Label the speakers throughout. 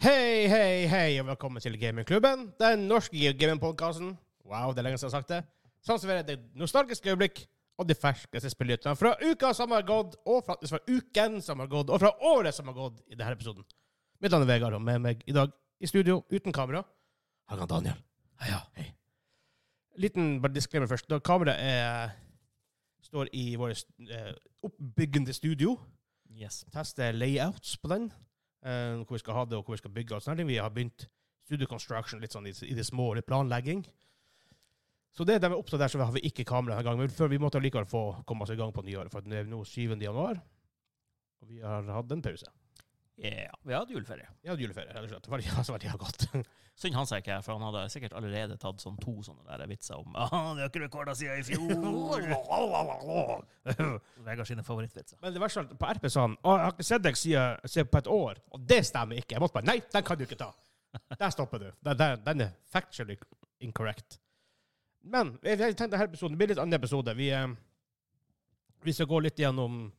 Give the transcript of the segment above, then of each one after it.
Speaker 1: Hei, hei, hei, og velkommen til Gamingklubben. Den norske gamingpodkasten. Wow, det er lenge siden jeg har sagt det. Sånn Som serverer det nostalgiske øyeblikk og de ferskeste spillnyhetene fra uka som har gått, og faktisk fra uken som har gått, og fra året som har gått i denne episoden. Mitt navn er Vegard, og med meg i dag i studio uten kamera har jeg Daniel. Hei, ja. Hei. Liten bare disclaimer først. Da kameraet er, står i vårt eh, oppbyggende studio,
Speaker 2: Yes.
Speaker 1: teste layouts på den. eh, hvor vi skal ha det, og hvor vi skal bygge. og sånne ting. Vi har begynt studio construction litt sånn i, i det små, litt planlegging. Så det er der vi er opptatt der, så har vi ikke kamera denne gangen. Men før vi måtte likevel få komme oss i gang på nyåret, for det er nå 7. januar. Og vi har hatt en pause.
Speaker 2: Yeah. Vi hadde juleferie.
Speaker 1: Jeg hadde juleferie, rett og slett. Det var- altså, det har gått.
Speaker 2: Synd han seg ikke her, for han hadde sikkert allerede tatt sånn to sånne der vitser om «Ah, Det er ikke rekorda siden i fjor! Vegard sine favorittvitser.
Speaker 1: Men det verste var at på RP sa han «Å, jeg har ikke sett deg siden siden på et år. Og det stemmer ikke. Jeg måtte bare Nei, den kan du ikke ta. Der stopper du. Den, den, den er factually incorrect. Men jeg jeg tenkte denne episoden blir en litt annen episode. Vi, eh, vi skal gå litt gjennom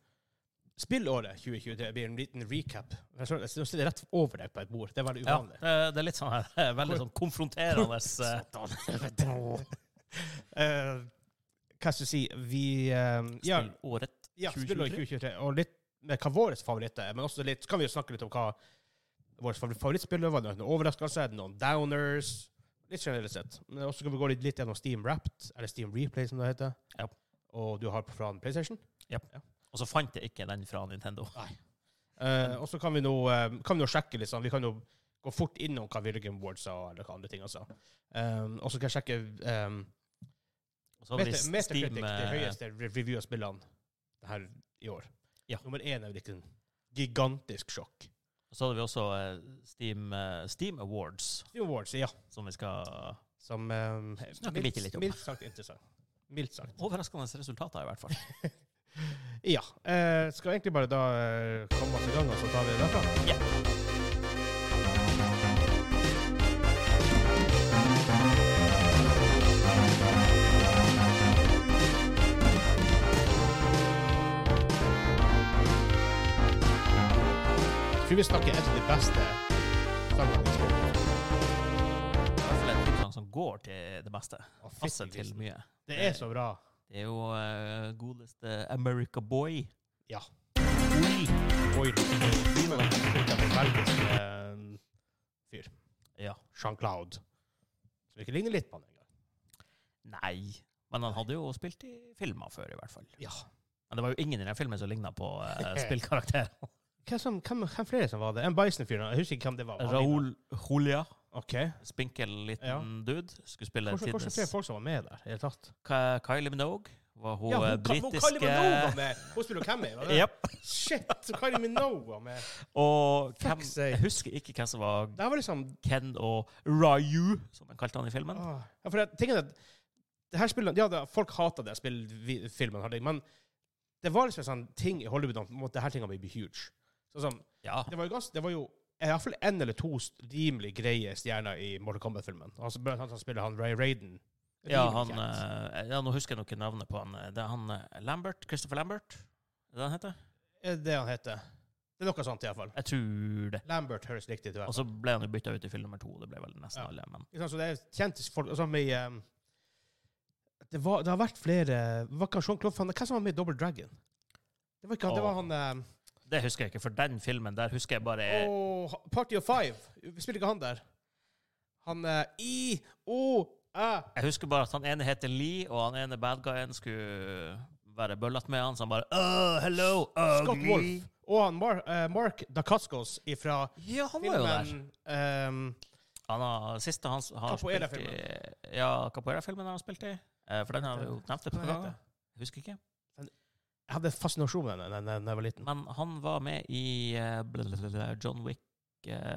Speaker 1: spillåret 2023. Det blir en liten recap. Jeg skjønner- jeg sitter rett over deg på et bord. Det er veldig
Speaker 2: Ja,
Speaker 1: uvanlig.
Speaker 2: det, det er litt sånn her, eh, veldig sånn konfronterende eh,
Speaker 1: Eh, hva skal jeg si Vi eh, ja,
Speaker 2: spillåret.
Speaker 1: Ja,
Speaker 2: 2023.
Speaker 1: spiller i 2023. Og litt med hva våre favoritter er. Men også litt, så kan vi jo snakke litt om hva våre favor- favorittspillere var. Noen overraskelser, noen downers. Litt generelt sett. Men også kan vi gå litt, litt gjennom Steam Wrapped, eller Steam Replay, som det heter.
Speaker 2: Ja.
Speaker 1: Og du har fra en PlayStation.
Speaker 2: Og så fant jeg ikke den fra Nintendo.
Speaker 1: Eh, og så kan vi nå eh, kan vi nå sjekke litt sånn. Vi kan jo gå fort innom hva Virgin Ward sa, eller hva andre ting han sa. Um, og så kan jeg sjekke um,
Speaker 2: Og så hadde
Speaker 1: Meta,
Speaker 2: vi
Speaker 1: Metacritic,
Speaker 2: Steam
Speaker 1: det
Speaker 2: eh,
Speaker 1: høyeste re- review av spillene det her i år.
Speaker 2: Ja.
Speaker 1: Nummer én er virkelig en gigantisk sjokk.
Speaker 2: Og så hadde vi også eh, Steam, eh, Steam Awards,
Speaker 1: Steam Awards, ja.
Speaker 2: som vi skal
Speaker 1: Som um, er
Speaker 2: Snakker
Speaker 1: mildt-
Speaker 2: bitte litt om.
Speaker 1: Mildt sagt interessant. Mildt sagt.
Speaker 2: Overraskende resultater, i hvert fall.
Speaker 1: Ja. Eh, skal egentlig bare da eh, komme oss i gang, og så tar vi det derfra.
Speaker 2: Ja.
Speaker 1: Jeg tror vi snakker et av de beste sangene i spillet.
Speaker 2: I hvert fall et tilsagn som går til det meste.
Speaker 1: Å, fytti
Speaker 2: Passer til
Speaker 1: grisen.
Speaker 2: mye.
Speaker 1: Det er så bra.
Speaker 2: Det er jo eh, godeste America Boy.
Speaker 1: Ja.
Speaker 2: Oi.
Speaker 1: Boyle. Belgisk eh, fyr.
Speaker 2: Ja.
Speaker 1: Jean-Claude. Som ikke ligner litt på han engang.
Speaker 2: Nei. Men han hadde jo spilt i filmer før, i hvert fall.
Speaker 1: Ja.
Speaker 2: Men det var jo ingen i den filmen som ligna på uh, spillkarakter.
Speaker 1: Hvem, som, hvem, hvem flere som var det? En Bison-fyr? Jeg husker ikke hvem det var.
Speaker 2: Raoul Julia,
Speaker 1: Ok.
Speaker 2: spinkel liten
Speaker 1: Ja.
Speaker 2: dude, skulle spille
Speaker 1: Hvordan, hvordan flere
Speaker 2: tidens
Speaker 1: folk som var med der? i det hele tatt?
Speaker 2: Ka- Kylie Minogue var hun,
Speaker 1: Ja,
Speaker 2: eh,
Speaker 1: hun, Kylie
Speaker 2: britiske
Speaker 1: Minogue var med! Hun spiller Cammy, var det?
Speaker 2: Jep.
Speaker 1: Shit! Kylie Minogue var med.
Speaker 2: Og
Speaker 1: Fuck
Speaker 2: hvem,
Speaker 1: sake.
Speaker 2: jeg husker ikke hvem som var
Speaker 1: Det her var liksom
Speaker 2: Ken og Ryu, som de kalte han i filmen.
Speaker 1: Åh. ah. Ja, for jeg tenker at det her spillet, ja, det, Folk hater det spillfilmen, men det var liksom en sånn ting i Hollywood om at det her tingene blir huge. Sånn som,
Speaker 2: Ja.
Speaker 1: det var jo ganske, det var jo i hvert fall en eller to st- rimelig greie stjerner i Mortal Kombat-filmen. Altså, blant annet han som spiller han Ray Raiden.
Speaker 2: Ja,
Speaker 1: Rimelig
Speaker 2: han,
Speaker 1: kjent.
Speaker 2: eh, ja, nå husker jeg nok ikke navnet på han. eh, Det er han eh, Lambert, Christopher Lambert? Er det han heter?
Speaker 1: Er det det han heter? Det er noe sånt, i hvert fall.
Speaker 2: Jeg tror det.
Speaker 1: Lambert høres riktig ut. i hvert
Speaker 2: Og
Speaker 1: fall.
Speaker 2: så ble han jo bytta ut i film nummer to, det ble vel nesten
Speaker 1: Ja.
Speaker 2: alle, men
Speaker 1: Ikke sant, Så det er kjente folk og sånn med, ehm, det, var, det har vært flere Hva kan Jean-Claude Van Hva som var med i Double Dragon? Det var ikke han, det var
Speaker 2: Åh.
Speaker 1: han ehm,
Speaker 2: det husker jeg ikke, for den filmen der husker jeg bare
Speaker 1: Åh, Party of Five. Spiller ikke han der? Han eh, I O Æ.
Speaker 2: Jeg husker bare at han ene heter Lee, og han ene bad guyen skulle være bøllete med han, så han bare Oh, hello,
Speaker 1: Scott
Speaker 2: ugly.
Speaker 1: Wolf. Og han Mar eh, Mark Dacascos fra
Speaker 2: Ja, han var jo der.
Speaker 1: filmen ehm,
Speaker 2: Han har, siste han s- har spilt i Ja, Capoeira-filmen har han spilt i. Eh, For den har vi jo nevnt et
Speaker 1: Hva
Speaker 2: par
Speaker 1: heter
Speaker 2: ganger.
Speaker 1: det?
Speaker 2: Jeg Husker ikke.
Speaker 1: Jeg hadde fascinasjon med den da jeg var liten.
Speaker 2: Men han var med i eh, blablabla, John Wick eh,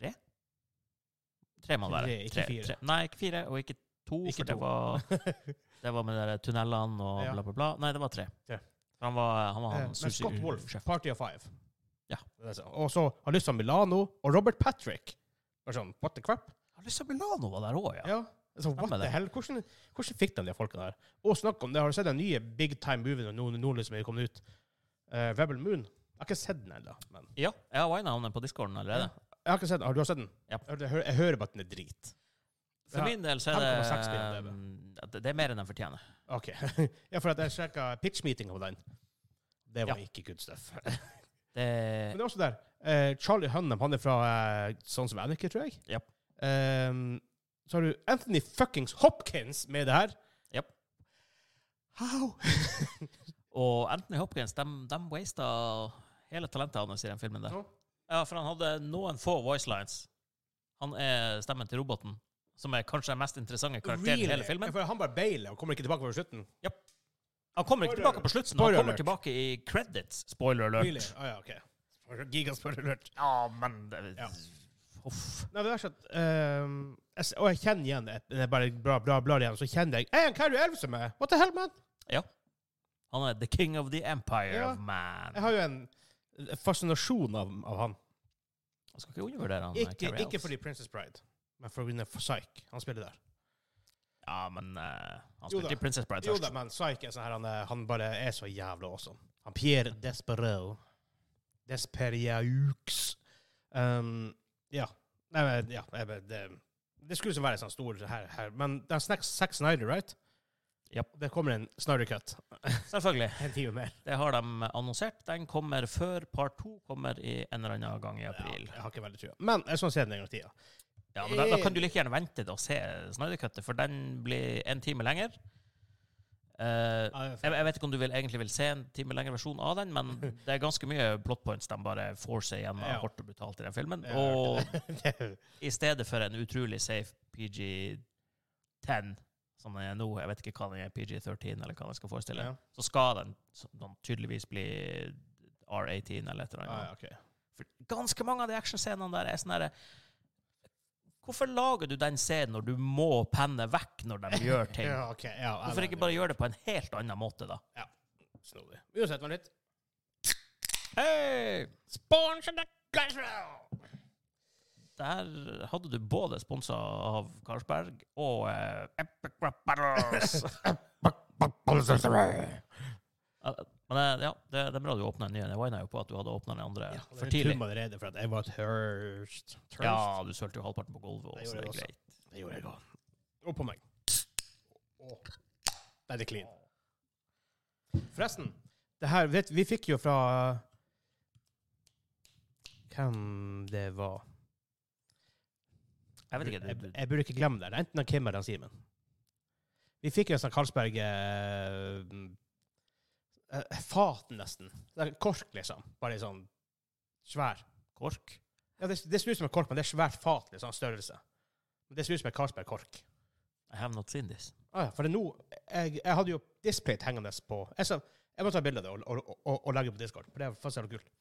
Speaker 2: 3? Tre må det være.
Speaker 1: Tre, ikke
Speaker 2: Tre,
Speaker 1: fire.
Speaker 2: tre. Nei, ikke fire, og ikke to.
Speaker 1: Ikke to.
Speaker 2: for Det, var, det var med de der tunnelene og
Speaker 1: Ja.
Speaker 2: bla, bla, bla. Nei, det var tre.
Speaker 1: Tre.
Speaker 2: For han var han, var
Speaker 1: Eh,
Speaker 2: han
Speaker 1: Men Scott Wolf,
Speaker 2: sushi-sjef.
Speaker 1: Party of Five.
Speaker 2: Ja.
Speaker 1: Det er så- Og så har lyst til Milano og Robert Patrick. Bare sånn, what the crap?
Speaker 2: Alyssa Milano var der òg, ja.
Speaker 1: Ja. Så, what
Speaker 2: Stemmer
Speaker 1: the
Speaker 2: det.
Speaker 1: hell? Hvordan, hvordan fikk de de folkene her? liksom Og snakk om det, har du sett den nye Big Time Movien og noen, noen som er kommet ut? Eh, Rebel Moon? Jeg har ikke sett den ennå. men-
Speaker 2: Ja, jeg har wina om den på discorden allerede.
Speaker 1: Jeg har ikke sett den. Har du sett den?
Speaker 2: Ja.
Speaker 1: Jeg, hører, jeg hører bare at den er drit.
Speaker 2: For
Speaker 1: Ja,
Speaker 2: min del så er
Speaker 1: 5,6 på
Speaker 2: det
Speaker 1: IMDb.
Speaker 2: mm, at Det er mer enn de fortjener.
Speaker 1: Ok. ja, for at jeg sjekka pitch-meetinga på den. Det var
Speaker 2: Ja.
Speaker 1: ikke good stuff.
Speaker 2: Det,
Speaker 1: Men det er også der. eh, Charlie Hunnam, han er fra eh, sånn som Annika, tror jeg.
Speaker 2: Japp.
Speaker 1: Ehm, så har du Anthony fuckings Hopkins med det her.
Speaker 2: Japp.
Speaker 1: How?
Speaker 2: og Anthony Hopkins, de, de wasta hele talentet hans i den filmen der.
Speaker 1: Ja.
Speaker 2: Ja, for han hadde noen få voice lines. Han er stemmen til roboten, som er kanskje den mest interessante karakteren i hele
Speaker 1: Ja,
Speaker 2: filmen.
Speaker 1: For han bare bailer og kommer ikke tilbake på slutten.
Speaker 2: Han kommer ikke
Speaker 1: Spoiler
Speaker 2: tilbake på slutten,
Speaker 1: Spoiler
Speaker 2: han kommer
Speaker 1: alert.
Speaker 2: tilbake i credits. Spoiler
Speaker 1: Really?
Speaker 2: alert.
Speaker 1: Ah, ja, ok. Gigaspørrelurt.
Speaker 2: Ja, men det,
Speaker 1: Ja.
Speaker 2: Uff.
Speaker 1: Nei, men det er sånn at ehm, jeg, s- Og jeg kjenner igjen det. Det er bare bra, bra, bla igjen. Så kjenner jeg Er han Carrie Elves som er? What the hell, man?
Speaker 2: Han er the king of the empire
Speaker 1: Ja.
Speaker 2: of man.
Speaker 1: Jeg har jo en fascinasjon av, av han.
Speaker 2: Man skal ikke undervurdere han. eh,
Speaker 1: Ikke,
Speaker 2: Cary
Speaker 1: ikke
Speaker 2: Elves.
Speaker 1: fordi Princess Bride, men for grunn av Psyche. Han spiller der.
Speaker 2: Ja, men eh, han
Speaker 1: Jo da.
Speaker 2: spilte i Princess Bride
Speaker 1: Jo
Speaker 2: først.
Speaker 1: da, men Psyche er sånn her han, er- han bare er så jævla awesome. Han Pierre Despereau. Desperiaux. Um, ja. Nei, men ja, jeg, bare- det, det skulle liksom være en sånn stor her, her. Men det er Zack- Zack Snyder, right?
Speaker 2: Japp.
Speaker 1: Det kommer en Snyder Cut.
Speaker 2: Selvfølgelig.
Speaker 1: En time mer.
Speaker 2: Det har de annonsert. Den kommer før part to kommer i en eller annen gang i april.
Speaker 1: Ja, jeg har ikke veldig trua. Men jeg skal se den en gang i tida.
Speaker 2: Ja, men da,
Speaker 1: Eh.
Speaker 2: da kan du like gjerne vente og se Snydercuttet, for den blir en time lenger. Eh, jeg, jeg vet ikke om du vil, egentlig vil se en time lengre versjon av den, men det er ganske mye plot points de bare får seg gjennom
Speaker 1: Ja.
Speaker 2: hardt og brutalt i den filmen.
Speaker 1: Jeg
Speaker 2: Og
Speaker 1: hørte det.
Speaker 2: i stedet for en utrolig safe PG-10, som den er nå, jeg vet ikke hva den er, PG-13 eller hva den skal forestille,
Speaker 1: Ja.
Speaker 2: så skal den så- den tydeligvis bli R18 eller et eller
Speaker 1: Ah,
Speaker 2: annet.
Speaker 1: ja, ok.
Speaker 2: For ganske mange av de actionscenene der er sånn herre Hvorfor lager du den scenen når du må penne vekk når de gjør ting?
Speaker 1: Ja, ok. Ja, jeg
Speaker 2: Hvorfor
Speaker 1: mener,
Speaker 2: ikke bare gjøre det på en helt annen måte, da?
Speaker 1: Snodig. Uansett, hva er nytt?
Speaker 2: Hey!
Speaker 1: Sponsored by Casual!
Speaker 2: Der hadde du både sponsa av Carlsberg og eh, Epic Rap Battles. Ja, Men eh, ja, det, det er bra du åpna den nye. Jeg vina jo på at du hadde åpna den andre
Speaker 1: Ja,
Speaker 2: for tidlig.
Speaker 1: allerede for at jeg var tørst. Tørst?
Speaker 2: Ja, du sølte jo halvparten på gulvet, og
Speaker 1: Det
Speaker 2: så
Speaker 1: gjorde
Speaker 2: det er
Speaker 1: jeg også.
Speaker 2: greit.
Speaker 1: Det gjorde jeg òg. Og på meg. Å. Da er det clean. Forresten, det her vet, Vi fikk jo fra Hvem det var
Speaker 2: Jeg vet ikke.
Speaker 1: jeg,
Speaker 2: Du, du,
Speaker 1: jeg burde ikke glemme det. Det er enten han Kim eller han Simen. Vi fikk jo en sånn Karlsberg eh, eh, Fat, nesten. Det er kork, liksom. Bare i sånn svær Kork? Ja, det, det ser ut som en kork, men det er svært fat, liksom, størrelse. Det ser ut som en Karlsberg-kork.
Speaker 2: I have not seen this.
Speaker 1: Ah, ja, for det er nå jeg, jeg hadde jo displayet hengende på Jeg, sa, jeg må ta bilde av det og, og, og, og legge det på Discord, for det er faktisk jævlig kult.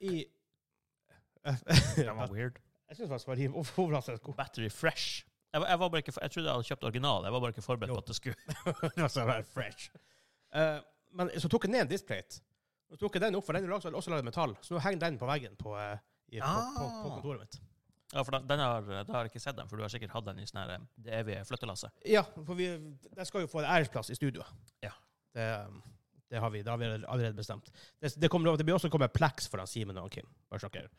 Speaker 1: I
Speaker 2: Det var weird.
Speaker 1: Jeg syns faktisk det var overraskende god.
Speaker 2: Battery Fresh. Jeg, var- jeg, var bare ikke, for- jeg trodde jeg hadde kjøpt original. Jeg var bare ikke forberedt
Speaker 1: Jo.
Speaker 2: på at det skulle
Speaker 1: det var sånn her fresh. Eh, men så tok jeg ned en displate. Så tok jeg den opp, for den er laget- også laget av metall. Så nå henger den på veggen på, eh, i,
Speaker 2: Ah.
Speaker 1: på, på, på kontoret mitt.
Speaker 2: Ja, for den, den har, da har jeg ikke sett den, for du har sikkert hatt den i sånn her eh, det evige flyttelasset.
Speaker 1: Ja, for vi, den skal jo få en æresplass i studioet.
Speaker 2: Ja.
Speaker 1: Det, det har vi det har vi allerede bestemt. Det, det, kommer, det blir også kommet pleks foran Simen og Kim. Bare så dere,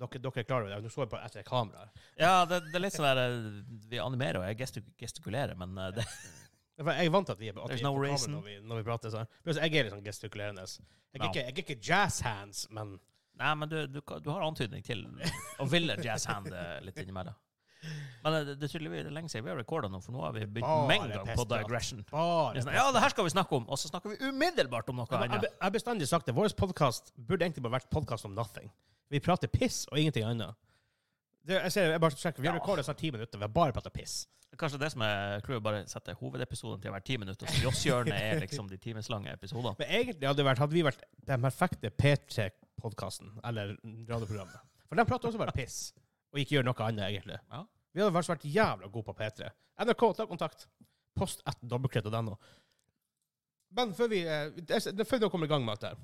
Speaker 1: dere, dere er klar over det. Nå så jeg på etter kameraet.
Speaker 2: Ja, det, det er litt sånn der eh, Vi animerer, og jeg gestik gestikulerer, men eh, det,
Speaker 1: Ja, for Jeg er vant til at vi er at vi
Speaker 2: There's
Speaker 1: er
Speaker 2: no
Speaker 1: på kamera
Speaker 2: reason.
Speaker 1: når vi, når vi prater sånn. Plus, Jeg er litt sånn gestikulerende. Jeg er
Speaker 2: Ja.
Speaker 1: ikke, jeg er ikke jazz hands, men
Speaker 2: Nei, men du, du, kan- du har antydning til å ville jazzhand eh, litt innimellom. Men eh, det, det er tydeligvis lenge siden vi har recorda nå, for nå har vi begynt
Speaker 1: Bare
Speaker 2: med en gang på
Speaker 1: pestprat.
Speaker 2: digression. Det
Speaker 1: bare
Speaker 2: er sånn, Ja, det her skal vi snakke om, og så snakker vi umiddelbart om noe
Speaker 1: Jeg har
Speaker 2: annet.
Speaker 1: jeg har bestandig sagt det. Vår podkast burde egentlig bare vært podkast om nothing. Vi prater piss og ingenting annet. Det, jeg ser, jeg bare sjekker, Vi har
Speaker 2: Ja.
Speaker 1: rekordet snart ti minutter. Vi har bare prata piss.
Speaker 2: Kanskje det som er clouet, bare sette hovedepisoden til å være ti minutter, så Jåsshjørnet er liksom de timeslange episodene.
Speaker 1: Men egentlig hadde, det vært, hadde vi vært den perfekte P3-podkasten, eller radioprogrammet. For de prater også bare piss, og ikke gjør noe annet, egentlig.
Speaker 2: Ja.
Speaker 1: Vi hadde faktisk vært jævla gode på P3. NRK, ta kontakt. Post at dobbeltkritt og den nå. Men før vi, eh, det er- det- før vi nå kommer i gang med alt det her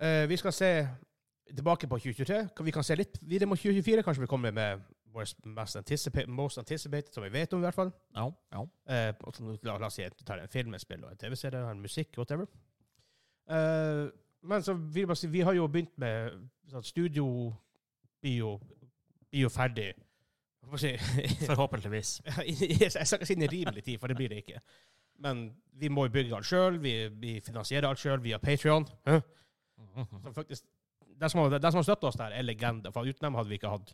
Speaker 1: eh, Vi skal se tilbake på 2023. Kan- Vi kan se litt videre mot 2024. Kanskje vi kommer med vår mest anticipated, most anticipated, som vi vet om, i hvert fall.
Speaker 2: Ja, ja.
Speaker 1: Eh, og så la, la oss si at du tar en film, et spill og en TV-serie, en musikk, whatever. Eh, Men så vil jeg bare si, vi har jo begynt med sånn studio blir jo, blir jo ferdig Jeg får si,
Speaker 2: Forhåpentligvis.
Speaker 1: Jeg skal ikke si innen rimelig tid, for det blir det ikke. Men vi må jo bygge alt sjøl, vi, vi finansierer alt sjøl via Patrion. Så faktisk, de som, har- de som har støtta oss der, er legender. For uten dem hadde vi ikke hatt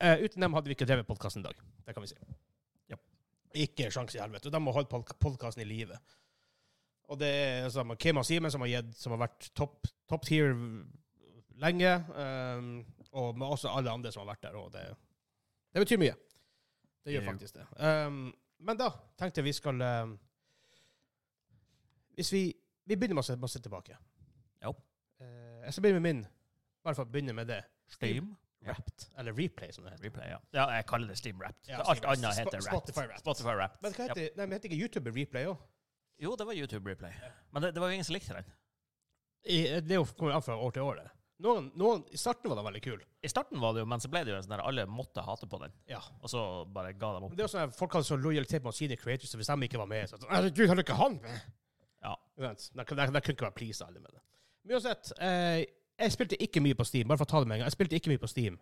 Speaker 1: eh, Uten dem hadde vi ikke drevet podkasten i dag. Det kan vi si.
Speaker 2: Ja.
Speaker 1: Ikke sjans i helvete. De har holdt podkasten i live. Og det er samme Kim og Simen, som har, gitt, som har vært topp top tier lenge. ehm, og med også alle andre som har vært der. Og det, det betyr mye. Det gjør
Speaker 2: Ja.
Speaker 1: faktisk det. Ehm, men da tenkte jeg vi skal ehm, Hvis vi Vi begynner med å se, med å se tilbake.
Speaker 2: Ja.
Speaker 1: Eh, jeg skal begynne med min. Bare for å begynne med det.
Speaker 2: Steam. Ja.
Speaker 1: Wrapped. Eller replay, som det heter.
Speaker 2: Replay, ja. ja, jeg kaller det Steam Wrapped.
Speaker 1: Ja,
Speaker 2: Alt
Speaker 1: Steam-
Speaker 2: annet heter
Speaker 1: Sp-
Speaker 2: Wrapped.
Speaker 1: Spotify Wrapped.
Speaker 2: Spotify Wrapped.
Speaker 1: Men hva heter, nei, men heter ikke YouTube replay òg?
Speaker 2: Jo, det var YouTube Replay. Men det, det var jo ingen som likte den.
Speaker 1: Det er jo- kommer an fra år til år. det. Noen, noen, I starten var den veldig kul.
Speaker 2: I starten var det jo, men så ble det jo en sånn der alle måtte hate på den.
Speaker 1: Ja.
Speaker 2: Og så bare ga dem
Speaker 1: Men
Speaker 2: opp.
Speaker 1: Det er jo sånn at Folk hadde sånn lojalitet mot sine creators, så hvis de ikke var med så sånn, Herregud, har du ikke han med?
Speaker 2: Ja.
Speaker 1: Vent, De kunne de kunne ikke være pleasa alle med det. Men uansett, eh, jeg spilte ikke mye på Steam. Bare for å ta det med en gang. Jeg spilte ikke mye på Steam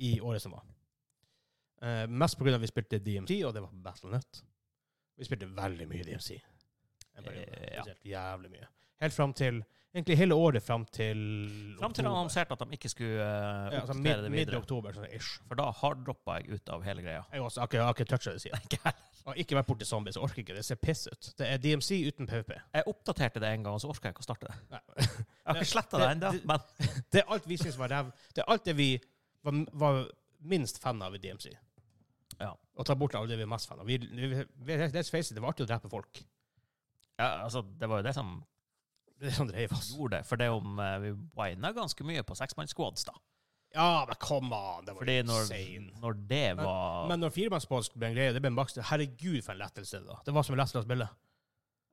Speaker 1: i året som var. Eh, mest på grunn av at vi spilte DMC, og det var på Battlenet. Vi spilte veldig mye DMC. En periode.
Speaker 2: Eh, ja.
Speaker 1: Spesielt Jævlig mye. Helt fram til Egentlig hele året fram til
Speaker 2: Fram til
Speaker 1: oktober.
Speaker 2: de annonserte at de ikke skulle uh,
Speaker 1: ja, altså,
Speaker 2: oppdatere
Speaker 1: mid,
Speaker 2: det videre.
Speaker 1: Midt-oktober, sånn ish.
Speaker 2: For da harddroppa jeg ut av hele greia.
Speaker 1: Jeg har også- jeg har ikke- jeg har ikke toucha det siden.
Speaker 2: Ikke heller.
Speaker 1: Og ikke vært borti zombier, så orker jeg ikke. Det ser piss ut. Det er DMC uten PVP.
Speaker 2: Jeg oppdaterte det en gang, og så orka jeg ikke å starte det.
Speaker 1: Nei.
Speaker 2: Jeg har
Speaker 1: Det-
Speaker 2: ikke sletta det
Speaker 1: det-
Speaker 2: ennå,
Speaker 1: det-
Speaker 2: men
Speaker 1: Det er alt vi syns var ræv. Det er alt det vi var, var minst fan av i DMC.
Speaker 2: Ja.
Speaker 1: Og ta bort alt det vi er mest fan av. Vi, vi, vi, let's face it, det var artig å drepe folk.
Speaker 2: ja, altså, det var jo det som
Speaker 1: Det er sånn det drev oss.
Speaker 2: gjorde det. For det om eh, vi wina ganske mye på seksmannssquads, da.
Speaker 1: Ja, men come on! Det var
Speaker 2: Fordi når,
Speaker 1: insane.
Speaker 2: når det var
Speaker 1: Men når firemannsbåt ble en greie, det ble en maks. Herregud, for en lettelse det da. Det var som en lettelse å spille.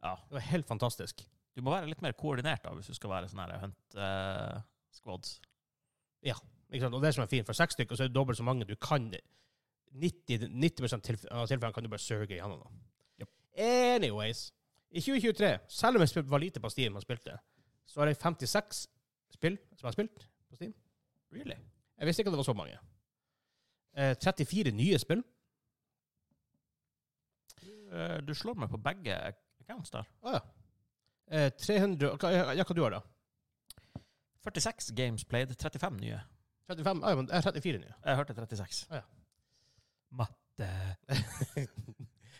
Speaker 2: Ja.
Speaker 1: Det var helt fantastisk.
Speaker 2: Du må være litt mer koordinert da, hvis du skal være sånn her hunt eh, squads.
Speaker 1: Ikke sant? Og det som er fint, for seks stykker så er det dobbelt så mange du kan. 90, 90 tilf av tilfellene kan du bare surge igjennom. da.
Speaker 2: Yep.
Speaker 1: Anyways, i 2023, selv om jeg spil- var lite på Steam og spilte, så har jeg 56 spill som jeg har spilt på Steam.
Speaker 2: Really?
Speaker 1: Jeg visste ikke at det var så mange. Eh, 34 nye spill.
Speaker 2: Eh, du slår meg på begge accounts der.
Speaker 1: Å ja. Eh, 300 hva- Ja, ja, hva du har da?
Speaker 2: 46 games played, 35 nye.
Speaker 1: 35? Ah, ja, men jeg har 34 nye.
Speaker 2: Jeg hørte 36.
Speaker 1: Å ja.
Speaker 2: Matte.
Speaker 1: Det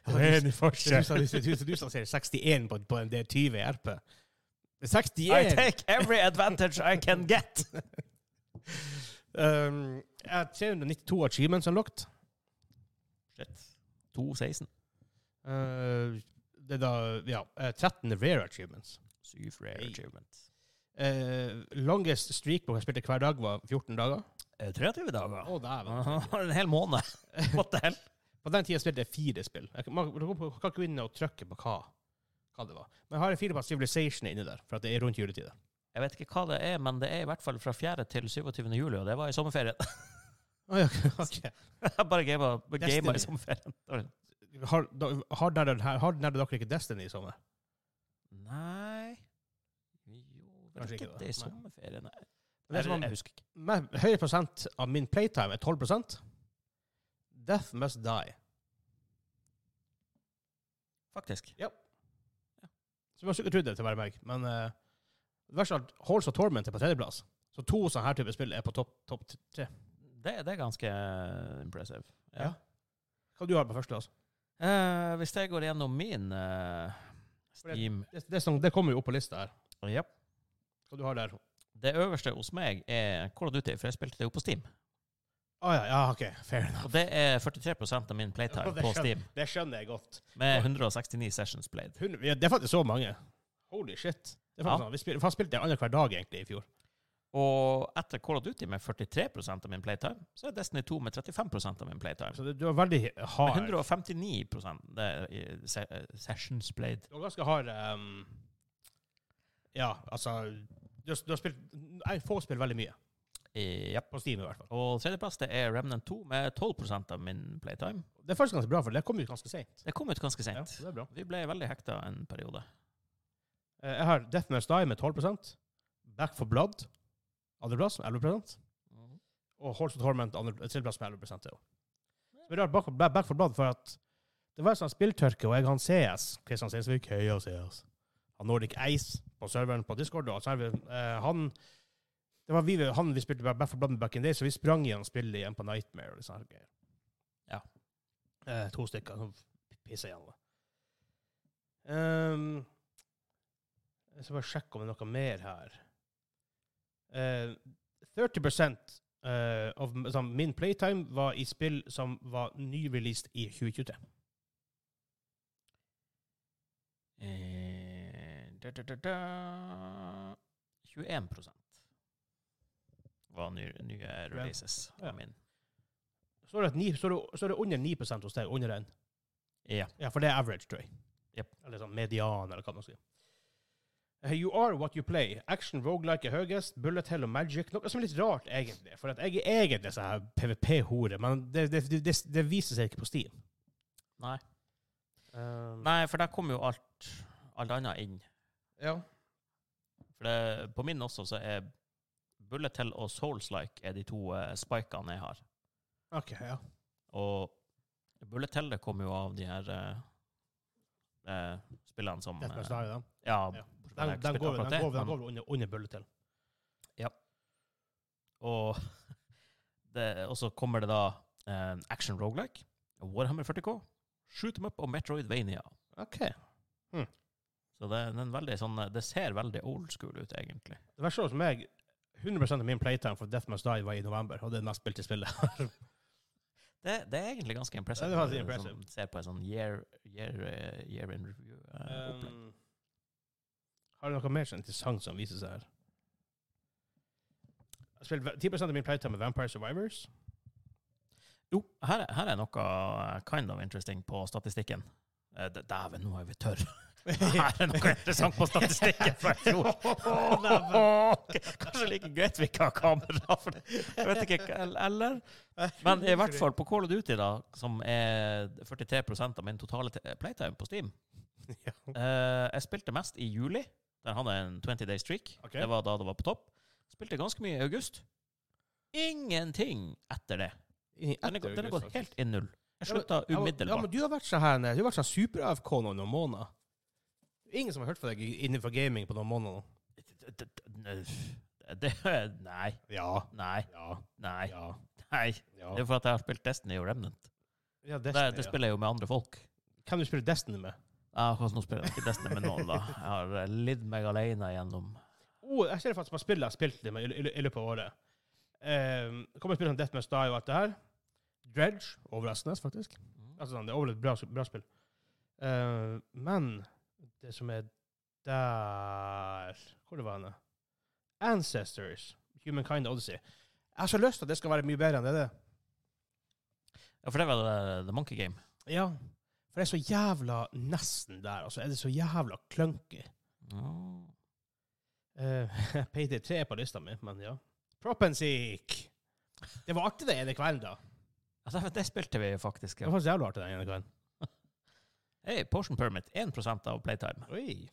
Speaker 1: er du som- det er du som- du som sier 61 på, på en D20 i RP. Det er 61!
Speaker 2: I take every advantage I can get.
Speaker 1: Um, jeg har 392 achievements unlocked.
Speaker 2: Shit. 2-16.
Speaker 1: Uh, det er da ja, eh, 13 rare achievements.
Speaker 2: 7 rare
Speaker 1: Hey.
Speaker 2: achievement.
Speaker 1: Eh, longest streak hvor jeg spilte hver dag, var 14 dager.
Speaker 2: Eh, 23 dager.
Speaker 1: Å, dæven.
Speaker 2: Aha, en hel måned. What the hell?
Speaker 1: På den tida spilte jeg fire spill. Jeg kan, man, man kan ikke gå inn og trykke på hva, hva det var. Men jeg har en fire på Civilization inni der, for at det er rundt juletider.
Speaker 2: Jeg vet ikke hva det er, men det er i hvert fall fra 4. til 27. juli, og det var i sommerferien.
Speaker 1: Oh, ja, ok.
Speaker 2: Bare gama, gama
Speaker 1: Destiny.
Speaker 2: i sommerferien.
Speaker 1: Har, da, har, dere, har dere dere ikke Destiny i sommer?
Speaker 2: Nei Jo, vel
Speaker 1: Kanskje
Speaker 2: ikke
Speaker 1: ikke det.
Speaker 2: det i
Speaker 1: Nei.
Speaker 2: sommerferien. Nei.
Speaker 1: Det
Speaker 2: Jeg,
Speaker 1: som
Speaker 2: jeg
Speaker 1: er,
Speaker 2: husker ikke.
Speaker 1: med, høy prosent av min playtime er 12 Death Must Die.
Speaker 2: Faktisk.
Speaker 1: Som jeg skulle trodd det til å være meg. Men eh, det verste er at Halls of Torment er på tredjeplass. Så to sånne her type spill er på topp topp t- tre.
Speaker 2: Det, det er ganske eh, impressive.
Speaker 1: Ja. Hva du har på altså? førsteplass?
Speaker 2: Eh, hvis jeg går gjennom min eh,
Speaker 1: For det-
Speaker 2: Steam
Speaker 1: Det, det, er sånn- det kommer jo opp på lista her.
Speaker 2: Japp.
Speaker 1: Hva du har der?
Speaker 2: Det øverste hos meg er Call of Duty, for jeg spilte det jo på Steam.
Speaker 1: Å ja, ja, OK. Fair enough.
Speaker 2: Og det er 43 av min playtime
Speaker 1: Ja, det
Speaker 2: på
Speaker 1: skjønner-
Speaker 2: Steam,
Speaker 1: Det skjønner jeg godt.
Speaker 2: med 169 sessions played.
Speaker 1: Hun- ja, det er faktisk så mange. Holy shit. Det er faktisk
Speaker 2: Ja.
Speaker 1: sånn. Vi spil, fast spilte det annenhver dag egentlig i fjor.
Speaker 2: Og etter Call of Duty med 43 av min playtime, så er Destiny 2 med 35 av min playtime.
Speaker 1: Så Altså, det, du er veldig
Speaker 2: Med
Speaker 1: hard.
Speaker 2: 159 det er i se eh, sessions played.
Speaker 1: Du er ganske hard ehm, Ja, altså du, har- du har spilt Jeg får spille veldig mye.
Speaker 2: Eh, Japp.
Speaker 1: På Steam, i hvert fall.
Speaker 2: Og tredjeplass det er Remnant 2 med 12 av min playtime.
Speaker 1: Det er faktisk ganske bra, for det kom ut ganske seint.
Speaker 2: Det kom ut ganske
Speaker 1: Ja,
Speaker 2: sent.
Speaker 1: så det er bra.
Speaker 2: Vi ble veldig hekta en periode.
Speaker 1: Eh, Jeg har Death Must Die med 12 Back for Blood andreplass med 11 Mhm. og Horse of Torment andre- tredjeplass med 11 det også. Så det er rart Back for, Back for Blood, for at det var en sånn spilltørke, og jeg han CS, Kristian Stensvik, høy og CS. Han Nordic Ace på serveren på Discord, og så er vi, eh, han det var vi, han vi spilte Back for Blood med back in the day, så vi sprang igjen spillet igjen på Nightmare. og sånne her greier.
Speaker 2: Ja.
Speaker 1: Eh, to stykker som pisser igjen. da. Ehm, jeg skal bare sjekke om det er noe mer her. Eh, 30 eh, av m- sånn, min playtime var i spill som var nyreleased i 2023.
Speaker 2: Eh, da, da, da, da. 21 var nye, nye releases.
Speaker 1: Ja.
Speaker 2: av min.
Speaker 1: Så er det, et ni- så er det, så er det under 9 hos deg. Under en.
Speaker 2: Ja.
Speaker 1: Ja, for det er average, tror jeg.
Speaker 2: Jep.
Speaker 1: Eller sånn median, eller hva man sier. Eh, You are what you play. Action, roguelike er høyest. Bullet hell og magic. Noe som er litt rart, egentlig. For at jeg er egentlig så her PVP-hore, men det, det, det, det viser seg ikke på Steam.
Speaker 2: Nei.
Speaker 1: Um,
Speaker 2: Nei, for der kom jo alt, alt annet inn.
Speaker 1: Ja.
Speaker 2: For det, på min også så er Bullet Hell og Souls-like er de to eh, spikene jeg har.
Speaker 1: OK, ja.
Speaker 2: Og Bullet Hell det kommer jo av de her eh, eh, spillene som
Speaker 1: Death Must
Speaker 2: eh,
Speaker 1: Die, da.
Speaker 2: Ja.
Speaker 1: Ja.
Speaker 2: bortsett fra
Speaker 1: Den,
Speaker 2: det jeg
Speaker 1: den
Speaker 2: spilte
Speaker 1: går,
Speaker 2: akkurat
Speaker 1: den
Speaker 2: det,
Speaker 1: går, den
Speaker 2: men-
Speaker 1: går under, under bullet hell.
Speaker 2: Og, det, og så kommer det da eh, Action Roguelike, Warhammer 40K, Shoot 'em Up og Metroidvania. Hm.
Speaker 1: OK. Hmm.
Speaker 2: Så det, er en veldig sånn, det ser veldig old school ut, egentlig.
Speaker 1: Det verste var som jeg 100 av min playtime for Death Must Die var i november, og det er det mest spilte spillet.
Speaker 2: Det, det er egentlig ganske impressive.
Speaker 1: Ja, det er faktisk
Speaker 2: når du
Speaker 1: impressive.
Speaker 2: sånn ser på en sånn year, year, eh, year in review. eh, opplegg.
Speaker 1: Um, har du noe mer sånn interessant som viser seg her? Jeg spilte ve- 10 av min playtime med Vampire Survivors.
Speaker 2: Jo, her, er- her er noe eh, kind of interesting på statistikken. Eh, d- Dæven, nå er vi tørre. Her er noe interessant på statistikken fra i fjor. Ok, Kanskje like greit vi ikke har kamera, for det- jeg vet ikke hva- Eller? Men i hvert fall på Call of Duty, da, som er 43 av min totale te- playtime på Steam
Speaker 1: Ja.
Speaker 2: eh, Jeg spilte mest i juli, der hadde jeg en 20 day streak.
Speaker 1: Ok.
Speaker 2: Det var da det var på topp. Spilte ganske mye i august. Ingenting etter det.
Speaker 1: I-
Speaker 2: Den er,
Speaker 1: etter
Speaker 2: gå- den er
Speaker 1: august,
Speaker 2: gått
Speaker 1: faktisk.
Speaker 2: helt i null. Jeg
Speaker 1: Ja, men-
Speaker 2: slutta
Speaker 1: Ja, men- Ja,
Speaker 2: umiddelbart.
Speaker 1: men du har vært så her, du har vært så super-AFK nå i noen måneder. Ingen som har hørt fra deg innenfor gaming på noen måneder nå.
Speaker 2: D- d- d- det- Nei,
Speaker 1: Ja.
Speaker 2: nei,
Speaker 1: Ja.
Speaker 2: nei.
Speaker 1: Ja.
Speaker 2: nei.
Speaker 1: ja.
Speaker 2: Det er for at jeg har spilt Destiny og Remnant.
Speaker 1: Ja,
Speaker 2: Det,
Speaker 1: Destiny,
Speaker 2: det
Speaker 1: ja.
Speaker 2: spiller jeg jo med andre folk.
Speaker 1: Hvem du spiller Destiny med?
Speaker 2: Ja, akkurat nå spiller jeg ikke Destiny med noen, da. Jeg har eh, lidd meg alene gjennom
Speaker 1: Oh, jeg ser faktisk på spillet jeg har spilt det med i, i, i løpet av året. Um, kommer til å spille sånn Death Must Die og alt det her. Dredge. Overraskende, faktisk. Altså, sånn, det er overlevd bra, bra spill. Eh, men det som er der Hvor det var henne? Ancestors. Humankind Odyssey. Jeg har så lyst til at det skal være mye bedre enn det. er det.
Speaker 2: Ja, for det var The, the Monkey Game.
Speaker 1: Ja. For det er så jævla nesten der. Altså, er det så jævla clunky.
Speaker 2: Mm.
Speaker 1: Uh, PT3 på lista mi, men ja. Prop and Seek. Det var artig det ene kvelden, da.
Speaker 2: Ja, Altså, det, det spilte vi faktisk.
Speaker 1: Det
Speaker 2: Ja.
Speaker 1: var faktisk jævla artig den ene kvelden.
Speaker 2: Hey, Portion Permit, 1 av playtime.
Speaker 1: Oi.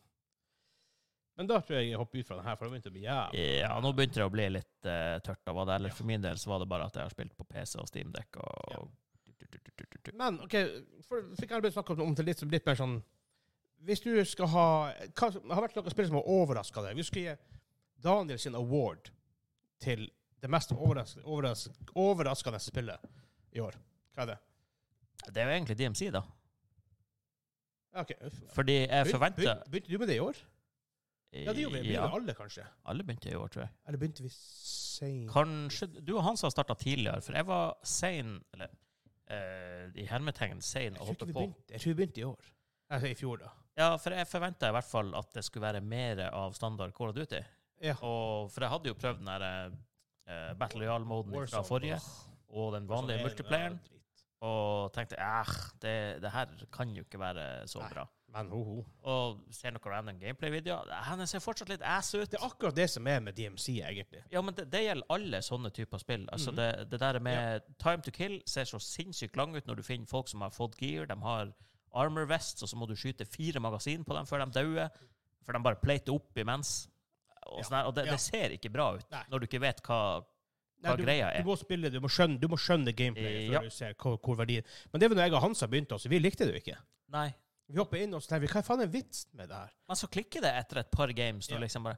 Speaker 1: Men da tror jeg jeg hopper ut fra den her, for det begynte å bli jævlig.
Speaker 2: Ja, nå begynte det å bli litt eh, tørt av det. Eller for min del så var det bare at jeg har spilt på PC og Steamdeck og
Speaker 1: Ja. Men OK, for, fikk jeg snakke om til litt, litt mer sånn Hvis du skal ha hva, som- Har vært noen spill som har overraska deg? Vi skulle gi Daniel sin award til det mest overras- overras- overraskende spillet i år. Hva er det?
Speaker 2: Det er jo egentlig DMC, da.
Speaker 1: OK.
Speaker 2: Fordi jeg forventer
Speaker 1: Begynte, begynte du med det i år? Ja, det gjorde vi. Begynte alle, kanskje?
Speaker 2: alle begynte i år, tror jeg.
Speaker 1: Eller begynte vi seint?
Speaker 2: Kanskje du og Hans har starta tidligere, for jeg var sein Eller eh, i hermetegn sein
Speaker 1: Jeg
Speaker 2: å
Speaker 1: tror, ikke
Speaker 2: hoppe
Speaker 1: vi
Speaker 2: på.
Speaker 1: begynte, jeg tror vi begynte i år. Altså i fjor, da.
Speaker 2: Ja, for jeg forventa i hvert fall at det skulle være mer av standard Call of Duty.
Speaker 1: Ja.
Speaker 2: Og, for jeg hadde jo prøvd den der eh, Battle Royale-moden fra
Speaker 1: Warzone,
Speaker 2: forrige,
Speaker 1: åh,
Speaker 2: og
Speaker 1: Warzone
Speaker 2: den
Speaker 1: er
Speaker 2: vanlige
Speaker 1: en
Speaker 2: multiplayeren,
Speaker 1: jævla dritt.
Speaker 2: og tenkte æh, det, det her kan jo ikke være så
Speaker 1: Nei.
Speaker 2: bra.
Speaker 1: Men ho, ho.
Speaker 2: Og ser noen random gameplay-videoer. «Æ, Den ser fortsatt litt ass ut.
Speaker 1: Det er akkurat det som er med DMC, egentlig.
Speaker 2: Ja, men det, det gjelder alle sånne typer spill. Altså
Speaker 1: Mhm.
Speaker 2: det, det der med time to kill ser så sinnssykt lang ut når du finner folk som har fått gear, de har armor vests, og så må du skyte fire magasin på dem før de dauer. For de bare pløyter opp imens. Og,
Speaker 1: Ja.
Speaker 2: sånn her, og det,
Speaker 1: Ja.
Speaker 2: det ser ikke bra ut
Speaker 1: Nei.
Speaker 2: når du ikke vet hva
Speaker 1: Nei,
Speaker 2: Hva
Speaker 1: du,
Speaker 2: greia er.
Speaker 1: du må spille, du må skjønne, du må skjønne gameplayet
Speaker 2: Eh,
Speaker 1: før
Speaker 2: ja.
Speaker 1: du ser hvor, hvor verdien Men det var når jeg og Hansa begynte, altså. Vi likte det jo ikke.
Speaker 2: Nei.
Speaker 1: Vi hopper inn og så tenker vi, hva faen er vitsen med det her?
Speaker 2: Men så klikker det etter et par games når
Speaker 1: Ja.
Speaker 2: liksom bare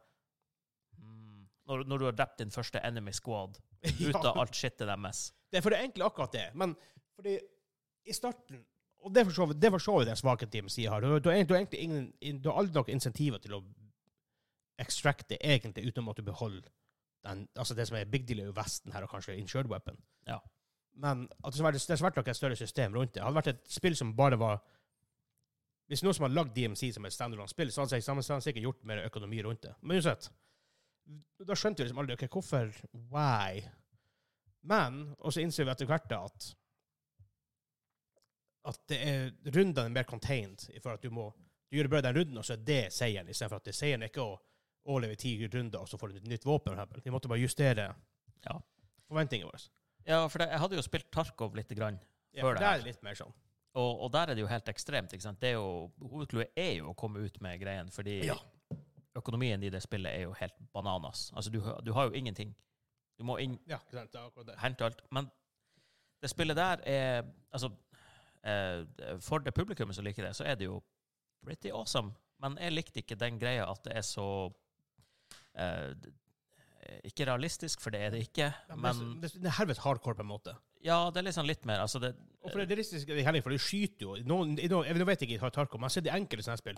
Speaker 2: mm, når, når du har drept din første enemy squad
Speaker 1: Ja.
Speaker 2: ut av alt shitet deres.
Speaker 1: Det er for det enkle akkurat det. Men fordi i starten Og det er for så vidt- det er for så vidt en svakhet Team sier her. Du, du, har egentlig- du, har egentlig ingen, in- du har aldri noen insentiver til å extracte egentlig utenom at du beholder den, altså det som er big deal, er jo vesten her, og kanskje insured weapon.
Speaker 2: Ja.
Speaker 1: Men at det skulle vært- det skulle vært nok et større system rundt det. Hadde det vært et spill som bare var Hvis noen som har lagd DMC som et standalone-spill, så hadde jeg sammen- så hadde jeg sikkert gjort mer økonomi rundt det. Men uansett Da skjønte vi liksom aldri ok, hvorfor Why? Men og så innser vi etter hvert da at at det er rundene er mer contained. i forhold til at Du må du gjør bare den runden, og så er det seieren. Istedenfor at det seieren er ikke å overleve ti runder, og så får du et nytt våpen. for eksempel. Vi måtte bare justere
Speaker 2: Ja.
Speaker 1: forventningene våre.
Speaker 2: Ja, for det, jeg hadde jo spilt Tarkov lite grann,
Speaker 1: Ja,
Speaker 2: Før
Speaker 1: for
Speaker 2: det
Speaker 1: der
Speaker 2: her.
Speaker 1: er det litt mer sånn.
Speaker 2: og, og der er det jo helt ekstremt. ikke sant? Det er jo, Hovedclouet er jo å komme ut med greien, fordi
Speaker 1: Ja.
Speaker 2: økonomien i det spillet er jo helt bananas. Altså, du, hø- du har jo ingenting. Du må inn,
Speaker 1: Ja, ikke sant? Det er akkurat det.
Speaker 2: hente alt. Men det spillet der er Altså, eh, for det publikummet som liker det, så er det jo pretty awesome. Men jeg likte ikke den greia at det er så eh, d- Ikke realistisk, for det er det ikke.
Speaker 1: Ja,
Speaker 2: Men
Speaker 1: men det, det er helvete hardcore, på en måte.
Speaker 2: ja, det er liksom litt mer Altså, det
Speaker 1: Og for det realistiske er heller, for du skyter jo noen, i noen, Jeg vet ikke i Tarkov, men jeg ser de enkelte sånne spill.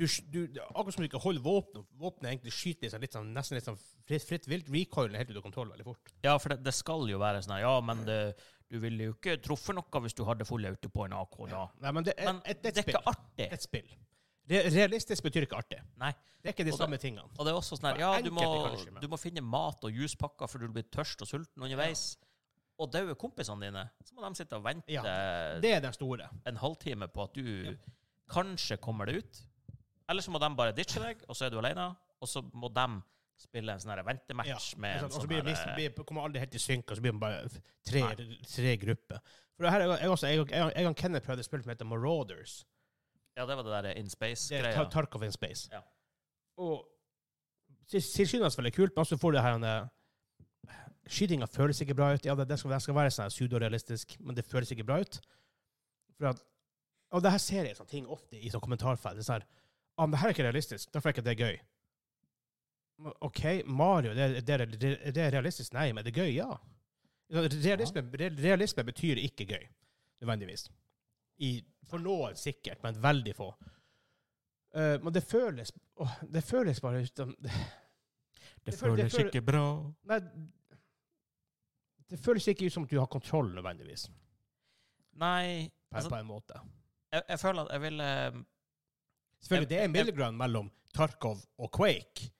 Speaker 1: Du, sk- du, det er akkurat som du ikke holder våpen, og våpenet egentlig skyter liksom litt sånn, nesten litt sånn fritt, fritt vilt. Recoilen er helt ute av kontroll veldig fort.
Speaker 2: Ja, for det, det skal jo være sånn her, Ja, men det, du ville jo ikke truffet noe hvis du hadde full auto på en AK da.
Speaker 1: Nei, men det er
Speaker 2: Men
Speaker 1: et, et,
Speaker 2: det
Speaker 1: et
Speaker 2: er
Speaker 1: spill.
Speaker 2: ikke artig.
Speaker 1: Det er Et spill. Re realistisk betyr ikke artig.
Speaker 2: Nei.
Speaker 1: Det er ikke de
Speaker 2: Og det-
Speaker 1: samme tingene.
Speaker 2: Og det er også sånn her,
Speaker 1: Det
Speaker 2: ja,
Speaker 1: er
Speaker 2: du må,
Speaker 1: enkelt, kanskje, men-
Speaker 2: du må finne mat og juspakker for du blir tørst og sulten underveis. Og daue kompisene dine. Så må de sitte og vente
Speaker 1: Det er den store.
Speaker 2: en halvtime på at du kanskje kommer deg ut. Eller så må de bare ditche deg, og så er du alene. Og så må de spille en sånn her
Speaker 1: Ja,
Speaker 2: ventematch med
Speaker 1: ikke sant?
Speaker 2: en
Speaker 1: Og så
Speaker 2: sånn
Speaker 1: blir det
Speaker 2: her,
Speaker 1: liksom, blir, kommer alle helt i synk, og så blir man bare f- tre,
Speaker 2: Nei.
Speaker 1: tre grupper. For det her er jo- jeg, også, jeg, jeg, jeg og Kenneth prøvde et spill som heter Marauders.
Speaker 2: eh, Ja, det var det der In
Speaker 1: Det er Tar
Speaker 2: Space-greia.
Speaker 1: Tarkov in Space.
Speaker 2: Ja.
Speaker 1: Og tilsynelatende veldig kult, men så får du det her en, eh, Skytinga føles ikke bra ut. Ja, det, det, skal, det skal være sånn her pseudorealistisk, men det føles ikke bra ut. For at, og det her ser jeg sånne ting ofte i sånn kommentarfelt. Det er sånn her, ah, men det her er ikke realistisk, derfor er ikke det gøy. Men OK, Mario, det, det, er- det, det er realistisk? Nei, men det er gøy, ja. Realisme, re- realisme betyr ikke gøy, nødvendigvis. I, for noen sikkert, men veldig få. Eh, men det føles åh, Det føles bare ut som Det føles det føles-
Speaker 2: ikke bra.
Speaker 1: Nei Det føles ikke ut som at du har kontroll, nødvendigvis,
Speaker 2: Nei,
Speaker 1: på,
Speaker 2: altså,
Speaker 1: på en måte.
Speaker 2: jeg, jeg føler at jeg ville
Speaker 1: Selvfølgelig, det er en
Speaker 2: jeg-
Speaker 1: middle ground mellom Tarkov og Quake.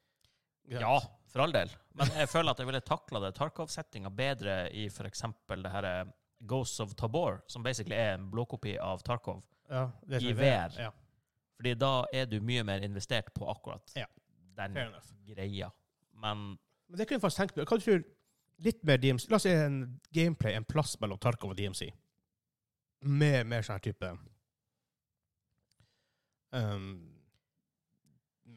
Speaker 2: Ja, for all del. Men jeg føler at jeg ville takla det Tarkov-settinga bedre i f.eks. det her eh, Ghosts of Tabor, som basically er en blåkopi av Tarkov.
Speaker 1: Ja, det er
Speaker 2: I Mm.
Speaker 1: sånn-
Speaker 2: VR.
Speaker 1: Ja,
Speaker 2: Fordi da er du mye mer investert på akkurat
Speaker 1: Ja.
Speaker 2: den
Speaker 1: fair enough.
Speaker 2: greia. Men
Speaker 1: Men det kunne jeg faktisk tenkt meg. Hva du tror litt mer DMC? La oss si en gameplay, en plass mellom Tarkov og DMC. Med mer sånn her type um,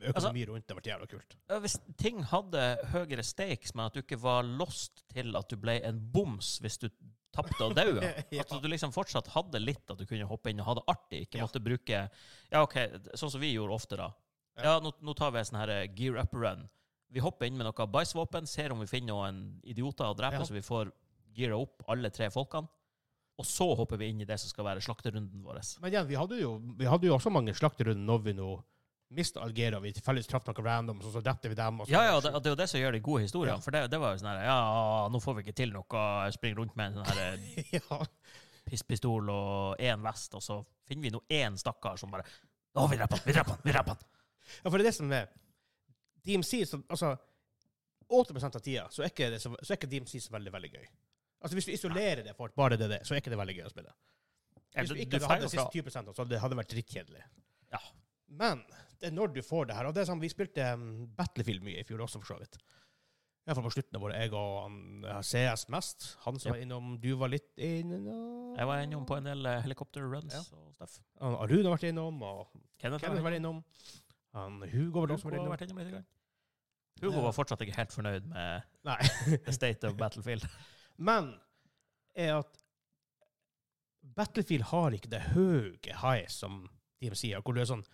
Speaker 2: Altså-
Speaker 1: Økonomi rundt det har vært jævla kult.
Speaker 2: ja, hvis ting hadde høyere stakes, men at du ikke var lost til at du ble en boms hvis du tapte og daua
Speaker 1: Ja.
Speaker 2: At du liksom fortsatt hadde litt at du kunne hoppe inn og ha det artig. Ikke
Speaker 1: Ja.
Speaker 2: måtte bruke Ja, OK, sånn som vi gjorde ofte, da. Ja, nå, nå tar vi en sånn her eh, gear up run. Vi hopper inn med noe bæsjvåpen, ser om vi finner noen idioter å drepe,
Speaker 1: Ja.
Speaker 2: så vi får gira opp alle tre folkene. Og så hopper vi inn i det som skal være slakterunden vår.
Speaker 1: Men igjen, vi hadde jo, vi hadde jo også mange slakterunder når vi nå mista Algeria. Vi tilfeldigvis traff noen random, og så drepte vi dem. Og så
Speaker 2: Ja, ja, det, det er jo det som gjør de gode historiene.
Speaker 1: Ja.
Speaker 2: For det, det var jo sånn her Ja, nå får vi ikke til noe. Jeg springer rundt med en sånn her eh,
Speaker 1: ja.
Speaker 2: pisspistol og én vest, og så finner vi nå én stakkar som bare Å, vi dreper han! Vi dreper han! Vi dreper han!
Speaker 1: Ja, for det er det som er DMC så, Altså, 80 av tida så er ikke, det så, så er ikke DMC så veldig, veldig gøy. Altså, Hvis du isolerer det for at bare det er det, så er ikke det veldig gøy å spille.
Speaker 2: Ja,
Speaker 1: Hvis du
Speaker 2: du-
Speaker 1: ikke
Speaker 2: du
Speaker 1: hadde hatt
Speaker 2: feiler
Speaker 1: de siste
Speaker 2: fra-
Speaker 1: 20 så hadde det hadde vært drittkjedelig.
Speaker 2: Ja.
Speaker 1: Men det er når du får det her Og det er sånn, vi spilte um, Battlefield mye i fjor også, for så vidt. Iallfall på slutten av året. Jeg og han ja, CS mest. Han som
Speaker 2: Ja.
Speaker 1: var innom, du var litt innom
Speaker 2: Jeg var innom på en del eh, helikopterruns
Speaker 1: Ja.
Speaker 2: og stuff.
Speaker 1: Han- Arun har vært innom, og
Speaker 2: Kenneth,
Speaker 1: Kenneth har
Speaker 2: var-
Speaker 1: vært innom. Han, Hugo var det også
Speaker 2: Hugo
Speaker 1: var innom.
Speaker 2: har vært innom litt. grann. Hugo var fortsatt ikke helt fornøyd med
Speaker 1: Nei.
Speaker 2: the state of Battlefield.
Speaker 1: Men er at Battlefield har ikke det høye high som de sier. Hvor du er sånn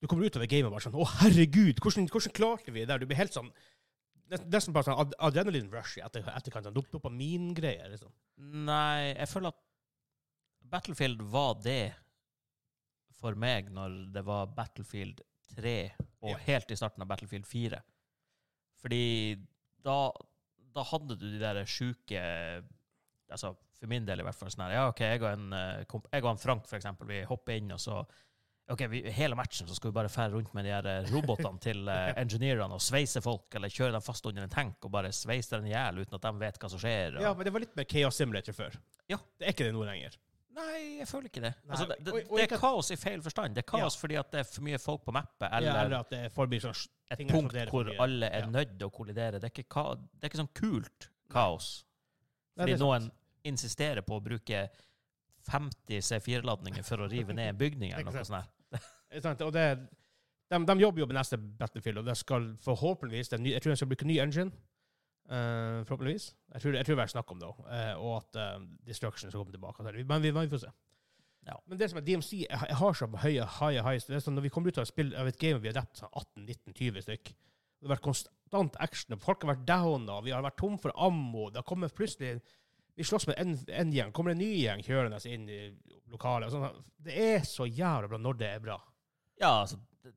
Speaker 1: Du kommer ut av det gamet og bare sånn Å, herregud, hvordan, hvordan klarte vi det der? Du blir helt sånn nest- Nesten bare sånn ad adrenalin rush i etter, etterkant. Sånn, dop- Dopamingreier, liksom.
Speaker 2: Nei, jeg føler at Battlefield var det for meg når det var Battlefield 3, og
Speaker 1: Ja.
Speaker 2: helt i starten av Battlefield 4. Fordi da, da hadde du de der sjuke Altså, for min del i hvert fall. sånn her, Ja, OK, jeg og en, eh, komp jeg og en Frank, for eksempel, vi hopper inn, og så OK, vi, hele matchen så skal vi bare fære rundt med de her eh, robotene til eh, engineerne og sveise folk, eller kjøre dem fast under en tank og bare sveise dem i hjel uten at de vet hva som skjer. Og,
Speaker 1: Ja, men det var litt mer Chaos Simulator før.
Speaker 2: Ja.
Speaker 1: Det er ikke det nå lenger.
Speaker 2: Nei, jeg føler ikke det.
Speaker 1: Nei,
Speaker 2: Altså, det, det,
Speaker 1: og- og
Speaker 2: det
Speaker 1: ikke
Speaker 2: er
Speaker 1: at-
Speaker 2: kaos i feil forstand. Det er kaos fordi at det er for mye folk på mappet,
Speaker 1: Eller,
Speaker 2: eller
Speaker 1: eller at det forblir sånn
Speaker 2: et
Speaker 1: ting er
Speaker 2: punkt
Speaker 1: eksplodert for
Speaker 2: hvor
Speaker 1: mye.
Speaker 2: alle
Speaker 1: Ja.
Speaker 2: er nødt til å kollidere. Det er ikke, ka det er ikke sånn kult kaos.
Speaker 1: Nei,
Speaker 2: Fordi
Speaker 1: det er
Speaker 2: noen insisterer på å bruke 50 C4-ladninger for å rive ned en bygning eller
Speaker 1: Ikke
Speaker 2: noe sånt. der.
Speaker 1: Ikke sant? Og det, de, de jobber jo med neste Battlefield, og det skal forhåpentligvis det er ny, Jeg tror de skal bruke ny engine. eh, forhåpentligvis. Jeg tror, jeg tror det er snakk om det òg. og at uh, Destruction skal komme tilbake. og sånn. Men vi, vi får se.
Speaker 2: Ja.
Speaker 1: Men det som er DMC jeg har- jeg har så høye high highs det er sånn, Når vi kommer ut av et spill av et game vi har drept sånn 18-19-20 stykk Det har vært konstant action, og folk har vært downa, vi har vært tom for ammo Det har kommet plutselig Vi slåss med en, en gjeng, kommer en ny gjeng kjørende inn i lokalet. og Sånn. Det er så jævla bra når det er bra.
Speaker 2: Ja, altså, det,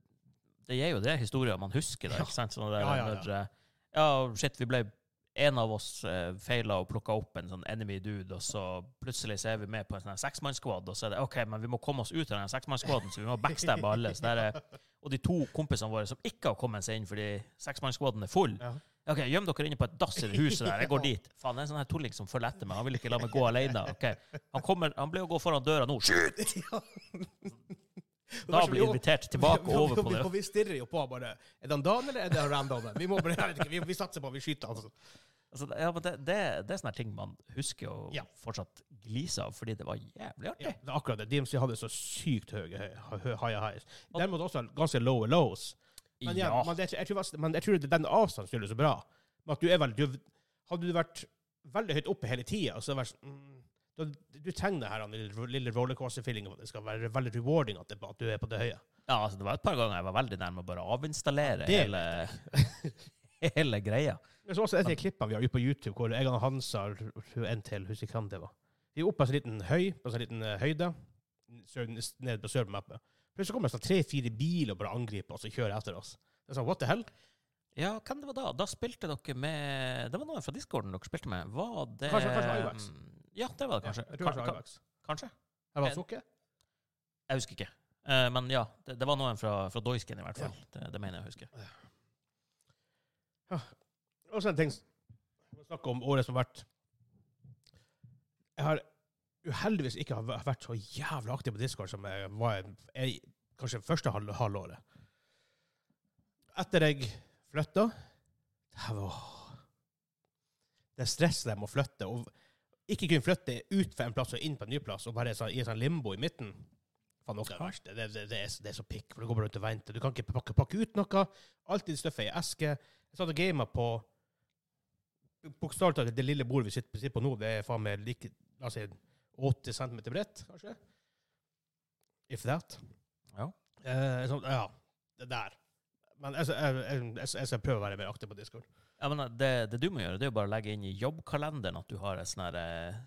Speaker 2: det gir jo det historier man husker. Da,
Speaker 1: Ja.
Speaker 2: ikke sant? Sånn der,
Speaker 1: Ja, ja, ja.
Speaker 2: Når, eh, ja, shit, vi ble en av oss eh, feila og plukka opp en sånn enemy dude, og så plutselig så er vi med på en sånn her seksmannsskvad, og så er det OK, men vi må komme oss ut av den seksmannsskvaden, så vi må backstabbe alle. Så der, er- og de to kompisene våre som ikke har kommet seg inn fordi seksmannsskvaden er full.
Speaker 1: Ja.
Speaker 2: OK, gjem dere inne på et dass i det huset der. Jeg går dit. Faen, det er en sånn her tulling som følger etter meg. Han vil ikke la meg gå alene. Ok, Han, kommer, han blir å gå foran døra nå. Skyt! Da blir jeg invitert tilbake over på det.
Speaker 1: Vi, vi stirrer jo på bare Er det han Dan, eller er det han random? Vi må bare, jeg vet ikke, vi, vi satser på at vi skyter, altså.
Speaker 2: Altså, det- ja, men det, det, det er sånne her ting man husker og
Speaker 1: Ja.
Speaker 2: fortsatt gliser av, fordi det var jævlig
Speaker 1: Ja,
Speaker 2: artig.
Speaker 1: det er akkurat det. DMC hadde så sykt høye høy- høy- high highs. Derimot også ganske low lows. Men, ja, men, det, jeg, tror, faktisk- men jeg tror det er den avstanden som gjør det så bra. Men at du er vel, du, hadde du vært veldig høyt oppe hele tida, så hadde det vært sånn, mm, da, du trenger det her den lille, lille rollercoaster-feelingen. for at Det skal være veldig rewarding at, det, at du er på det høye.
Speaker 2: ja, altså, det var et par ganger jeg var veldig nærme å bare avinstallere
Speaker 1: Det
Speaker 2: hele, hele greia.
Speaker 1: Men så også et av de klippene vi har ute på YouTube, hvor jeg og Hansa og en til, husker ikke hvem det var. Vi er oppe på en sånn liten høy, på en sånn liten eh, høyde, sør, ned på sør på mappet. Plutselig kommer det sånn tre-fire biler og bare angriper oss og kjører etter oss. Det er sånn, what the hell?
Speaker 2: Ja, hvem det var da? Da spilte dere med Det var noen fra discorden dere spilte med. Var det Mm,
Speaker 1: Kanskje- kanskje Ivax.
Speaker 2: Ja, det var det kanskje.
Speaker 1: Jeg tror det
Speaker 2: Ka-
Speaker 1: var
Speaker 2: ka-
Speaker 1: Ivax.
Speaker 2: kanskje?
Speaker 1: Jeg var
Speaker 2: Eh,
Speaker 1: sukke.
Speaker 2: Jeg husker ikke. Eh, men ja, det, det var noen fra, fra Doisken i hvert
Speaker 1: Ja.
Speaker 2: fall. Det, det mener jeg å huske.
Speaker 1: Og så en ting, s- vi må snakke om året som har vært. Jeg har uheldigvis ikke har væ- vært så jævla aktiv på Discord som jeg var jeg, kanskje første halv, halvåret. Etter jeg flytta, det var det stresset dem å flytte. Og ikke kunne flytte ut fra en plass og inn på en ny plass, og bare sånn, i en sånn limbo i midten. Faen, noe er det verste. Det, det, det, er, det er så pikk, for du går bare rundt og venter. Du kan ikke pakke, pakke ut noe. Alltid støffet i eske. Jeg satt og gama på Bokstavelig talt, det lille bordet vi sitter, sitter på nå, det er faen meg like, la oss si 80 cm bredt, kanskje? If that.
Speaker 2: Ja.
Speaker 1: Eh, sånn, ja. Det der. Men jeg, jeg, jeg, jeg, jeg skal prøve å være mer aktiv på Discord.
Speaker 2: Ja, men eh, det, det du må gjøre, det er jo bare å legge inn i jobbkalenderen at du har et sånn her eh,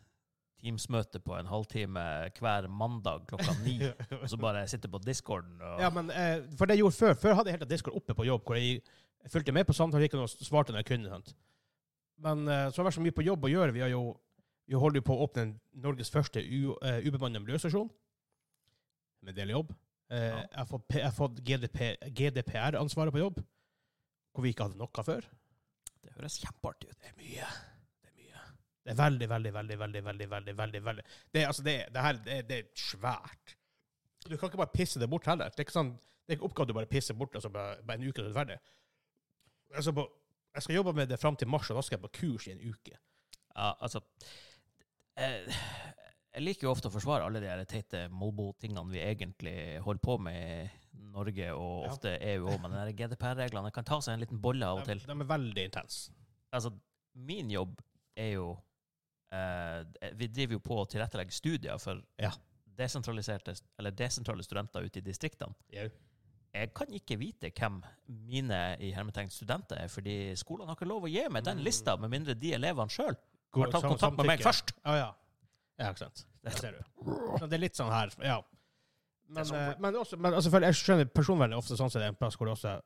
Speaker 2: Teams-møte på en halvtime hver mandag klokka ni. Og så bare sitte på discorden og
Speaker 1: Ja, men eh, for det jeg gjorde før, før hadde jeg helt av Discord oppe på jobb, hvor jeg, jeg fulgte med på samtaler, ikke noe svarte når jeg kunne. Sant? Men eh, så har det vært så mye på jobb å gjøre. Vi har jo vi holder jo på å åpne Norges første u- eh, ubemannet miljøstasjon. Med en del jobb. Eh,
Speaker 2: Ja.
Speaker 1: Jeg har fått, P- jeg har fått GDP, GDPR-ansvaret på jobb, hvor vi ikke hadde noe før.
Speaker 2: Det høres kjempeartig ut.
Speaker 1: Det er mye. Det er mye. Det er veldig, veldig, veldig, veldig, veldig, veldig, veldig, veldig. Det er, altså, det, er- det her, det, er- det er svært. Du kan ikke bare pisse det bort heller. Det er ikke sånn, det er ikke oppgave du bare pisser bort, altså bare, bare en uke er du ferdig. Altså, på, jeg skal jobbe med det frem til mars, og da skal jeg på kurs i en uke.
Speaker 2: Ja, altså eh, Jeg liker jo ofte å forsvare alle de her teite Molbo-tingene vi egentlig holder på med i Norge og
Speaker 1: Ja.
Speaker 2: ofte EU òg, men de GDPR-reglene kan ta seg en liten bolle av og
Speaker 1: De,
Speaker 2: til.
Speaker 1: de er veldig intense.
Speaker 2: Altså, min jobb er jo eh, Vi driver jo på å tilrettelegge studier for
Speaker 1: Ja.
Speaker 2: desentraliserte, eller desentrale studenter ute i distriktene. Jeg kan ikke vite hvem mine i hermetegn studenter er, fordi skolene har ikke lov å gi meg den
Speaker 1: Mm.
Speaker 2: lista, med mindre de elevene sjøl
Speaker 1: Går-
Speaker 2: har tatt
Speaker 1: sam-
Speaker 2: kontakt med meg
Speaker 1: samtykke.
Speaker 2: først.
Speaker 1: Ja, ja. Ja, ikke sant. Det ser du. Men det er litt sånn her, ja. Men,
Speaker 2: Det er sånn.
Speaker 1: eh, men, også, men altså, selvfølgelig, jeg skjønner personvern er ofte sånn som det er en plass hvor det også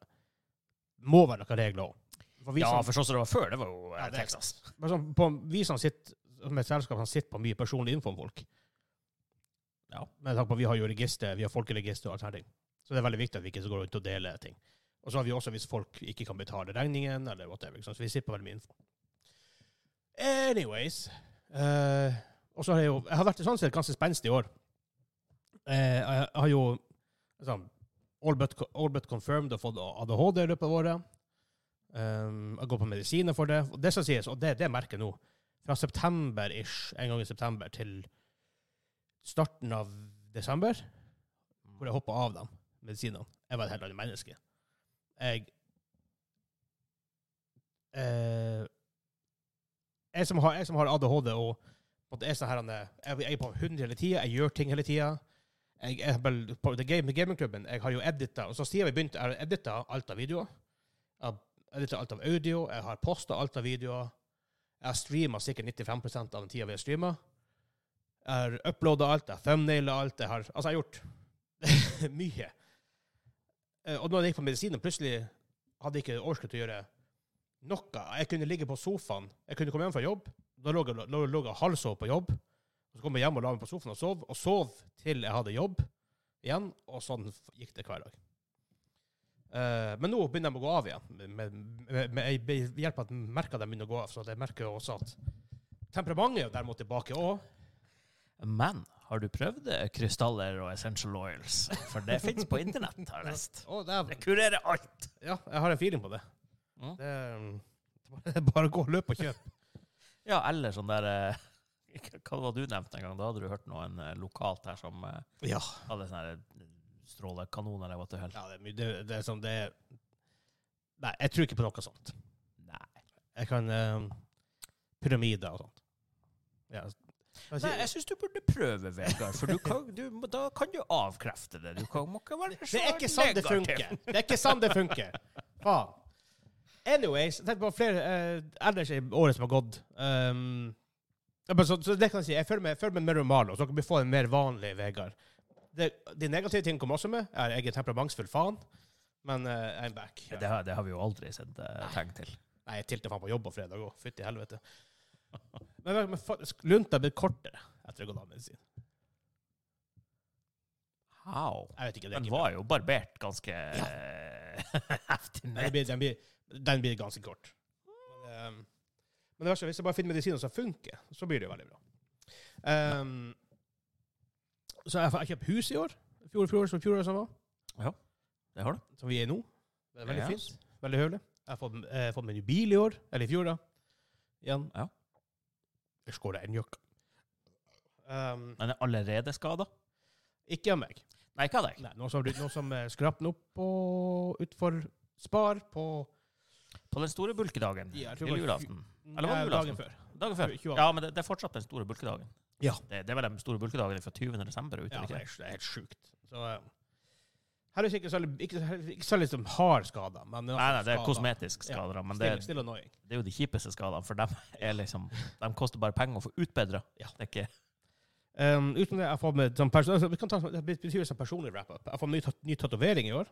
Speaker 1: må være noen regler òg.
Speaker 2: Ja, for sånn som det var før, det var jo eh,
Speaker 1: Ja, det er
Speaker 2: Texas.
Speaker 1: Men sånn, på, vi som sitter som et selskap som sitter på mye personlig info om folk.
Speaker 2: Ja.
Speaker 1: Med tanke på at vi har jo register, vi har folkeregister og alt sånne ting. Så det er veldig viktig at vi ikke går rundt og deler ting. Og så har vi også hvis folk ikke kan betale regningen, eller whatever. ikke sant? Så vi sitter på veldig mye info. Anyways. eh, og så har jeg jo Jeg har vært sånn sett ganske spenstig i år. Eh, jeg har jo liksom, all, but, all but confirmed og fått ADHD i løpet av året. Um, jeg går på medisiner for det. Og det som sies, og det, det merker jeg nå, fra september-ish, en gang i september, til starten av desember, hvor jeg hoppa av dem medisinene. Jeg var et helt annet menneske. Jeg eh, jeg, som har, jeg som har ADHD og og det er sånn her, han er- jeg, jeg er på 100 hele tida, jeg gjør ting hele tida. Jeg, jeg, vel, på The Game, med gamingklubben jeg har jo edita, og så siden vi begynte, jeg har edita alt av videoer. Jeg har edita alt av audio, jeg har posta alt av videoer. Jeg har streama sikkert 95 av den tida vi har streama. Jeg har uploada alt, jeg har thumbnaila alt. Jeg har, altså, jeg har gjort mye. Eh, Og når jeg gikk på medisinen, plutselig hadde jeg ikke overskudd til å gjøre noe. Jeg kunne ligge på sofaen. Jeg kunne komme hjem fra jobb. Da lå jeg, lå, lå jeg halvsov på jobb. Så kom jeg hjem og la meg på sofaen og sov, og sov til jeg hadde jobb igjen. Og sånn f- gikk det hver dag. Eh, men nå begynner de å gå av igjen. Med, med, med, med, jeg- ved hjelp av at merker de begynner å gå av. Så jeg merker jo også at temperamentet er jo derimot tilbake òg.
Speaker 2: Men har du prøvd eh, krystaller og essential oils? For det fins på internett, har jeg lest. Det kurerer alt.
Speaker 1: Ja, jeg har en feeling på det.
Speaker 2: Mm.
Speaker 1: Det um, er bare å gå og løpe og kjøpe.
Speaker 2: Ja, eller sånn der eh, Hva var det du nevnte en gang? Da hadde du hørt noen eh, lokalt her som eh,
Speaker 1: Ja.
Speaker 2: hadde sånn her strålekanon eller hva det heter.
Speaker 1: ja det, er mye- det, det er sånn det er Nei, jeg tror ikke på noe sånt.
Speaker 2: Nei.
Speaker 1: Jeg kan eh, Pyramider og sånt. Ja. altså,
Speaker 2: Nei, jeg syns du burde prøve, Vegard, for du kan, du, må- da kan du avkrefte det. Du kan, må ikke være så
Speaker 1: Det er ikke sånn det
Speaker 2: negativ.
Speaker 1: funker. Det er ikke sånn det funker. Faen. Anyways, jeg tenkte på flere eh, ellers i året som har gått. Um, ja, men så, så det kan jeg si. Jeg føler meg, jeg føler meg mer normal, nå, så dere bør få en mer vanlig Vegard. Det, de negative tingene kommer også med. Jeg er- jeg er temperamentsfull faen, men eh, I'm back.
Speaker 2: Ja, Det har, det har vi jo aldri sett eh, tegn til.
Speaker 1: Nei, jeg tilter faen på jobb på fredag òg. Fytti helvete. Men, men faktisk, lunta er blitt kortere etter å ha gått av medisin.
Speaker 2: How?
Speaker 1: Jeg vet ikke, det er
Speaker 2: Den
Speaker 1: ikke bra.
Speaker 2: var jo barbert ganske eh, heftig
Speaker 1: Den
Speaker 2: ned.
Speaker 1: blir, den blir, den blir ganske kort. Men, ehm, men det verste, er hvis jeg bare finner medisiner som funker, så blir det jo veldig bra. Ehm, så jeg har kjøpt hus i år. Fjor, fjor, som fjor som var.
Speaker 2: Det har du.
Speaker 1: Som vi er i nå. Det er veldig
Speaker 2: Ja.
Speaker 1: fint. Veldig høvelig. Jeg har fått, jeg har fått meg en ny bil i år. Eller i fjor, da. Igjen.
Speaker 2: Ja.
Speaker 1: Jeg skåra en jokk. Ehm,
Speaker 2: Den er allerede skada.
Speaker 1: ikke av meg.
Speaker 2: Nei, ikke av deg.
Speaker 1: Nei, noen som, noen som eh, skrapte den opp på, utfor Spar på
Speaker 2: På den store bulkedagen.
Speaker 1: Ja, jeg tror det
Speaker 2: Lille
Speaker 1: var
Speaker 2: julaften. Eller var
Speaker 1: Nei,
Speaker 2: det julaften?
Speaker 1: eh, dagen før.
Speaker 2: Dagen før.
Speaker 1: Tjue-
Speaker 2: altså. Ja, men det, det er fortsatt den store bulkedagen.
Speaker 1: Ja.
Speaker 2: Det, det er vel den store bulkedagen fra 20. desember? Ute,
Speaker 1: Ja, det
Speaker 2: ikke?
Speaker 1: er, det er helt sjukt. Så, eh, her er det ikke så ikke, ikke så liksom hard skader, men det er
Speaker 2: Nei, nei, det er
Speaker 1: skader.
Speaker 2: kosmetisk skader, men det,
Speaker 1: Still, still annoying.
Speaker 2: det er jo de kjipeste skadene, for dem er liksom, de koster bare penger å få utbedra.
Speaker 1: Ja.
Speaker 2: Det er ikke
Speaker 1: Um, uten det, jeg får med sånn person, altså, vi kan ta, sånn- Det betyr som personlig wrap-up. Jeg får en ny, tat- ny tatovering i år.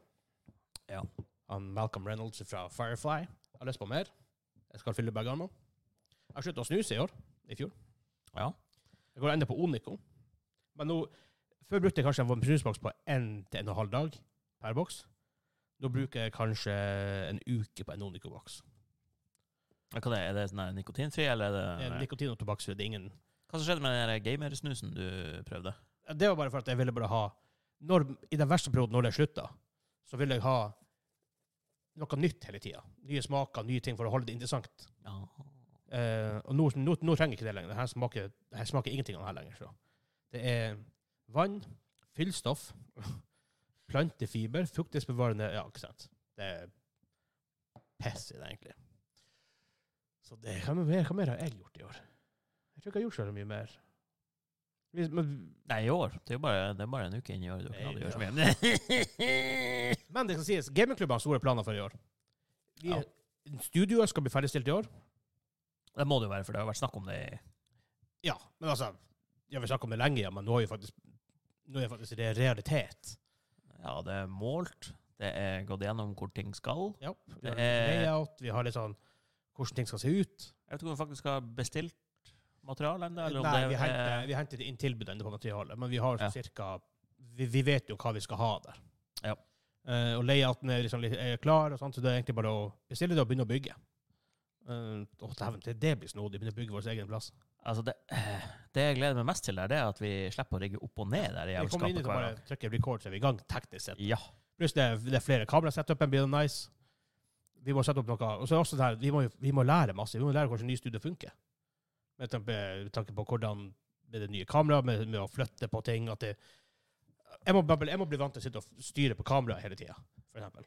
Speaker 2: Ja.
Speaker 1: Han Malcolm Reynolds fra Firefly. Jeg har lyst på mer. Jeg skal fylle begge armene. Jeg sluttet å snuse i år. I fjor.
Speaker 2: Ja.
Speaker 1: Jeg går enda på Onico. Men nå, før brukte jeg kanskje en snusboks på en til en og en halv dag per boks. Nå bruker jeg kanskje en uke på en Onico-boks.
Speaker 2: Men Hva det er, er det sånn her nikotinfri, eller er det
Speaker 1: Eh, Nikotin og tobakk, så det er ingen
Speaker 2: Hva som skjedde med den der gamersnusen du prøvde?
Speaker 1: Det var bare for at jeg ville bare ha når, I den verste perioden, når det slutta, så ville jeg ha noe nytt hele tida. Nye smaker, nye ting for å holde det interessant.
Speaker 2: Ja.
Speaker 1: Eh, og nå, nå, nå trenger jeg ikke det lenger. Det her smaker, det her smaker ingenting av det her lenger. Så. Det er vann, fyllstoff, plantefiber, fuktighetsbevarende Ja, ikke sant. Det er piss i det, egentlig. Så det, hva, mer, hva mer har jeg gjort i år? Jeg tror ikke jeg har gjort så veldig mye mer. Hvis- Men
Speaker 2: Nei, i år. Det er jo bare, det er bare en uke inn i år. Du kan aldri gjøre så mye.
Speaker 1: Men det skal sies, gamingklubben har store planer for i år. Vi,
Speaker 2: Ja.
Speaker 1: Studioet skal bli ferdigstilt i år.
Speaker 2: Det må det jo være, for det har vært snakk om det i
Speaker 1: Ja, men altså Jeg vil snakke om det lenge, ja, men nå er jo faktisk Nå er faktisk det realitet.
Speaker 2: Ja, det er målt. Det er gått gjennom hvor ting skal.
Speaker 1: Ja, vi har
Speaker 2: Det er-
Speaker 1: layout, vi har litt sånn hvordan ting skal se ut.
Speaker 2: Jeg vet ikke om vi faktisk har bestilt materiale ennå, eller om
Speaker 1: Nei,
Speaker 2: det
Speaker 1: vi
Speaker 2: er-
Speaker 1: henter, vi henter inn tilbud ennå på materialet, men vi har
Speaker 2: Ja.
Speaker 1: cirka vi, vi vet jo hva vi skal ha der.
Speaker 2: Ja.
Speaker 1: Eh, og layouten er liksom litt er klar, og sånt, så det er egentlig bare å bestille det og begynne å bygge. Uh, dæven, det- det blir snodig. Begynne å bygge vår egen plass.
Speaker 2: Altså, det, det jeg gleder meg mest til, der, det er at vi slipper å rigge opp og ned der i
Speaker 1: Vi kommer inn
Speaker 2: jævelskapet
Speaker 1: og
Speaker 2: hver
Speaker 1: bare
Speaker 2: gang.
Speaker 1: trykker record, så er vi i gang teknisk sett.
Speaker 2: Ja.
Speaker 1: Pluss det, er- det er flere kamerasetupen blir nice. Vi må sette opp noe. Og så er det også det her, vi må, jo- vi må lære masse. Vi må lære hvordan nye studio funker. Med tanke, med tanke på hvordan med det nye kameraet, med, med å flytte på ting at det, jeg, må, bare- jeg må bli vant til å sitte og styre på kameraet hele tida, for eksempel.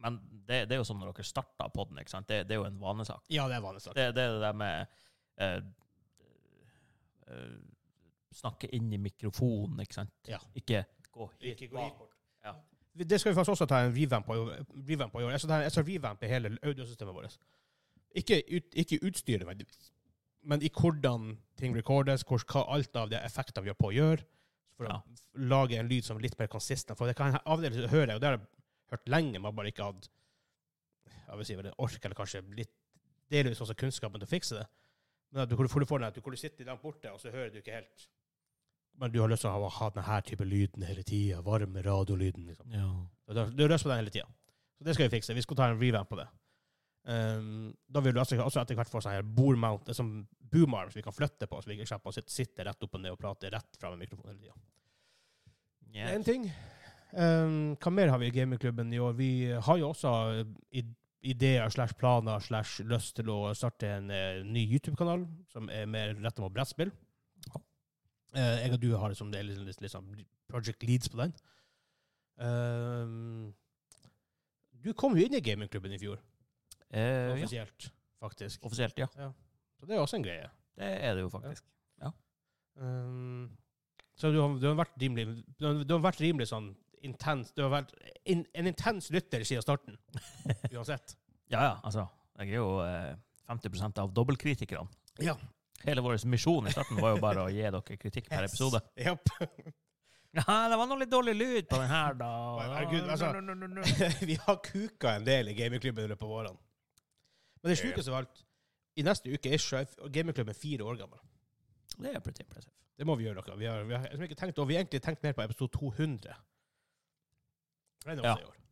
Speaker 2: Men det, det er jo som når dere starta podden, ikke sant? Det, det er jo en vanesak.
Speaker 1: Ja, det er vanlig snakk.
Speaker 2: Det, det er det der med eh, eh, Snakke inn i mikrofonen, ikke sant?
Speaker 1: Ja.
Speaker 2: Ikke gå hit.
Speaker 1: Ikke gå
Speaker 2: bak.
Speaker 1: hit bort.
Speaker 2: Ja.
Speaker 1: Det skal vi faktisk også ta en revamp på, i år- revamp på i år. Jeg skal, ta- jeg skal revampe hele audiosystemet vårt. Ikke, ut, ikke utstyret, men, men i hvordan ting recordes, hvor, hva alt av det effektene vi gjør på, gjør. For å
Speaker 2: Ja.
Speaker 1: lage en lyd som er litt mer konsistent. For det kan jeg- av og til høre, og det har jeg hørt lenge, men har bare ikke hatt jeg vil si, vel, ork, eller kanskje litt delvis også kunnskapen til å fikse det. Men at du, hvor du- hvor du får den at du, hvor du sitter langt borte, og så hører du ikke helt Men du har lyst til å ha, ha denne type lyden hele tida. Varme radiolyden, liksom. Du har- du har lyst på den hele tida. Så det skal vi fikse. Vi skal ta en revamp på det. Ehm, da vil du altså også etter hvert få sånn her board mount, eh, som boom arms vi kan flytte på, så vi ikke slipper å sitte, sitte rett opp og ned og prate rett fra med mikrofonen hele tida. Det er
Speaker 2: Yes.
Speaker 1: en ting. Ehm, hva mer har vi i gamingklubben i år? Vi har jo også eh, i- ideer slash planer slash lyst til å starte en eh, ny YouTube-kanal som er mer retta mot brettspill. Eh, jeg og du har liksom, det er liksom, liksom, liksom Project Leads på den. Ehm, du kom jo inn i gamingklubben i fjor,
Speaker 2: Eh, ja.
Speaker 1: offisielt, faktisk.
Speaker 2: Offisielt, ja.
Speaker 1: Så det er også en greie.
Speaker 2: Det er det jo faktisk.
Speaker 1: Um, så du har, du har vært rimelig du har, du har vært rimelig sånn intens Du har vært in, en intens lytter siden starten. Uansett.
Speaker 2: Ja, ja, altså. Jeg er jo eh, 50 av dobbeltkritikerne.
Speaker 1: Ja.
Speaker 2: Hele vår misjon i starten var jo bare å gi dere kritikk per episode.
Speaker 1: Japp.
Speaker 2: Ja, det var noe litt dårlig lyd på den her, da.
Speaker 1: Herregud, altså.
Speaker 2: No, no, no, no, no.
Speaker 1: Vi har kuka en del i gamingklubben i løpet av årene. Men det sjukeste av alt I neste uke er sjef- gamingklubben fire år gammel.
Speaker 2: Det er pretty impressive.
Speaker 1: Det må vi gjøre noe. Vi har, vi har, jeg har ikke tenkt, og vi har egentlig tenkt mer på episode 200. Det er det også
Speaker 2: Ja.
Speaker 1: i år.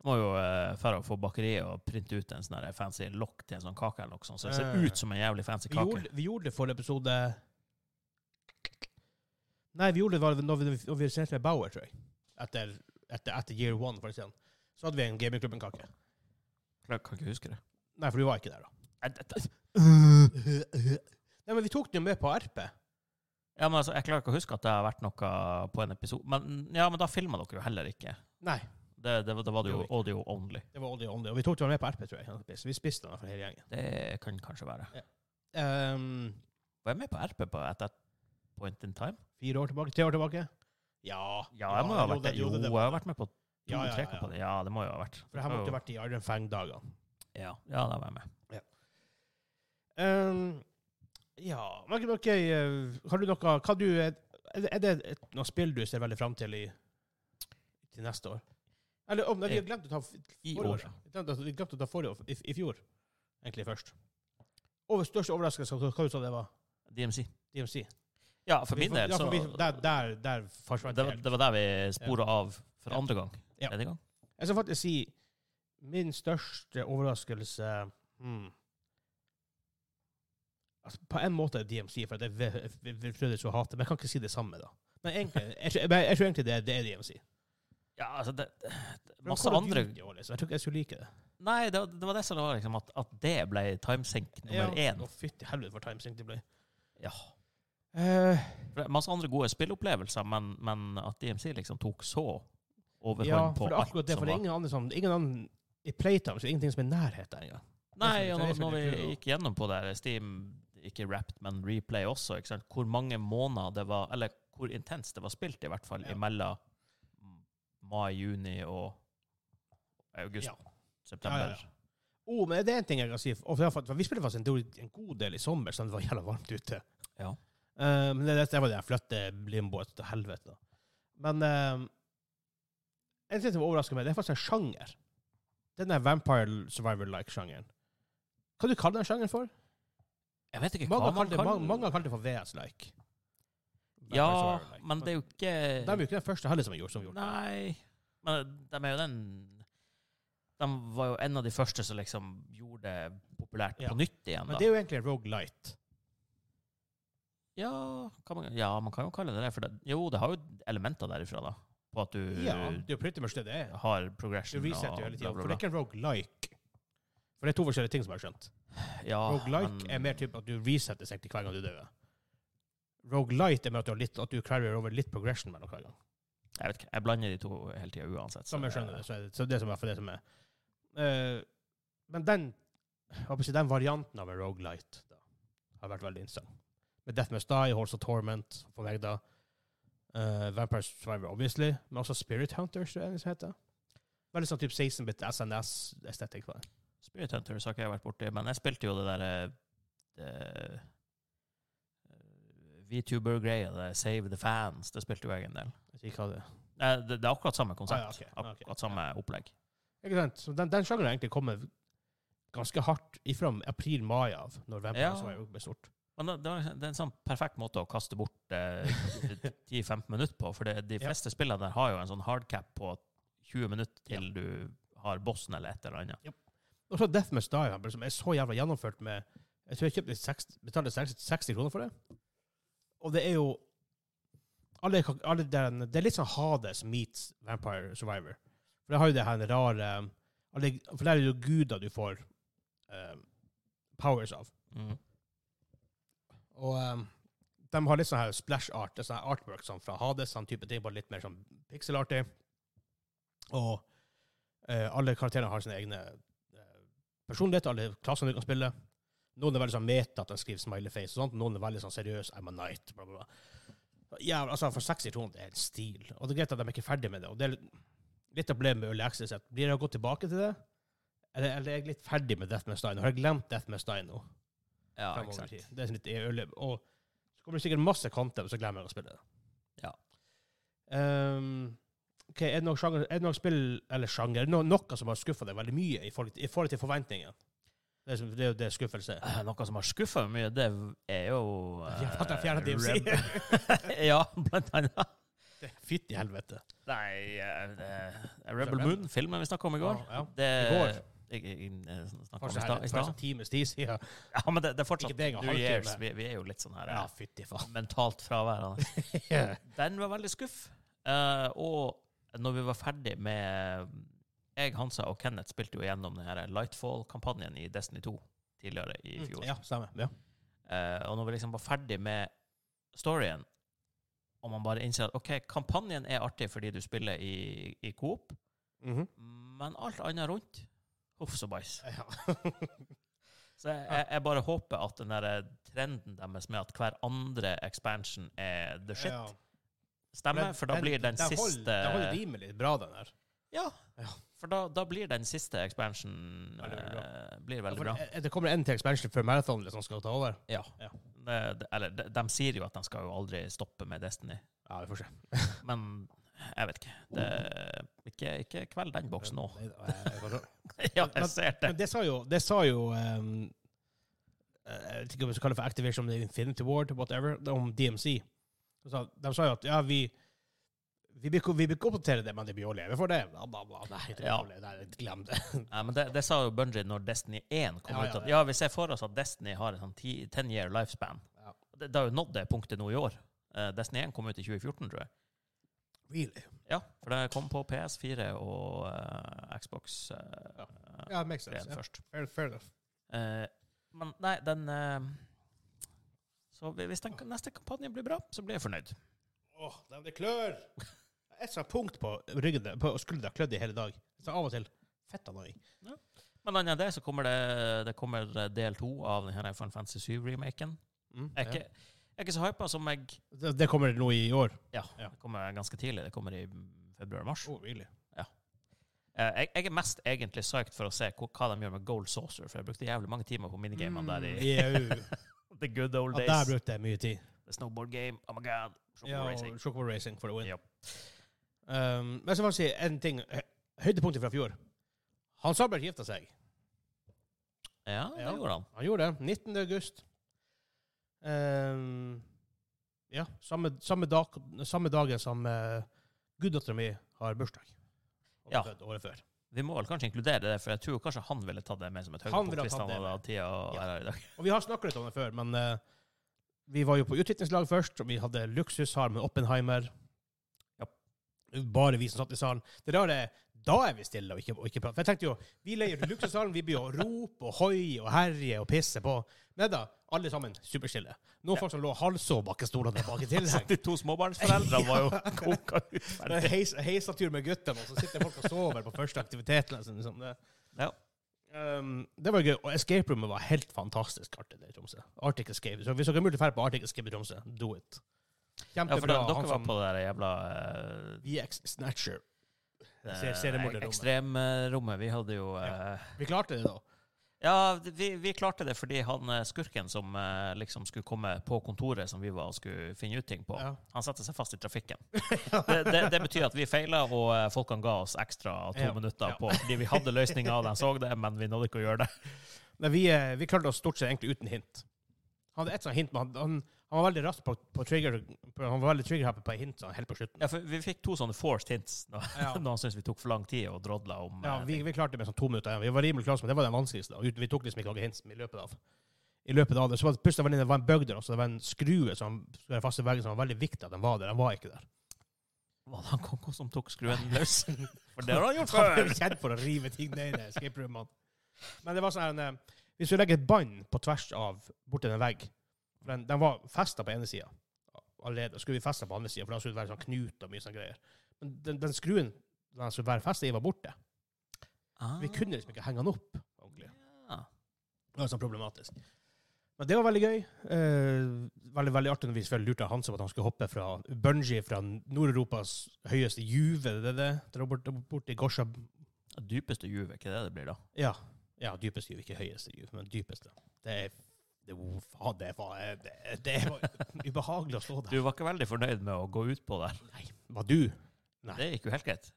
Speaker 2: Jeg må jo eh, for å få bakeriet og printe ut en sånn her fancy lokk til en sånn kake eller noe sånt, så det ser
Speaker 1: Eh.
Speaker 2: ut som en jævlig fancy
Speaker 1: Vi
Speaker 2: kake.
Speaker 1: gjorde, vi gjorde det forrige episode Nei, vi gjorde det var når vi, når vi sendte med Bauer, tror jeg. Etter, etter, etter year one, for eksempel. Så hadde vi en gamingklubben-kake.
Speaker 2: Jeg kan ikke huske det.
Speaker 1: Nei, for du var ikke der, da.
Speaker 2: Eh, det- det-
Speaker 1: Nei, men vi tok den jo med på RP.
Speaker 2: Ja, men altså, Jeg klarer ikke å huske at det har vært noe på en episode. Men ja, men da filma dere jo heller ikke.
Speaker 1: Nei,
Speaker 2: Det, det, var- da var det
Speaker 1: Det gjorde
Speaker 2: jo
Speaker 1: vi ikke.
Speaker 2: audio only.
Speaker 1: det var Oldi Ondi. Og vi tok den med på RP, tror jeg. Så vi spiste den for hele gjengen.
Speaker 2: Det kan kanskje være.
Speaker 1: Ehm,
Speaker 2: Var jeg med på RP på at that point in time?
Speaker 1: fire år tilbake? Tre år tilbake? Ja.
Speaker 2: Ja, jeg må jo ha vært
Speaker 1: det-
Speaker 2: det. Jo,
Speaker 1: det- det
Speaker 2: jeg
Speaker 1: var
Speaker 2: har
Speaker 1: det.
Speaker 2: vært med på
Speaker 1: Ja, ja,
Speaker 2: to-tre
Speaker 1: ja, ja.
Speaker 2: kampanjer. Ja, det må jo ha vært.
Speaker 1: For det her måtte jo vært i Iron Fang-dagene.
Speaker 2: Ja, ja da var jeg med.
Speaker 1: Um, ja men ok, eh, Har du noe hva du, Er er det et, noe spill du ser veldig fram til i, til neste år? Eller om nei, vi har glemt å ta f-
Speaker 2: Eh, I
Speaker 1: forrige
Speaker 2: år.
Speaker 1: år. Vi glemte å- Vi glemte å ta forrige år, i, i fjor, egentlig først. Over største overraskelse, hva hva du sa det var?
Speaker 2: DMC.
Speaker 1: DMC?
Speaker 2: Ja, for
Speaker 1: Vi
Speaker 2: min
Speaker 1: får-
Speaker 2: del,
Speaker 1: ja,
Speaker 2: så
Speaker 1: for vi, Der, der, der forsvant
Speaker 2: det, var- det var der vi spora av for
Speaker 1: Ja.
Speaker 2: andre gang.
Speaker 1: Ja.
Speaker 2: Tredje gang.
Speaker 1: Jeg skal faktisk si min største overraskelse hmm. altså, På en måte er DMC, for det vil- vil- vil Frøydis jo hate, men jeg kan ikke si det samme, da. Men egentlig, jeg, tror- men jeg tror egentlig det, det er DMC.
Speaker 2: Ja, altså det, det,
Speaker 1: For
Speaker 2: Masse
Speaker 1: Call of
Speaker 2: andre
Speaker 1: Duty også, liksom. Jeg tror ikke jeg skulle like det.
Speaker 2: Nei, det, det var det som var liksom at, at det ble timesink nummer
Speaker 1: Ja.
Speaker 2: én.
Speaker 1: Å, fytti helvete for timesync det ble.
Speaker 2: Ja.
Speaker 1: Eh,
Speaker 2: For det er Masse andre gode spillopplevelser, men, men at DMC liksom tok så overhånd
Speaker 1: ja,
Speaker 2: på
Speaker 1: for det er akkurat
Speaker 2: alt
Speaker 1: det.
Speaker 2: som
Speaker 1: For det
Speaker 2: var
Speaker 1: er ingen andre som Ingen andre i Playtime så er det ingenting som er i nærheten engang.
Speaker 2: Nei,
Speaker 1: Det
Speaker 2: og
Speaker 1: er
Speaker 2: når,
Speaker 1: så
Speaker 2: når
Speaker 1: litt
Speaker 2: vi
Speaker 1: kult,
Speaker 2: gikk gjennom på det her, Steam, ikke Wrapped, men Replay også, ikke sant? hvor mange måneder det var, eller hvor intenst det var spilt, i hvert fall,
Speaker 1: Ja.
Speaker 2: imellom mai, juni og august,
Speaker 1: Ja. Ja,
Speaker 2: september.
Speaker 1: ja, Oh, men det er en ting jeg kan si. Og for, for vi spilte faktisk en, del- en god del i sommer, så det var jævla varmt ute.
Speaker 2: Ja.
Speaker 1: Eh, men det, det var det jeg flyttet limboet til helvete. da. Men eh, en ting som overrasker meg, det er faktisk en sjanger. Den der Vampire Survivor-like-sjangeren. Hva du kaller den sjangeren for?
Speaker 2: Jeg vet ikke
Speaker 1: Mange
Speaker 2: hva
Speaker 1: har
Speaker 2: man
Speaker 1: kalt det,
Speaker 2: kan...
Speaker 1: mange, mange har kalt det for VS-like. Vampire
Speaker 2: ja,
Speaker 1: Survivor-like.
Speaker 2: men det er jo ikke...
Speaker 1: Det er jo ikke den første heller som har gjort som har gjort det.
Speaker 2: Nei, men de er jo den... De var jo en av de første som liksom gjorde det populært
Speaker 1: Ja.
Speaker 2: på nytt igjen, da.
Speaker 1: Men det er jo egentlig Roguelite.
Speaker 2: Ja, kan man, ja, man kan jo kalle det det. For det, jo, det har jo elementer derifra, da. På at du
Speaker 1: Ja, det er jo pretty much det det er.
Speaker 2: har
Speaker 1: Du
Speaker 2: progression
Speaker 1: resetter jo hele tiden.
Speaker 2: bla,
Speaker 1: For
Speaker 2: bla,
Speaker 1: det er ikke en roguelike. For det er to forskjellige ting som jeg har skjønt.
Speaker 2: bla. Ja,
Speaker 1: Roguelike
Speaker 2: Ah, men-
Speaker 1: er mer typ at du resetter seg til hver gang du dør. Roguelite er mer at du, har litt, at du carrier over litt progression mellom hver gang.
Speaker 2: Jeg vet ikke, jeg blander de to hele tida uansett.
Speaker 1: Som jeg skjønner det, så er det, så det er som er for det som er. Eh, men den, jeg håper å si, den varianten av en roguelite da, har vært veldig interessant. Med Death Must Die, Horse of Torment, for meg da. eh, Vampire Survivor, obviously. Men også Spirit Hunters, tror jeg det heter. Veldig sånn typ 16-bit SNS-estetikk.
Speaker 2: Spirit Hunters har ikke jeg vært borti, men jeg spilte jo det eh, derre det- VTuber-greia, det Save the Fans, det spilte jo jeg en del.
Speaker 1: Ikke hva det er.
Speaker 2: Nei, Det, det er akkurat samme konsept.
Speaker 1: Ah, ja, ok. Ah, ok.
Speaker 2: Akkurat samme opplegg.
Speaker 1: Ikke sant? Så den, den sjangeren har egentlig kommet ganske hardt ifra april-mai av, når altså Vampire
Speaker 2: Ja.
Speaker 1: Survivor ble stort.
Speaker 2: Men det, det var- det er en sånn perfekt måte å kaste bort eh, 10-15 minutter på. For det, de
Speaker 1: Ja.
Speaker 2: fleste spillene der har jo en sånn hardcap på 20 minutter til
Speaker 1: Ja.
Speaker 2: du har bossen eller et eller annet.
Speaker 1: Og så Death Must Die, som er så jævla gjennomført med Jeg tror jeg kjøpte 60, betalte 60, 60 kroner for det. Og det er jo alle, kan- alle den, Det er litt sånn Hades meets Vampire Survivor. For det har jo det her rare alle, For der er det jo guder du får eh, powers av.
Speaker 2: Mm.
Speaker 1: Og ehm, de har litt sånn her splash art, det er sånn her artwork sånn fra Hades, sånn type ting, bare litt mer sånn pixelartig. Og eh, alle karakterene har sine egne eh, personligheter, alle klassene du kan spille. Noen er veldig sånn meta, at de skriver smiley face og sånt. Noen er veldig sånn seriøs, I'm a knight, bla bla bla. Jævlig, altså for 62 det er en stil. Og det er greit at de er ikke ferdig med det. Og det er litt av problemet med Early Access, at blir jeg å gå tilbake til det? Eller, eller er jeg litt ferdig med Death Must Die nå? Har jeg glemt Death Must Die nå?
Speaker 2: Ja,
Speaker 1: fremover i
Speaker 2: exakt.
Speaker 1: tid. Det er sånn litt øle. Og så kommer det sikkert masse content, og så glemmer jeg å spille det.
Speaker 2: Ja.
Speaker 1: Ehm, ok, er det noen sjanger, er det noen spill, eller sjanger, er det noe, noe som har skuffa deg veldig mye i forhold, i forhold til forventningene? Det er som- det er jo det skuffelse er.
Speaker 2: Eh, Noe som har skuffa meg mye, det er jo eh,
Speaker 1: Ja, at jeg fjernet DMC.
Speaker 2: Reb- ja, blant annet.
Speaker 1: Fytti helvete.
Speaker 2: Nei eh, eh, Rebel
Speaker 1: Rebel.
Speaker 2: Moon, filmen vi snakka om i går.
Speaker 1: Ja, ja.
Speaker 2: Det,
Speaker 1: I går.
Speaker 2: Jeg, jeg, jeg snakket om i
Speaker 1: Kanskje her-
Speaker 2: stad- i
Speaker 1: kanskje en
Speaker 2: stad.
Speaker 1: times tid siden.
Speaker 2: Ja, men det, det er
Speaker 1: Ikke
Speaker 2: fortsatt
Speaker 1: det engang,
Speaker 2: New
Speaker 1: halvtime.
Speaker 2: Years. Vi, vi er jo litt sånn her
Speaker 1: Ja,
Speaker 2: eh,
Speaker 1: fytti faen.
Speaker 2: mentalt fraværende.
Speaker 1: Ja.
Speaker 2: Den var veldig skuff. Eh, og når vi var ferdig med mm, Jeg, Hansa og Kenneth spilte jo gjennom den her Lightfall-kampanjen i Destiny 2 tidligere i
Speaker 1: Mm,
Speaker 2: fjor.
Speaker 1: Ja, stemmer. Ja.
Speaker 2: Eh, og når vi liksom var ferdig med storyen, og man bare innser at OK, kampanjen er artig fordi du spiller i, i Coop,
Speaker 1: Mhm.
Speaker 2: men alt annet rundt Huff så bæsj.
Speaker 1: ja.
Speaker 2: Så jeg, jeg, jeg bare håper at den der trenden deres med at hver andre expansion er the shit,
Speaker 1: Ja.
Speaker 2: stemmer, for da blir den
Speaker 1: hold-
Speaker 2: siste
Speaker 1: Den holder rimelig bra, den her.
Speaker 2: Ja.
Speaker 1: Ja.
Speaker 2: For da, da blir den siste expansionen
Speaker 1: Veldig, veldig
Speaker 2: eh, blir veldig bra.
Speaker 1: For det- Det kommer en til expansion før marathon liksom skal ta over.
Speaker 2: Ja.
Speaker 1: Ja.
Speaker 2: Det- det- eller de, de sier jo at de skal jo aldri stoppe med Destiny,
Speaker 1: Ja, vi får se.
Speaker 2: men jeg vet ikke. Det, ikke, ikke kvel den boksen nå.
Speaker 1: Nei, jeg får se.
Speaker 2: ja,
Speaker 1: Men-
Speaker 2: jeg ser det.
Speaker 1: Men det sa jo, det sa jo ehm, eh, Jeg vet ikke om vi skal kalle det for Activision eller Infinity Ward, whatever, om DMC. De sa, de sa jo at ja, vi vi vil ikke- vi vil ikke oppdatere det, men det blir å leve for det. Bla, bla, bla. Nei, det blir
Speaker 2: Ja.
Speaker 1: å leve. Nei, glem det.
Speaker 2: Ja, men det, det sa jo Bungie når Destiny 1 kom
Speaker 1: Ja,
Speaker 2: ut.
Speaker 1: ja,
Speaker 2: At,
Speaker 1: ja.
Speaker 2: ja, vi ser for oss at Destiny har en sånn ti- 10 year lifespan.
Speaker 1: Ja.
Speaker 2: Det, det har jo nådd det punktet nå i år. Eh, Destiny 1 kom ut i 2014, tror jeg.
Speaker 1: Really?
Speaker 2: Ja, for det kom på PS4 og eh, Xbox eh,
Speaker 1: Ja. Ja, it makes
Speaker 2: eh,
Speaker 1: sense.
Speaker 2: først.
Speaker 1: Fair, fair enough.
Speaker 2: Eh, men nei, den eh, Så hvis den neste kampanjen blir bra, så blir jeg fornøyd.
Speaker 1: Åh, det er det klør! Jeg sa punkt på ryggen der- på skuldra klødd i hele dag. Så av og til fetta noe.
Speaker 2: Men annet enn det, så kommer det, det kommer eh, del to av denne Final Fantasy 7-remaken. Jeg, er ikke- jeg er ikke så hypa som jeg
Speaker 1: Mm, Det, det kommer nå i år.
Speaker 2: Ja,
Speaker 1: Ja.
Speaker 2: det kommer ganske tidlig. Det kommer i februar-mars. Eh,
Speaker 1: Oh, really?
Speaker 2: Jeg, jeg er mest egentlig psyched for å se hva, hva de gjør med Gold Saucer, for jeg brukte jævlig mange timer på minigamene der
Speaker 1: Mm.
Speaker 2: i
Speaker 1: Jau.
Speaker 2: The good old
Speaker 1: Mm. Ja,
Speaker 2: days.
Speaker 1: der brukte jeg mye tid.
Speaker 2: The snowboard game. Oh my god. Shopper
Speaker 1: Ja,
Speaker 2: racing.
Speaker 1: og Chocobo Racing for the win.
Speaker 2: Yep.
Speaker 1: Um, men så må jeg si en ting. Hø- Høydepunktet fra fjor. Hans Albert gifta seg.
Speaker 2: Ja, det
Speaker 1: Ja.
Speaker 2: gjorde han.
Speaker 1: Han gjorde det. 19. august. Um, ja, samme, samme, dag, samme dagen som uh, guddattera mi har bursdag. Og
Speaker 2: Ja.
Speaker 1: født Året før.
Speaker 2: Vi må vel kanskje inkludere det, for jeg tror kanskje han ville tatt det med som et
Speaker 1: Han ville
Speaker 2: høydepunkt hvis
Speaker 1: tatt
Speaker 2: han
Speaker 1: det
Speaker 2: hadde
Speaker 1: med.
Speaker 2: hatt tida å
Speaker 1: Ja.
Speaker 2: være her i dag.
Speaker 1: Og vi har snakket litt om det før, men eh, vi var jo på utviklingslag først, og vi hadde luksushar med Oppenheimer.
Speaker 2: Ja.
Speaker 1: Bare vi som satt i salen. Det rare er, da er vi stille og ikke, og ikke prater. For jeg tenkte jo, vi leier luksushalen, vi blir jo rope og hoi og herje og pisse på. Nei da, alle sammen superstille. Noen folk som lå halvsov bak i stolene bak i tilheng.
Speaker 2: De to småbarnsforeldrene var jo koka ut.
Speaker 1: Det er Heis, heisatur med guttene, og så sitter folk og sover på første aktivitet. Liksom, liksom det.
Speaker 2: Ja.
Speaker 1: Um, det var gøy, og escape roomet var helt fantastisk artig der i Tromsø. Arctic Escape. Så hvis dere har mulighet til å dra på Arctic Escape i Tromsø, do it.
Speaker 2: ja, for
Speaker 1: Kjempebra.
Speaker 2: da, dere
Speaker 1: han
Speaker 2: var
Speaker 1: som
Speaker 2: på det der jævla
Speaker 1: VX Snatcher.
Speaker 2: eh,
Speaker 1: Ser- ser det
Speaker 2: eh,
Speaker 1: mot det rommet.
Speaker 2: ekstremrommet. Vi hadde jo eh,
Speaker 1: Vi klarte det, da.
Speaker 2: Ja, vi, vi klarte det fordi han eh, skurken som eh, liksom skulle komme på kontoret som vi var og skulle finne ut ting på,
Speaker 1: Ja.
Speaker 2: han satte seg fast i trafikken. Det, det, det betyr at vi feila, og eh, folkene ga oss ekstra to
Speaker 1: Ja.
Speaker 2: minutter
Speaker 1: Ja.
Speaker 2: på fordi vi hadde løsninga, og de så det, men vi nådde ikke å gjøre det.
Speaker 1: Nei, vi, eh, vi klarte oss stort sett egentlig uten hint. Han hadde ett sånt hint, men han, han, han var veldig rask på, på trigger på, Han var veldig trigger-happy på hint sånn, helt på slutten.
Speaker 2: Ja, for vi fikk to sånne forced hints når,
Speaker 1: Ja.
Speaker 2: når han syntes vi tok for lang tid og drodla om
Speaker 1: Ja,
Speaker 2: eh,
Speaker 1: vi,
Speaker 2: ting.
Speaker 1: vi klarte det med sånn to minutter. igjen. Vi var rimelig klare, men det var den vanskeligste. da. Ut- Vi tok liksom ikke noen hints i løpet av I løpet av det. Så var det plutselig var det- det var en bøgg der også. Det var en skrue som skulle være fast i veggen, som var veldig viktig at den var der. Den var ikke der.
Speaker 2: Var det han Kongo som tok skruen løs? For det har han gjort
Speaker 1: Han er
Speaker 2: før!
Speaker 1: jo kjent for å rive ting ned i escape roomene. Men det var sånn her, eh, Hvis du legger et bånd på tvers av borti en vegg for den, den var festa på ene sida allerede. Skulle vi festa på andre sida, for da skulle det være sånn knut og mye sånne greier. Men den, den skruen den skulle være festa i, var borte.
Speaker 2: Ah.
Speaker 1: Vi kunne liksom ikke henge den opp. ordentlig.
Speaker 2: ja.
Speaker 1: Det var sånn problematisk. Men det var veldig gøy. Eh, veldig veldig artig når vi selvfølgelig lurte Hans om at han skulle hoppe fra bungee fra Nord-Europas høyeste juve. Det, er det, det var borte bort i Gorsa
Speaker 2: Dypeste juvet, ikke det det blir da?
Speaker 1: Ja. ja dypeste juv, ikke høyeste juv, men dypeste. Det er det, oh, faen, det, var, det, det var ubehagelig å stå
Speaker 2: Du
Speaker 1: der.
Speaker 2: var ikke veldig fornøyd med å gå ut på der?
Speaker 1: Var du
Speaker 2: Det gikk jo helt greit.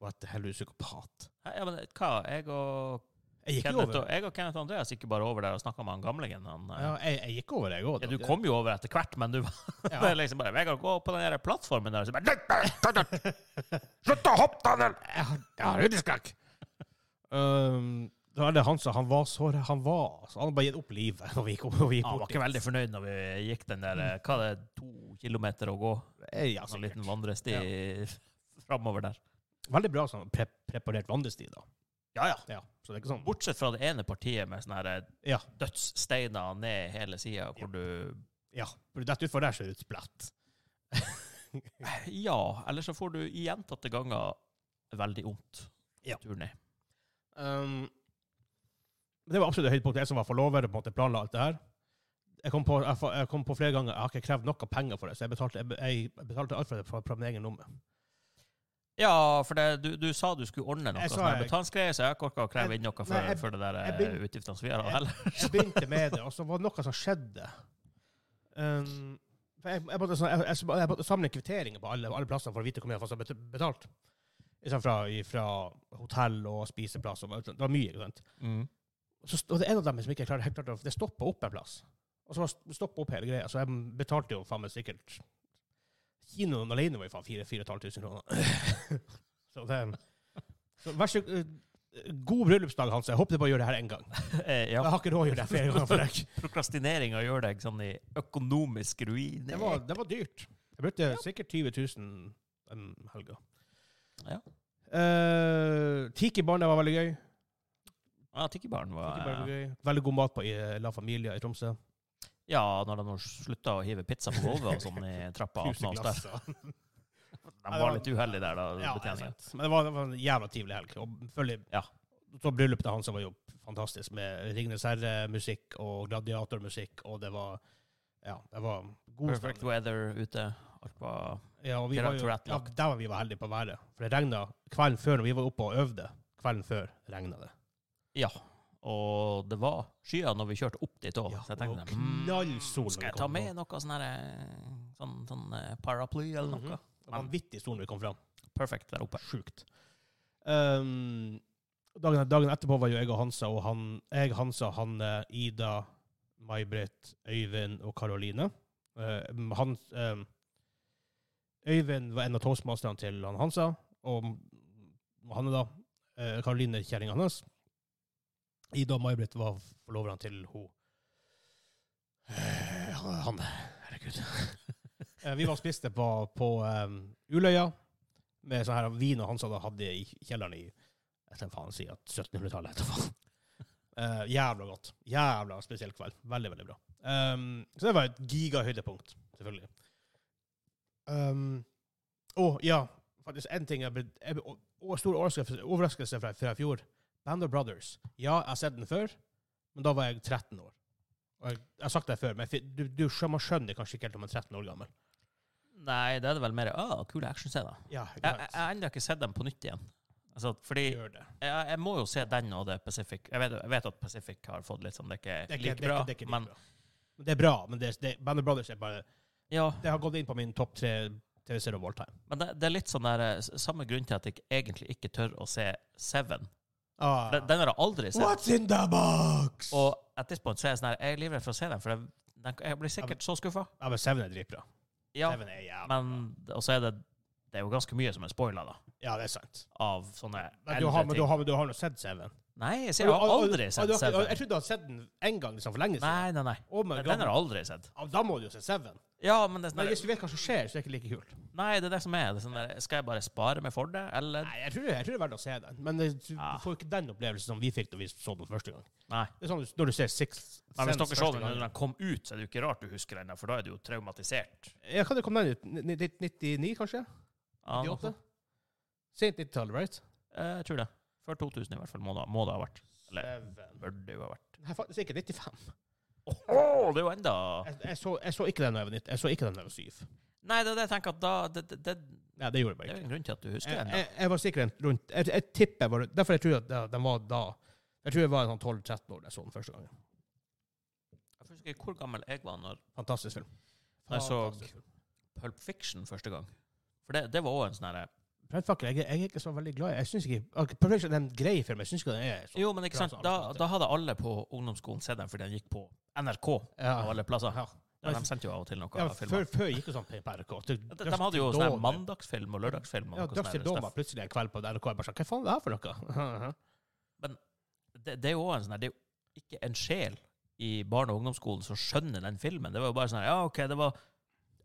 Speaker 1: Var et helvetes psykopat?
Speaker 2: Nei, Ja, men hva? Jeg og,
Speaker 1: Jeg gikk jo
Speaker 2: Kenneth,
Speaker 1: over.
Speaker 2: og, jeg og Kenneth Andreas gikk jo bare over der og snakka med han gamlingen. Han, eh,
Speaker 1: Ja, jeg, jeg gikk over, jeg òg.
Speaker 2: ja, du kom jo over etter hvert, men du var
Speaker 1: Ja.
Speaker 2: liksom bare Vegard, gå på den der plattformen der. Og så bare, «Nei,
Speaker 1: Slutt å hoppe, Daniel! Jeg har hundeskrekk! Um, det var det han sa. Han var så Han var så Han hadde bare gitt opp livet. Og vi gikk, og vi gikk
Speaker 2: Han var
Speaker 1: bort
Speaker 2: ikke
Speaker 1: dit.
Speaker 2: veldig fornøyd når vi gikk den der eh, Hva er det, to kilometer å gå? Altså,
Speaker 1: Eh, Ja,
Speaker 2: En
Speaker 1: sikkert.
Speaker 2: liten vandresti framover der.
Speaker 1: Veldig bra sånn pre preparert vandresti, da.
Speaker 2: Ja, ja.
Speaker 1: Ja, så det er ikke sånn
Speaker 2: Bortsett fra det ene partiet med sånne her eh,
Speaker 1: Ja.
Speaker 2: dødssteiner ned hele sida, hvor du
Speaker 1: ja. For Dette utfor der ser det ut splatt.
Speaker 2: Ja, eller så får du i gjentatte ganger veldig vondt.
Speaker 1: Ja.
Speaker 2: Tur ned.
Speaker 1: Um, det var absolutt et høydepunkt. Jeg som var forlover og på en måte planla alt det her. Jeg kom, på, jeg, fa- jeg kom på flere ganger Jeg har ikke krevd noe penger for det, så jeg betalte, jeg, be- jeg betalte alt for det fra, fra min egen lomme.
Speaker 2: Ja, for det, du, du sa du skulle ordne noe
Speaker 1: Jeg sa
Speaker 2: sånn her
Speaker 1: jeg-
Speaker 2: betalingsgreier, så jeg har ikke orka å kreve
Speaker 1: Jeg-
Speaker 2: inn noe for,
Speaker 1: nei, jeg-
Speaker 2: for det der
Speaker 1: jeg
Speaker 2: eh,
Speaker 1: begyn-
Speaker 2: utgiftene som vi har
Speaker 1: jeg-
Speaker 2: heller.
Speaker 1: Jeg begynte med det, og så var det noe som skjedde. Um, for jeg, jeg, måtte, sånn- jeg, jeg, jeg måtte samle kvitteringer på alle, alle plasser for å vite hvor mye jeg faktisk hadde bet- betalt. Ikke sant, Fra, fra hotell og spiseplass. Og, det var mye. ikke sant?
Speaker 2: Mm.
Speaker 1: så, st- og det er en av dem som ikke klarer helt klart å Det stoppa opp en plass. Og så stoppa opp hele greia. Så jeg betalte jo faen meg sikkert Kinoen alene var jo faen 4500 kroner. så det så vær så eh, God bryllupsdag, Hans. Jeg håper du bare gjør det her én gang.
Speaker 2: Eh, ja.
Speaker 1: Jeg har ikke råd til å gjøre det her flere ganger. for deg.
Speaker 2: Prokrastineringa gjør deg sånn i økonomisk ruin.
Speaker 1: Det var, det var dyrt. Jeg brukte sikkert 20 000 den helga.
Speaker 2: Ja.
Speaker 1: Eh, Tiki Barn, det var veldig gøy.
Speaker 2: Ja, Tikkibaren var
Speaker 1: eh, Tiki Barn var gøy. Veldig god mat på i La Familia i Tromsø.
Speaker 2: Ja, når de nå slutta å hive pizza på gulvet og sånn i trappa.
Speaker 1: Knuse
Speaker 2: attmed oss der.
Speaker 1: glass. og-
Speaker 2: De var litt uheldige der, da.
Speaker 1: Ja, det er
Speaker 2: betjeningen.
Speaker 1: sant. Men det var, det var en jævla trivelig helg. Og selvfølgelig,
Speaker 2: Ja.
Speaker 1: så bryllupet til han som var jo fantastisk, med Ringnes Herre-musikk og gladiatormusikk, og det var Ja, det var god
Speaker 2: Perfect
Speaker 1: stemning.
Speaker 2: weather ute. Alt var
Speaker 1: Ja, og vi
Speaker 2: Grand
Speaker 1: var jo,
Speaker 2: Tour
Speaker 1: ja,
Speaker 2: Atlas.
Speaker 1: der var vi var heldige på været. For det regna kvelden før, når vi var oppe og øvde. Kvelden før regna det.
Speaker 2: Ja. Og det var skyer når vi kjørte opp dit òg.
Speaker 1: Ja,
Speaker 2: så jeg tenkte
Speaker 1: og
Speaker 2: mm,
Speaker 1: knallsol når vi
Speaker 2: Skal jeg
Speaker 1: kom
Speaker 2: ta
Speaker 1: på.
Speaker 2: med noe sånn her, eh, sånn, sånn eh, paraply eller noe?
Speaker 1: Mhm. Det var Vanvittig stor når vi kom fram.
Speaker 2: Perfect der oppe.
Speaker 1: Sjukt. Ehm, dagen, dagen etterpå var jo jeg og Hansa, og han, jeg, Hansa, Hanne, Ida, May-Britt, Øyvind og Karoline. Eh, han, ehm, Øyvind var en av toastmasterne til han Hansa, og Hanne da. eh, Karoline, kjerringa hans. Ida og May-Britt var forloverne til hun. Eh, Hanne. Herregud. Eh, vi var og spiste på, på ehm, Uløya med sånn her vin og Hansa da hadde i kjelleren i jeg skal faen si at 1700-tallet etterpå. Uh, jævla godt. Jævla spesiell kveld. Veldig, veldig bra. Um, så det var et gigahøydepunkt, selvfølgelig. Um, og ja, faktisk en ting jeg ble, jeg ble og, og stor overraskelse, overraskelse fra, fra i fjor. Band of Brothers. Ja, jeg har sett den før, men da var jeg 13 år. Og jeg, jeg har sagt det før, men jeg, fi- du, du skjønner, man skjønner kanskje ikke helt om man er 13 år gammel.
Speaker 2: Nei, det er det vel mer ah, kule actionscener.
Speaker 1: Ja,
Speaker 2: Jeg jeg- jeg har ennå ikke sett dem på nytt igjen. Altså, fordi
Speaker 1: Gjør det.
Speaker 2: jeg, jeg må jo se den og det Pacific. Jeg vet, jeg vet at Pacific har fått litt sånn Det
Speaker 1: Det
Speaker 2: er
Speaker 1: er
Speaker 2: ikke
Speaker 1: ikke,
Speaker 2: like
Speaker 1: det er
Speaker 2: bra,
Speaker 1: ikke, det er ikke like
Speaker 2: men
Speaker 1: bra. Men Det er bra, men det, det, Band of Brothers er bare
Speaker 2: ja.
Speaker 1: Det har gått inn på min topp tre TV-serier of all time.
Speaker 2: Men det, det er litt sånn der eh, s- Samme grunn til at jeg egentlig ikke tør å se Seven.
Speaker 1: Ah.
Speaker 2: Den, den har jeg aldri sett.
Speaker 1: What's in the box?
Speaker 2: Og at this point så er jeg sånn her Jeg er livredd for å se den, for jeg, den, jeg blir sikkert så skuffa.
Speaker 1: ja, men Seven er dritbra.
Speaker 2: Ja,
Speaker 1: Seven er jævla
Speaker 2: men Og så er det Det er jo ganske mye som er spoila, da.
Speaker 1: Ja, det er sant.
Speaker 2: Av sånne
Speaker 1: Men du har,
Speaker 2: eldre
Speaker 1: men du
Speaker 2: ting.
Speaker 1: har, men du har nå sett Seven?
Speaker 2: Nei, jeg sier jeg har
Speaker 1: Og- og-
Speaker 2: aldri
Speaker 1: og-
Speaker 2: sett
Speaker 1: du har ikke- Jeg
Speaker 2: Seven.
Speaker 1: trodde du hadde sett den én gang liksom, for lenge siden.
Speaker 2: Nei, nei, nei.
Speaker 1: Oh my
Speaker 2: Den
Speaker 1: God.
Speaker 2: har jeg aldri sett.
Speaker 1: Ja, da må du jo se Seven.
Speaker 2: Ja, men det er sånn
Speaker 1: Men
Speaker 2: der,
Speaker 1: hvis du vet hva som skjer, så er det ikke like kult.
Speaker 2: Nei, det er det som er. Det er sånn der, skal jeg bare spare meg for det, eller
Speaker 1: Nei, jeg tror, jeg tror det er verdt å se den, men det- du
Speaker 2: Ah.
Speaker 1: får jo ikke den opplevelsen som vi fikk da vi så den første gang.
Speaker 2: Nei.
Speaker 1: Det er sånn du- når du ser Six
Speaker 2: Men hvis dere så den når
Speaker 1: gang.
Speaker 2: den kom ut, så er det jo ikke rart du husker den, for da er du jo traumatisert.
Speaker 1: Ja, Kan det komme den ut? Ni- ni- 99, kanskje?
Speaker 2: Ja, noe
Speaker 1: 98?
Speaker 2: sånt.
Speaker 1: Sent 90-tallet, right?
Speaker 2: Eh, jeg tror det. Før 2000 i hvert fall må det, må det ha vært. Eller
Speaker 1: Seven.
Speaker 2: bør det jo ha vært.
Speaker 1: Nei, faktisk ikke 95.
Speaker 2: Åh, det er jo enda
Speaker 1: Jeg, jeg, så, jeg så ikke den da jeg var 90. Jeg så ikke den da jeg var 7.
Speaker 2: Nei, det er det jeg tenker at da Det, det, det,
Speaker 1: Nei, det gjorde jeg
Speaker 2: det
Speaker 1: bare
Speaker 2: er
Speaker 1: ikke.
Speaker 2: jo en grunn til at du husker
Speaker 1: Jeg,
Speaker 2: den. da.
Speaker 1: jeg, jeg var sikkert rundt Jeg, jeg tipper jeg var Derfor jeg tror at det- den var da Jeg tror jeg var sånn 12-13 år da jeg så den første gangen.
Speaker 2: Jeg husker ikke hvor gammel jeg var når
Speaker 1: Fantastisk film.
Speaker 2: Jeg så-
Speaker 1: Fantastisk film.
Speaker 2: Pulp Fiction første gang. For det, det var òg en sånn herre
Speaker 1: Brannfakkel, jeg, jeg er ikke så veldig glad i Jeg syns ikke ok, Perfection er en grei film. Jeg syns ikke den er så
Speaker 2: Jo, men ikke
Speaker 1: bra
Speaker 2: sant,
Speaker 1: som
Speaker 2: da,
Speaker 1: alle
Speaker 2: da hadde alle på ungdomsskolen sett den fordi den gikk på NRK av
Speaker 1: andre.
Speaker 2: alle plasser.
Speaker 1: Ja.
Speaker 2: Ja, de sendte jo av og til noe
Speaker 1: Ja,
Speaker 2: av
Speaker 1: før,
Speaker 2: filmer.
Speaker 1: før gikk det sånn på NRK. De,
Speaker 2: De, de hadde jo sånn her mandagsfilm og lørdagsfilm. Og
Speaker 1: Ja,
Speaker 2: noe sånn
Speaker 1: Dusty
Speaker 2: her
Speaker 1: Dawn
Speaker 2: stuff.
Speaker 1: var plutselig en kveld på NRK. Jeg bare sånn Hva faen er det her for noe?
Speaker 2: det, det er jo også en sånn her, det er jo ikke en sjel i barne- og ungdomsskolen som skjønner den filmen. Det var jo bare sånn her, ja, ok, det var,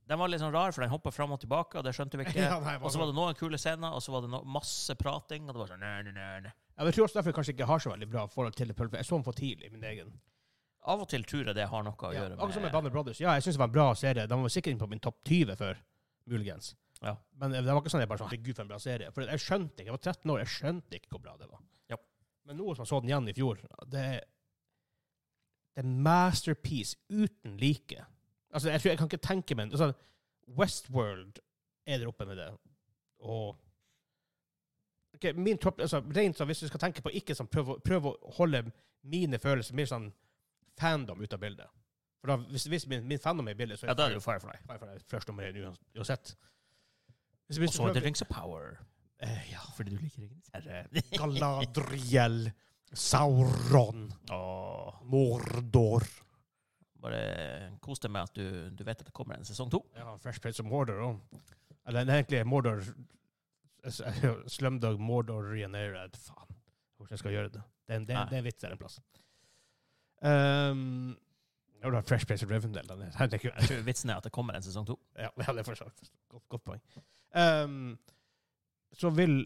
Speaker 2: den var litt sånn rar, for den hoppet frem og tilbake, og det skjønte vi ikke.
Speaker 1: Ja, nei, bare
Speaker 2: og så
Speaker 1: sånn.
Speaker 2: var det noen kule scener, og så var det no masse prating, og det var sånn, nei, nei, nei, nei.
Speaker 1: Ja, men Jeg tror også derfor jeg kanskje ikke har så veldig bra forhold til Pulp. Jeg så den for tidlig, min egen.
Speaker 2: Av og til tror jeg det har noe å
Speaker 1: Ja,
Speaker 2: gjøre
Speaker 1: akkurat som med
Speaker 2: med...
Speaker 1: Banner Brothers. Ja, jeg syns det var en bra serie. Den var sikkert inne på min topp 20 før, muligens.
Speaker 2: Ja.
Speaker 1: Men det var ikke sånn jeg bare sånn Herregud, for en bra serie. For jeg skjønte ikke. Jeg var 13 år, jeg skjønte ikke hvor bra det var.
Speaker 2: Ja.
Speaker 1: Men nå som jeg så den igjen i fjor, det er det er masterpiece uten like. Altså, jeg tror jeg kan ikke tenke meg en- altså, Westworld er der oppe med det. Og Ok, min topp, altså, rent sånn, Hvis du skal tenke på ikke sånn, prøv, å- prøv å holde mine følelser mer sånn fandom ut av bildet. For da, hvis, hvis min, min fandom er i bildet, så
Speaker 2: Ja, da er det jo Firefly.
Speaker 1: Firefly er først nummer én uans- uansett. Hvis,
Speaker 2: Og
Speaker 1: hvis
Speaker 2: så
Speaker 1: du
Speaker 2: er det
Speaker 1: prøver,
Speaker 2: Rings of Power.
Speaker 1: Eh, ja.
Speaker 2: Fordi du liker Rings Herre.
Speaker 1: Galadriel, Sauron,
Speaker 2: Åh,
Speaker 1: Mordor
Speaker 2: bare kos deg med at du, du vet at det kommer en sesong 2.
Speaker 1: Ja, Fresh Prince of Mordor òg. Eller nei, egentlig er Mordor Slumdog Mordor Reunited. Faen, hvordan jeg skal gjøre det? Det er en, det er,
Speaker 2: Nei.
Speaker 1: det er en vits der en plass. Um, når du har Fresh Prince of Rivendell den er- den er kul.
Speaker 2: Jeg tror vitsen er at det kommer en sesong 2.
Speaker 1: Ja, ja, det er fortsatt godt, godt poeng. Um, så vil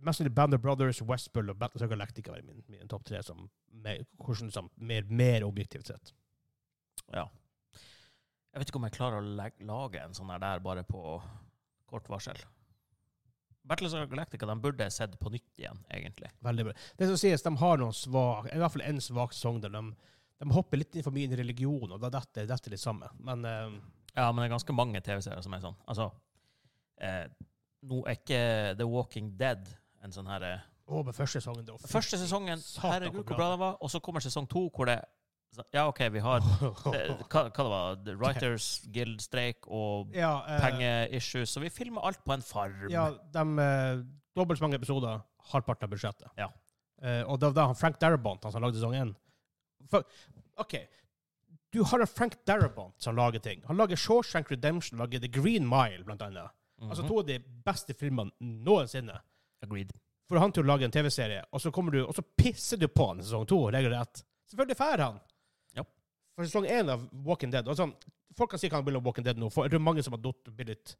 Speaker 1: mest sannsynlig Band of Brothers, Westbull og Battlestar Galactica være min, min topp tre som mer, hvordan, som mer, mer objektivt sett.
Speaker 2: Ja. Jeg vet ikke om jeg klarer å leg- lage en sånn her der bare på kort varsel. Battles of Galactica de burde jeg sett på nytt igjen, egentlig.
Speaker 1: Veldig bra. Det som sies, de har noen svak, i hvert fall en svak sang der de, de hopper litt inn for mye inn i religion, og da detter dette litt sammen. Men eh,
Speaker 2: Ja, men det er ganske mange TV-serier som er sånn. Altså, eh, nå er ikke The Walking Dead en sånn her eh,
Speaker 1: å, men første sangen det var fint.
Speaker 2: Første sesongen,
Speaker 1: Satan,
Speaker 2: herregud,
Speaker 1: hvor
Speaker 2: hvor
Speaker 1: bra
Speaker 2: bra den var. Og så kommer sesong to, hvor det Ja, OK, vi har eh, hva, hva det var The Writers Guild-streik og
Speaker 1: ja, eh,
Speaker 2: pengeissues, så vi filmer alt på en farm.
Speaker 1: Ja, de eh, dobbelt så mange episoder, halvparten av budsjettet.
Speaker 2: Ja.
Speaker 1: Eh, og det var da han Frank Darabont han som lagde sesong én. For- OK. Du har en Frank Darabont som lager ting. Han lager Shawshank Redemption, lager The Green Mile, blant annet.
Speaker 2: Mhm.
Speaker 1: Altså to av de beste filmene noensinne.
Speaker 2: Agreed.
Speaker 1: For han til å lage en TV-serie, og så kommer du, og så pisser du på han i sesong to, regelrett. Selvfølgelig fær han.
Speaker 2: Ja.
Speaker 1: For sesong én av Walking Dead og sånn, Folk kan si hva han vil om Walking Dead nå, for det er mange som har datt og blitt litt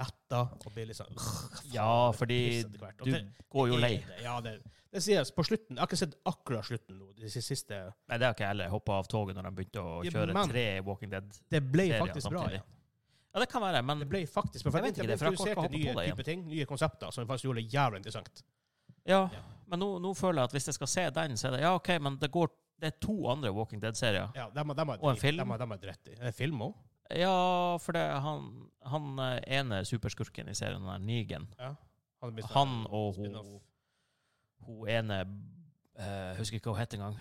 Speaker 1: metta og blitt litt sånn «Åh,
Speaker 2: Ja,
Speaker 1: faen, det
Speaker 2: fordi
Speaker 1: pisser etter hvert». Og
Speaker 2: Du
Speaker 1: det-
Speaker 2: går jo
Speaker 1: det er
Speaker 2: lei.
Speaker 1: det. Ja, det, det sies på slutten. Jeg har ikke sett akkurat slutten nå. De siste
Speaker 2: Nei, det har ikke jeg heller. Hoppa av toget når de begynte å
Speaker 1: Ja,
Speaker 2: kjøre
Speaker 1: men-
Speaker 2: tre Walking Dead.
Speaker 1: Det ble
Speaker 2: Serien
Speaker 1: faktisk bra.
Speaker 2: samtidig.
Speaker 1: Ja.
Speaker 2: Ja, det kan være, men
Speaker 1: Det ble faktisk bra. For
Speaker 2: Jeg vet ikke det, for
Speaker 1: ble
Speaker 2: jeg kan ikke
Speaker 1: introdusert til nye
Speaker 2: hoppe på det
Speaker 1: typer ting, nye konsepter, som faktisk gjorde det jævlig interessant.
Speaker 2: Ja,
Speaker 1: Ja.
Speaker 2: men nå, nå føler jeg at hvis jeg skal se den, så er det Ja, OK, men det går Det er to andre Walking Dead-serier.
Speaker 1: Ja, dem, har- dem har
Speaker 2: Og en
Speaker 1: drit-
Speaker 2: film.
Speaker 1: Dem, har- dem har dritt i. Er det film òg?
Speaker 2: Ja, for det er han, han eh, ene superskurken i serien, den der Negan.
Speaker 1: Han, blir sånn-
Speaker 2: Han og hun
Speaker 1: spin-off.
Speaker 2: Hun ene eh, Husker ikke hva hun het engang.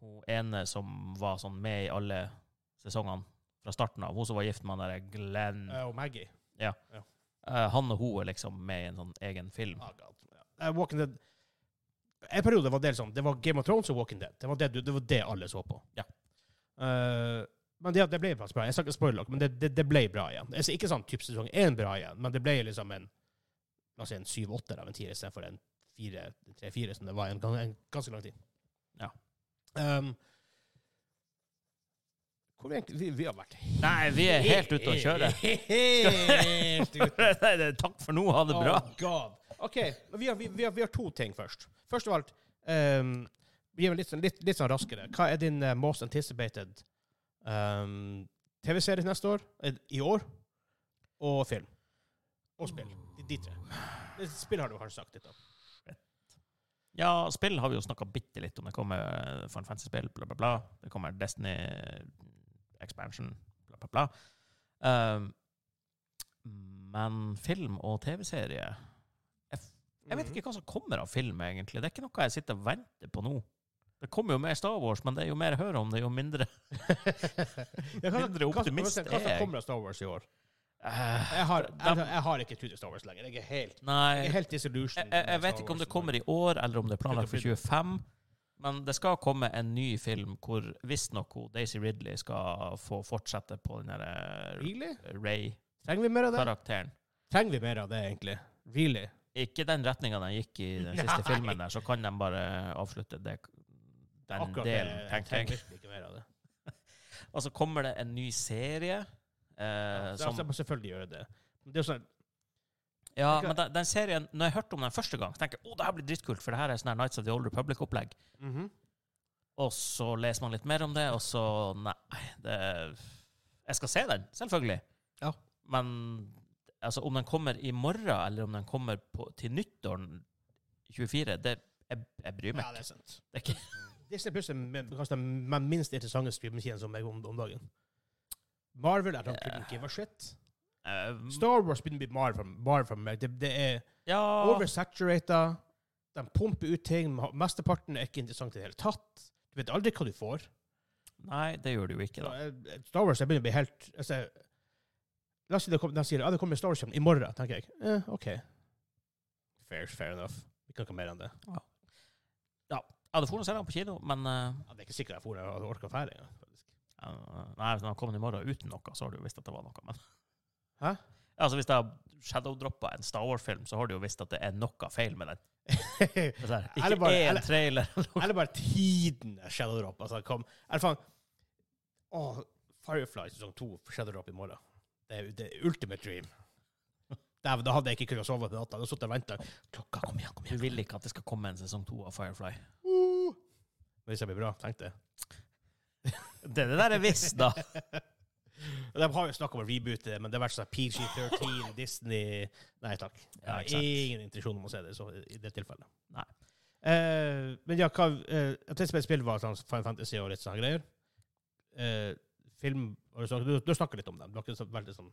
Speaker 2: Hun ene som var sånn med i alle sesongene fra starten av. Hun som var gift med han derre Glenn.
Speaker 1: Eh, og Maggie.
Speaker 2: Eh, han og hun er liksom med i en sånn egen film.
Speaker 1: Ah, God. Ja. Eh, Walking Dead En periode var det liksom Det var Game of Thrones og Walking Dead. Det var det, du- det, var det alle så på.
Speaker 2: Ja.
Speaker 1: Eh, men det, det ble faktisk bra. Jeg skal ikke spoile dere, men det, det, det ble bra igjen. Altså, ikke sånn type sesong én bra igjen, men det ble liksom en La oss si en syv-åtter av en tier istedenfor en fire- tre-fire, som det var en, gang- en ganske lang tid.
Speaker 2: Ja.
Speaker 1: Um, hvor vi, egentlig- vi, vi har vært
Speaker 2: Nei, vi er helt ute å kjøre.
Speaker 1: Helt ute
Speaker 2: Nei, det er takk for nå, ha det bra.
Speaker 1: Oh God. OK, men vi har, vi, vi, har, vi har to ting først. Først av alt ehm, Vi gjør det litt, sånn- litt, litt sånn raskere. Hva er din eh, most anticipated ehm, TV-serie til neste år? Eh, I år? Og film? Og spill. De, de tre. Det- Spill har du kanskje sagt litt om.
Speaker 2: Ja, spill har vi jo snakka bitte litt om. Det kommer eh, Final Fantasy-spill, bla, bla, bla. Det kommer Destiny eh, Expansion, bla, bla, bla. Um, men film og TV-serie jeg, f- jeg vet ikke hva som kommer av film, egentlig. Det er ikke noe jeg sitter og venter på nå. Det kommer jo mer Star Wars, men det er jo mer jeg hører om det, jo mindre
Speaker 1: Ja, hva-
Speaker 2: Mindre
Speaker 1: hva-
Speaker 2: optimist
Speaker 1: hva- hva- Hva
Speaker 2: er jeg.
Speaker 1: som kommer av Star Wars i år?
Speaker 2: Eh,
Speaker 1: Jeg har, jeg,
Speaker 2: dem-
Speaker 1: jeg har ikke trudd Star Wars lenger. Jeg er helt,
Speaker 2: Nei.
Speaker 1: jeg er helt disillusioned.
Speaker 2: Eh, Jeg, jeg, jeg
Speaker 1: med
Speaker 2: vet
Speaker 1: Star
Speaker 2: ikke om det
Speaker 1: Wars.
Speaker 2: kommer i år, eller om det er planlagt for
Speaker 1: Slutt å
Speaker 2: 25. Men det skal komme en ny film hvor visstnok hun, Daisy Ridley skal få fortsette på den eh, derre
Speaker 1: Really?
Speaker 2: Ray-karakteren.
Speaker 1: Trenger vi mer av det? Trenger vi mer av det, egentlig? Really?
Speaker 2: Ikke den retninga den gikk i den siste
Speaker 1: Nei.
Speaker 2: filmen, der, så kan de bare avslutte det, den delen,
Speaker 1: det.
Speaker 2: tenker jeg.
Speaker 1: virkelig ikke mer av det.
Speaker 2: Og så kommer det en ny serie. Eh,
Speaker 1: Ja,
Speaker 2: som,
Speaker 1: så jeg må selvfølgelig gjøre det. Men det er jo sånn,
Speaker 2: ja,
Speaker 1: jeg kan-
Speaker 2: men den, den serien, når jeg hørte om den første gang, tenkte jeg å, det her blir dritkult, for det her er sånn her Nights of the Old Republic-opplegg.
Speaker 1: Mhm.
Speaker 2: Og så leser man litt mer om det, og så Nei, det Jeg skal se den, selvfølgelig.
Speaker 1: Ja.
Speaker 2: Men altså, om den kommer i morgen, eller om den kommer på, til nyttår 24, det jeg, jeg bryr meg
Speaker 1: Ja, det
Speaker 2: ikke.
Speaker 1: er sant.
Speaker 2: Det er ikke.
Speaker 1: Disney Plus er med- kanskje den me- minst interessante streamingkjeden som jeg om, om dagen. Marvel er don't really give a shit.
Speaker 2: Eh,
Speaker 1: Star Wars begynner å bli Marvel, Marvel for meg. Det, det er
Speaker 2: ja,
Speaker 1: Ah. oversaturated. De pumper ut ting. Ma- Mesteparten er ikke interessant i det hele tatt. Du vet aldri hva du får.
Speaker 2: Nei, det gjør det jo ikke,
Speaker 1: Så,
Speaker 2: da.
Speaker 1: eh, Star Wars jeg begynner å bli helt altså, La oss si det kom, de sier at ah, det kommer Star Wars i morgen, tenker jeg. Eh, OK. Fair, fair enough. Vi kan ikke mer enn det.
Speaker 2: Jeg hadde forhånd sett den på kino, men eh,
Speaker 1: Ja, det er ikke sikkert jeg får jeg orker ferdig. ja, faktisk.
Speaker 2: eh, Nei, hvis den hadde kommet i morgen uten noe, så har du jo visst at det var noe, men
Speaker 1: Hæ?
Speaker 2: Altså, hvis jeg har shadow-droppa en Star Wars-film, så har du jo visst at det er noe feil med den. Altså,
Speaker 1: Eller
Speaker 2: ikke
Speaker 1: bare-
Speaker 2: én
Speaker 1: eller-
Speaker 2: trailer.
Speaker 1: Eller bare tiden jeg shadow drop. Altså, kom. Eller faen Åh, Firefly sesong to shadow drop i morgen. Det er det er ultimate dream. Dæven, da hadde jeg ikke kunnet sove på natta. Da satt jeg og venta. Klokka, kom igjen, kom
Speaker 2: Du
Speaker 1: igjen.
Speaker 2: vil ikke at det skal komme en sesong to av Firefly.
Speaker 1: Uh. Hvis jeg blir bra, tenk det.
Speaker 2: Det, det der er visst, da.
Speaker 1: De har jo snakka om å reboote det, men det har vært sånn PG-13, Disney Nei takk. Jeg
Speaker 2: Ja,
Speaker 1: har
Speaker 2: ikke sant.
Speaker 1: ingen intensjon om å se det så, i det tilfellet.
Speaker 2: Nei.
Speaker 1: Eh, men ja, hva eh, Et spill spill var sånn Final Fantasy og litt sånne greier. Eh, film har du, snakket, du, du har snakket litt om dem. Du har ikke så veldig sånn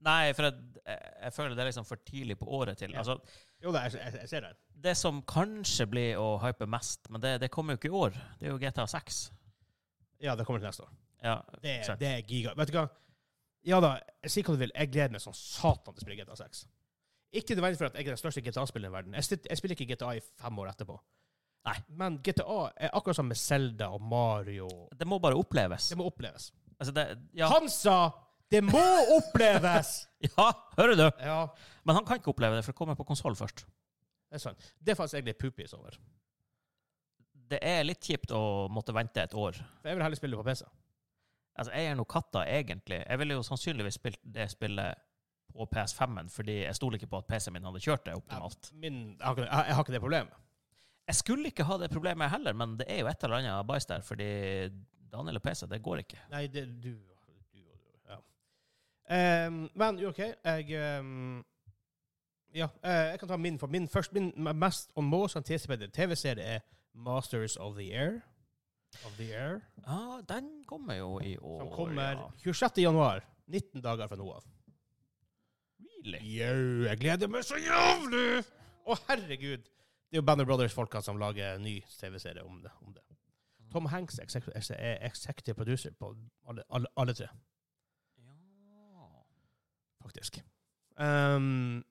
Speaker 2: Nei, for jeg, jeg, jeg føler det er liksom for tidlig på året til.
Speaker 1: Ja.
Speaker 2: Altså,
Speaker 1: Jo da, jeg, jeg, jeg ser det.
Speaker 2: det som kanskje blir å hype mest, men det, det kommer jo ikke i år, det er jo GTA 6.
Speaker 1: Ja, det kommer til neste år.
Speaker 2: Ja,
Speaker 1: Det,
Speaker 2: sant.
Speaker 1: det er giga. Vet du hva? Ja da, si hva du vil. Jeg gleder meg som satan til å spille GTA 6. Ikke nødvendigvis for at jeg er den største GTA-spilleren i verden. Jeg, sitter- jeg spiller ikke GTA i fem år etterpå.
Speaker 2: Nei.
Speaker 1: Men GTA er akkurat som med Zelda og Mario.
Speaker 2: det må bare oppleves.
Speaker 1: Det må oppleves.
Speaker 2: Altså, det, ja.
Speaker 1: Han sa 'det må oppleves'!
Speaker 2: ja, hører du?
Speaker 1: ja,
Speaker 2: Men han kan ikke oppleve det, for det kommer på konsoll først.
Speaker 1: det er sant. Det er faktisk jeg litt pupis over.
Speaker 2: Det er litt kjipt å måtte vente et år.
Speaker 1: For jeg vil heller spille det på PC.
Speaker 2: Altså, jeg er nå katta, egentlig. Jeg ville jo sannsynligvis spilt det spillet på PS5-en, fordi jeg stoler ikke på at PC-en min hadde kjørt det optimalt.
Speaker 1: Min, jeg, har ikke, jeg, jeg har ikke det problemet.
Speaker 2: Jeg skulle ikke ha det problemet heller, men det er jo et eller annet bajs der, fordi Daniel og PC, det går ikke.
Speaker 1: Nei, det du, du, og du ja. Ehm, men jo, OK, jeg ehm, Ja, eh, jeg kan ta min, for min først. Min mest og most anticiperte TV-serie er Masters of the Air. Of the Air.
Speaker 2: Ja, Ah, den kommer jo i år.
Speaker 1: Som kommer
Speaker 2: Ja.
Speaker 1: 26. januar. 19 dager fra nå av.
Speaker 2: Really?
Speaker 1: Jau, jeg gleder meg så jævlig! Å, herregud! Det er jo Banner Brothers-folka som lager en ny TV-serie om det. Om det. Tom Hanks er exec- er executive producer på alle, alle, alle tre,
Speaker 2: Ja.
Speaker 1: faktisk. Um,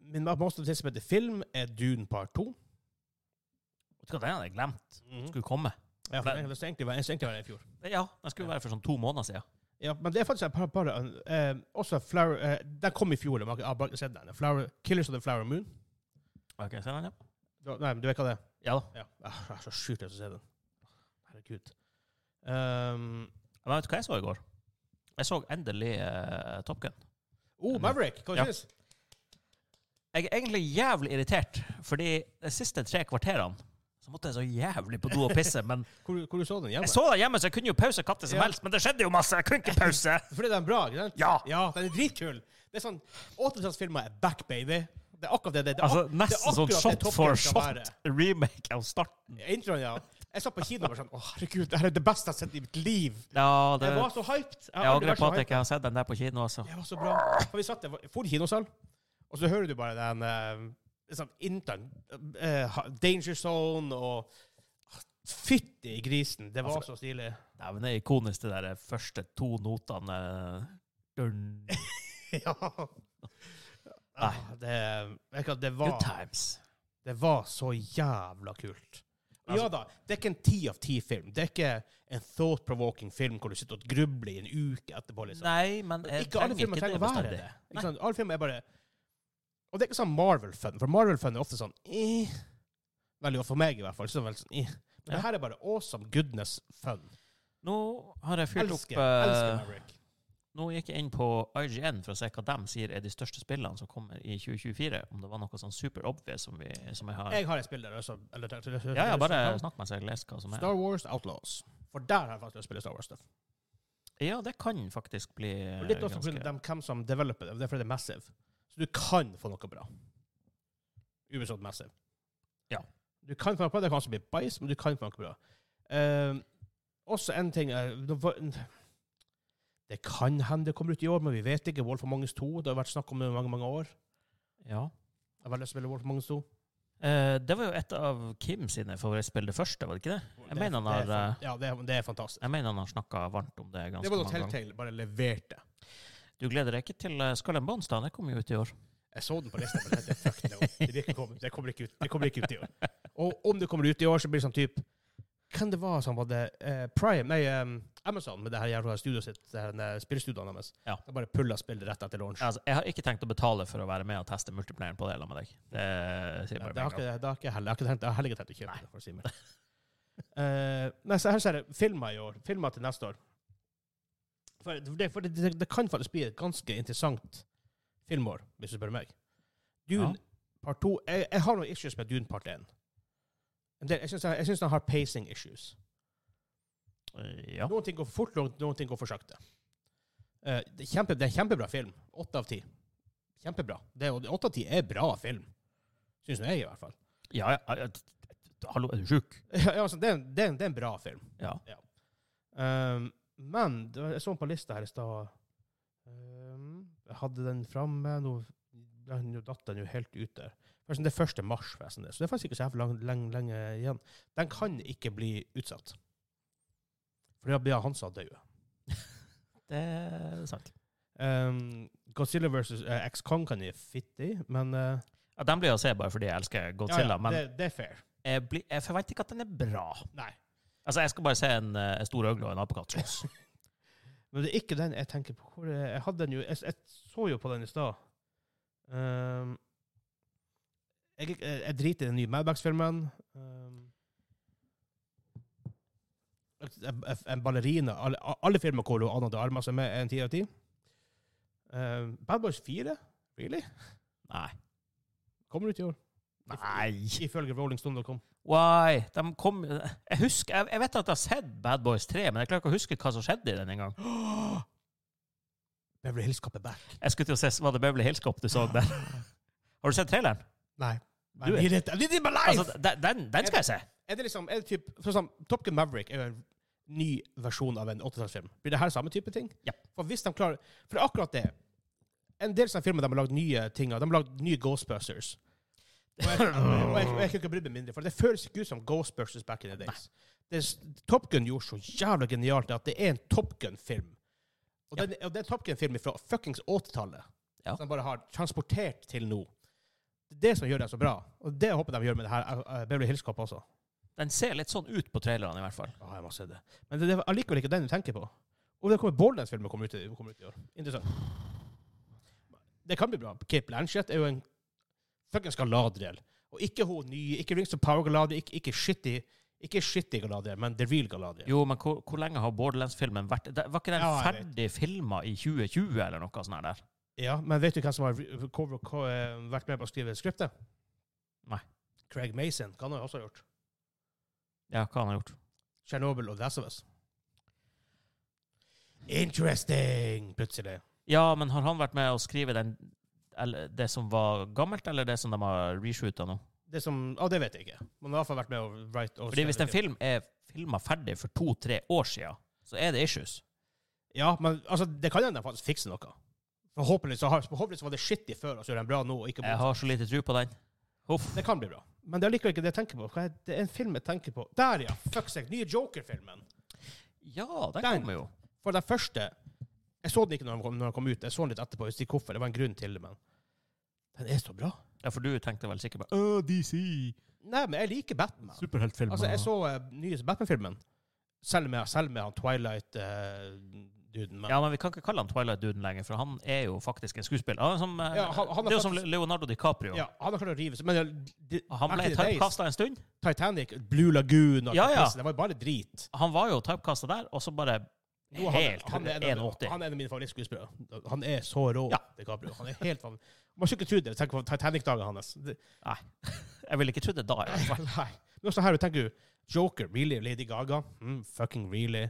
Speaker 1: min most anticipated film er Dune Part 2.
Speaker 2: Vet du hva, den hadde jeg glemt skulle komme.
Speaker 1: Ja, for det, det skulle egentlig være det skulle egentlig være i fjor.
Speaker 2: Ja, den skulle være for sånn to måneder siden.
Speaker 1: Ja, men det er faktisk bare, bare eh, Også Flower eh, Den kom i fjor, men jeg har bare ikke sett den. Flower, Killers of the Flower Moon.
Speaker 2: Ok, ser den, ja.
Speaker 1: Du, nei, men du vet hva det er?
Speaker 2: Ja da.
Speaker 1: Ja. Ah, Jeg er så sjukt lyst til å se den. Herregud. Um,
Speaker 2: Men vet du hva jeg så i går? Jeg så endelig eh, Top Gun.
Speaker 1: oh, Maverick! Hva
Speaker 2: Ja.
Speaker 1: synes du?
Speaker 2: Jeg er egentlig jævlig irritert, fordi de siste tre kvarterene så måtte jeg så jævlig på do og pisse, men
Speaker 1: Hvor, hvor du så den hjemme?
Speaker 2: jeg så deg hjemme, så jeg kunne jo pause hva som
Speaker 1: Ja.
Speaker 2: helst, men det skjedde jo masse! Jeg kunne ikke pause!
Speaker 1: Fordi den er bra, ikke sant?
Speaker 2: Ja.
Speaker 1: ja den er dritkul! Det er sånn 80 filmer er back, baby. Det er akkurat det det, det, er
Speaker 2: Altså,
Speaker 1: ak- det er
Speaker 2: nesten sånn
Speaker 1: akkurat det
Speaker 2: shot
Speaker 1: Top
Speaker 2: for
Speaker 1: Gun skal være.
Speaker 2: shot remake av starten.
Speaker 1: Introen, ja. Jeg satt på kino og bare sånn Å, herregud, det her er det beste jeg har sett i mitt liv!
Speaker 2: Ja, det,
Speaker 1: Jeg var så hyped! har aldri
Speaker 2: jeg angrer
Speaker 1: vært
Speaker 2: på
Speaker 1: så
Speaker 2: at jeg
Speaker 1: hyped.
Speaker 2: ikke har sett den der på kino, altså.
Speaker 1: Det var så bra. For vi satt der, for kinosal, og så hører du bare den eh, sånn intern eh, ha- Danger Zone og ah, Fytti grisen, det var så stilig.
Speaker 2: Nei, men det er ikonisk, de der første to notene. Dun,
Speaker 1: ja. Ah, det, vet du hva, det,
Speaker 2: good
Speaker 1: var,
Speaker 2: times.
Speaker 1: det var så jævla kult. Og ja da, det er ikke en ti av ti-film. Det er ikke en thought-provoking film hvor du sitter og grubler i en uke etterpå. liksom.
Speaker 2: Nei, men jeg
Speaker 1: ikke alle
Speaker 2: trenger
Speaker 1: filmer
Speaker 2: ikke
Speaker 1: trenger
Speaker 2: Eh, det
Speaker 1: å være
Speaker 2: bestandig.
Speaker 1: det. Ikke sant? Alle filmer er bare Og det er ikke sånn Marvel-fun, for Marvel-fun er ofte sånn eh. Veldig ofte for meg, i hvert fall. Så er det veldig sånn, eh. Men
Speaker 2: Ja.
Speaker 1: det her er bare awesome goodness-fun.
Speaker 2: Nå har jeg fyrt opp
Speaker 1: Elsker,
Speaker 2: eh,
Speaker 1: elsker Maverick.
Speaker 2: Nå gikk jeg inn på IGN for å se hva de sier er de største spillene som kommer i 2024. Om det var noe sånn super obvious som, vi, som jeg har
Speaker 1: Jeg har et spill der også. Eller,
Speaker 2: Ja, ja, bare snakk med seg, les hva som er.
Speaker 1: Star Wars Outlaws. For der har jeg faktisk lyst til å spille Star Wars-stuff.
Speaker 2: Ja, det kan faktisk bli eh,
Speaker 1: Og Litt også pga.
Speaker 2: ganske
Speaker 1: dem hvem som developer det, det er fordi det er Massive. Så du kan få noe bra. Ubesolgt Massive.
Speaker 2: Ja.
Speaker 1: Du kan få noe bra, det kan også bli bæsj, men du kan få noe bra. Eh, også en ting er, nå var- Det kan hende det kommer ut i år, men vi vet ikke. Wolf of Manges 2, det har vært snakk om det i mange mange år. Jeg
Speaker 2: Ja.
Speaker 1: har veldig lyst til å spille Wolf of Manges 2.
Speaker 2: Eh, det var jo et av Kim sine favorittspill, det første, var det ikke det? Jeg mener han har, eh,
Speaker 1: Ja, det er, det er fantastisk.
Speaker 2: jeg mener han har snakka varmt om det
Speaker 1: Det
Speaker 2: ganske
Speaker 1: var da
Speaker 2: mange ganger.
Speaker 1: Telltale bare leverte.
Speaker 2: Du gleder deg ikke til eh, Skull and Bones, da? Det kommer jo ut i år.
Speaker 1: Jeg så den på lista, men det, fuck, no. det, vil ikke komme. det, kommer ikke ut. det kommer ikke ut i år. Og om det kommer ut i år, så blir det sånn type Hvem det var som var det eh, Prime, nei, eh, Amazon, med det her jævla studioet sitt, det her eh, spillstudioene deres.
Speaker 2: Ja.
Speaker 1: De bare pulla spillet rett etter launch.
Speaker 2: Altså, jeg har ikke tenkt å betale for å være med og teste multiplayeren på det sammen med deg. Det sier jeg
Speaker 1: Ja,
Speaker 2: bare
Speaker 1: det har
Speaker 2: med en
Speaker 1: ikke,
Speaker 2: gang.
Speaker 1: det har ikke jeg heller, jeg har ikke tenkt, jeg har heller ikke tenkt å kjøpe det. for å si meg. Eh, nei, så her ser jeg filmer i år. Filmer til neste år. For det, for det, det, det kan faktisk bli et ganske interessant filmår, hvis du spør meg. Dune
Speaker 2: Ja.
Speaker 1: part 2 jeg, jeg har noen issues med Dune part 1. En del- Jeg syns den har pacing issues.
Speaker 2: Eh, Ja.
Speaker 1: Noen ting går for fort, noen- noen ting går for sakte. Eh, det, er kjempe, det er en kjempebra film. Åtte av ti. Kjempebra. Det er- og Åtte av ti er bra film. Syns nå jeg, i hvert fall.
Speaker 2: Ja, ja, ja. t- t- Hallo, er du sjuk?
Speaker 1: Ja, altså, det, er, en- det, er, en- det er en bra film.
Speaker 2: Ja.
Speaker 1: Um, men det var- jeg så den på lista her i stad. Um, jeg hadde den framme. Nå, nå datt den jo helt ut der. Forresten, Det er 1. mars, forresten, det, så det er faktisk ikke så jævlig lang- lenge, lenge igjen. Den kan ikke bli utsatt. For da blir Hansa død.
Speaker 2: Det er sant.
Speaker 1: Um, Godzilla versus eh, X-Kong kan jeg fitte i, men eh,
Speaker 2: Ja, den blir å se bare fordi jeg elsker
Speaker 1: ja,
Speaker 2: Godzilla,
Speaker 1: ja,
Speaker 2: men
Speaker 1: det, det er fair.
Speaker 2: jeg, blir, jeg forventer ikke at den er bra.
Speaker 1: Nei.
Speaker 2: Altså, jeg skal bare se en, eh, en stor øgle og en apekatt slåss.
Speaker 1: Men det er ikke den jeg tenker på. Hvor er- jeg, hadde den jo, jeg, jeg så jo på den i stad. Um, jeg, jeg, jeg driter i den nye Madbax-filmen. Um, en- en- en ballerina Alle, alle filmer hvor Anna de Armas er med, er en ti av ti. Um, Bad Boys 4? Really?
Speaker 2: Nei.
Speaker 1: Kommer ut i år.
Speaker 2: Nei.
Speaker 1: Ifølge rollingstone.com.
Speaker 2: Why? De kom, jeg, husker, jeg, jeg vet at jeg har sett Bad Boys 3, men jeg klarer ikke å huske hva som skjedde i den engang.
Speaker 1: Beverly Hills Cop er back.
Speaker 2: Jeg skulle til å se var det Beverly Hills Cop du så der. Har du sett traileren?
Speaker 1: Nei.
Speaker 2: Du
Speaker 1: Du
Speaker 2: er-
Speaker 1: er litt my life!
Speaker 2: Altså, de- den, den skal jeg se.
Speaker 1: er det liksom, er det typ, for eksempel, Top Gun Maverick er jo en ny versjon av en 80-tallsfilm. Blir det her samme type ting?
Speaker 2: Ja.
Speaker 1: For hvis de klarer, for det er akkurat det. En del sånne filmer de har lagd nye ting av. De har lagd nye Ghostbusters. Og jeg, og jeg, og jeg, og jeg kan ikke bry meg mindre, for det føles ikke ut som Ghostbusters back in the days. Det, er s- Top Gun gjorde så jævla genialt at det er en Top Gun-film. Og, den, og det er en Top Gun-film fra fuckings 80-tallet.
Speaker 2: Ja.
Speaker 1: Som de bare har transportert til nå. Det er det som gjør den så bra. Og det håper jeg de gjør med det her eh, Beverly Hills Cop også.
Speaker 2: Den ser litt sånn ut på traileren, i hvert fall.
Speaker 1: Ja, jeg må se det. Men det det er allikevel ikke den du tenker på. Og det kommer Borderlands-filmer kommer ut, i- kommer ut i år. Interessant. Det kan bli bra. Cape Blanchett er jo en fuckings galadriel. Og ikke hun nye, ikke Rings of Power Galadriel, ikke, ikke shitty ikke shitty Galadriel, men the real Galadriel.
Speaker 2: Jo, men hvor, hvor lenge har Borderlands-filmen vært det, Var ikke den
Speaker 1: Ja, jeg
Speaker 2: ferdig filma i 2020, eller noe sånt her der?
Speaker 1: Ja, men vet du hvem som har re- cover, co- eh, vært med på å skrive skriptet?
Speaker 2: Nei.
Speaker 1: Craig Mason. Hva han har også gjort?
Speaker 2: Ja, hva han har gjort?
Speaker 1: Chernobyl og The Last of Us. Interesting! Plutselig.
Speaker 2: Ja, men har han vært med å skrive den eller det som var gammelt, eller det som de har reshootet nå?
Speaker 1: Det som, ja, det vet jeg ikke. Man har i hvert fall vært med å write og
Speaker 2: Fordi
Speaker 1: skrive
Speaker 2: hvis en
Speaker 1: film.
Speaker 2: film er filma ferdig for to-tre år siden, så er det issues.
Speaker 1: Ja, men altså, det kan hende de faktisk fikser noe. Forhåpentligvis så, har, forhåpentlig så var det shitty før, og så gjør de bra nå. Og ikke
Speaker 2: Jeg har så lite tro på den. Huff.
Speaker 1: Det kan bli bra. Men det er likevel ikke det jeg tenker på. Hva er det er en film jeg tenker på. Der, ja! Fuck seg. Nye Joker-filmen.
Speaker 2: Ja, den
Speaker 1: Den.
Speaker 2: kommer jo.
Speaker 1: For den første Jeg så den ikke når den kom, når den kom ut. Jeg så den litt etterpå. Jeg visste ikke hvorfor. Det var en grunn til det, men Den er så bra.
Speaker 2: Ja, for du tenkte vel sikkert bare Åh, DC!
Speaker 1: Nei, men jeg liker Batman.
Speaker 2: Superheltfilmer.
Speaker 1: Altså, jeg så uh, nyeste Batman-filmen. Selv med, selv med han Twilight-duden. men
Speaker 2: Ja, men vi kan ikke kalle han Twilight-duden lenger, for han er jo faktisk en skuespiller. Han er som, eh,
Speaker 1: Ja, han- han er
Speaker 2: det er jo som
Speaker 1: faktisk-
Speaker 2: Leonardo DiCaprio.
Speaker 1: ja, han har klart å rive seg Men det- det-
Speaker 2: Han ble
Speaker 1: back in the days,
Speaker 2: typecasta en stund.
Speaker 1: Titanic, Blue Lagoon og
Speaker 2: Ja, ja.
Speaker 1: Det var jo bare drit.
Speaker 2: Han var jo typecasta der, og så bare
Speaker 1: Jo, han,
Speaker 2: helt
Speaker 1: han, er en av,
Speaker 2: 180.
Speaker 1: han er en av mine favorittskuespillere. Han er så rå,
Speaker 2: Ja.
Speaker 1: DiCaprio. Han er helt fan... Man skulle ikke tro det. Tenk på Titanic-dagen hans. Det,
Speaker 2: Jeg ville ikke trodd det da, i hvert fall.
Speaker 1: nei. Men også her, du tenker jo Joker, really? Lady Gaga? Mm, fucking really?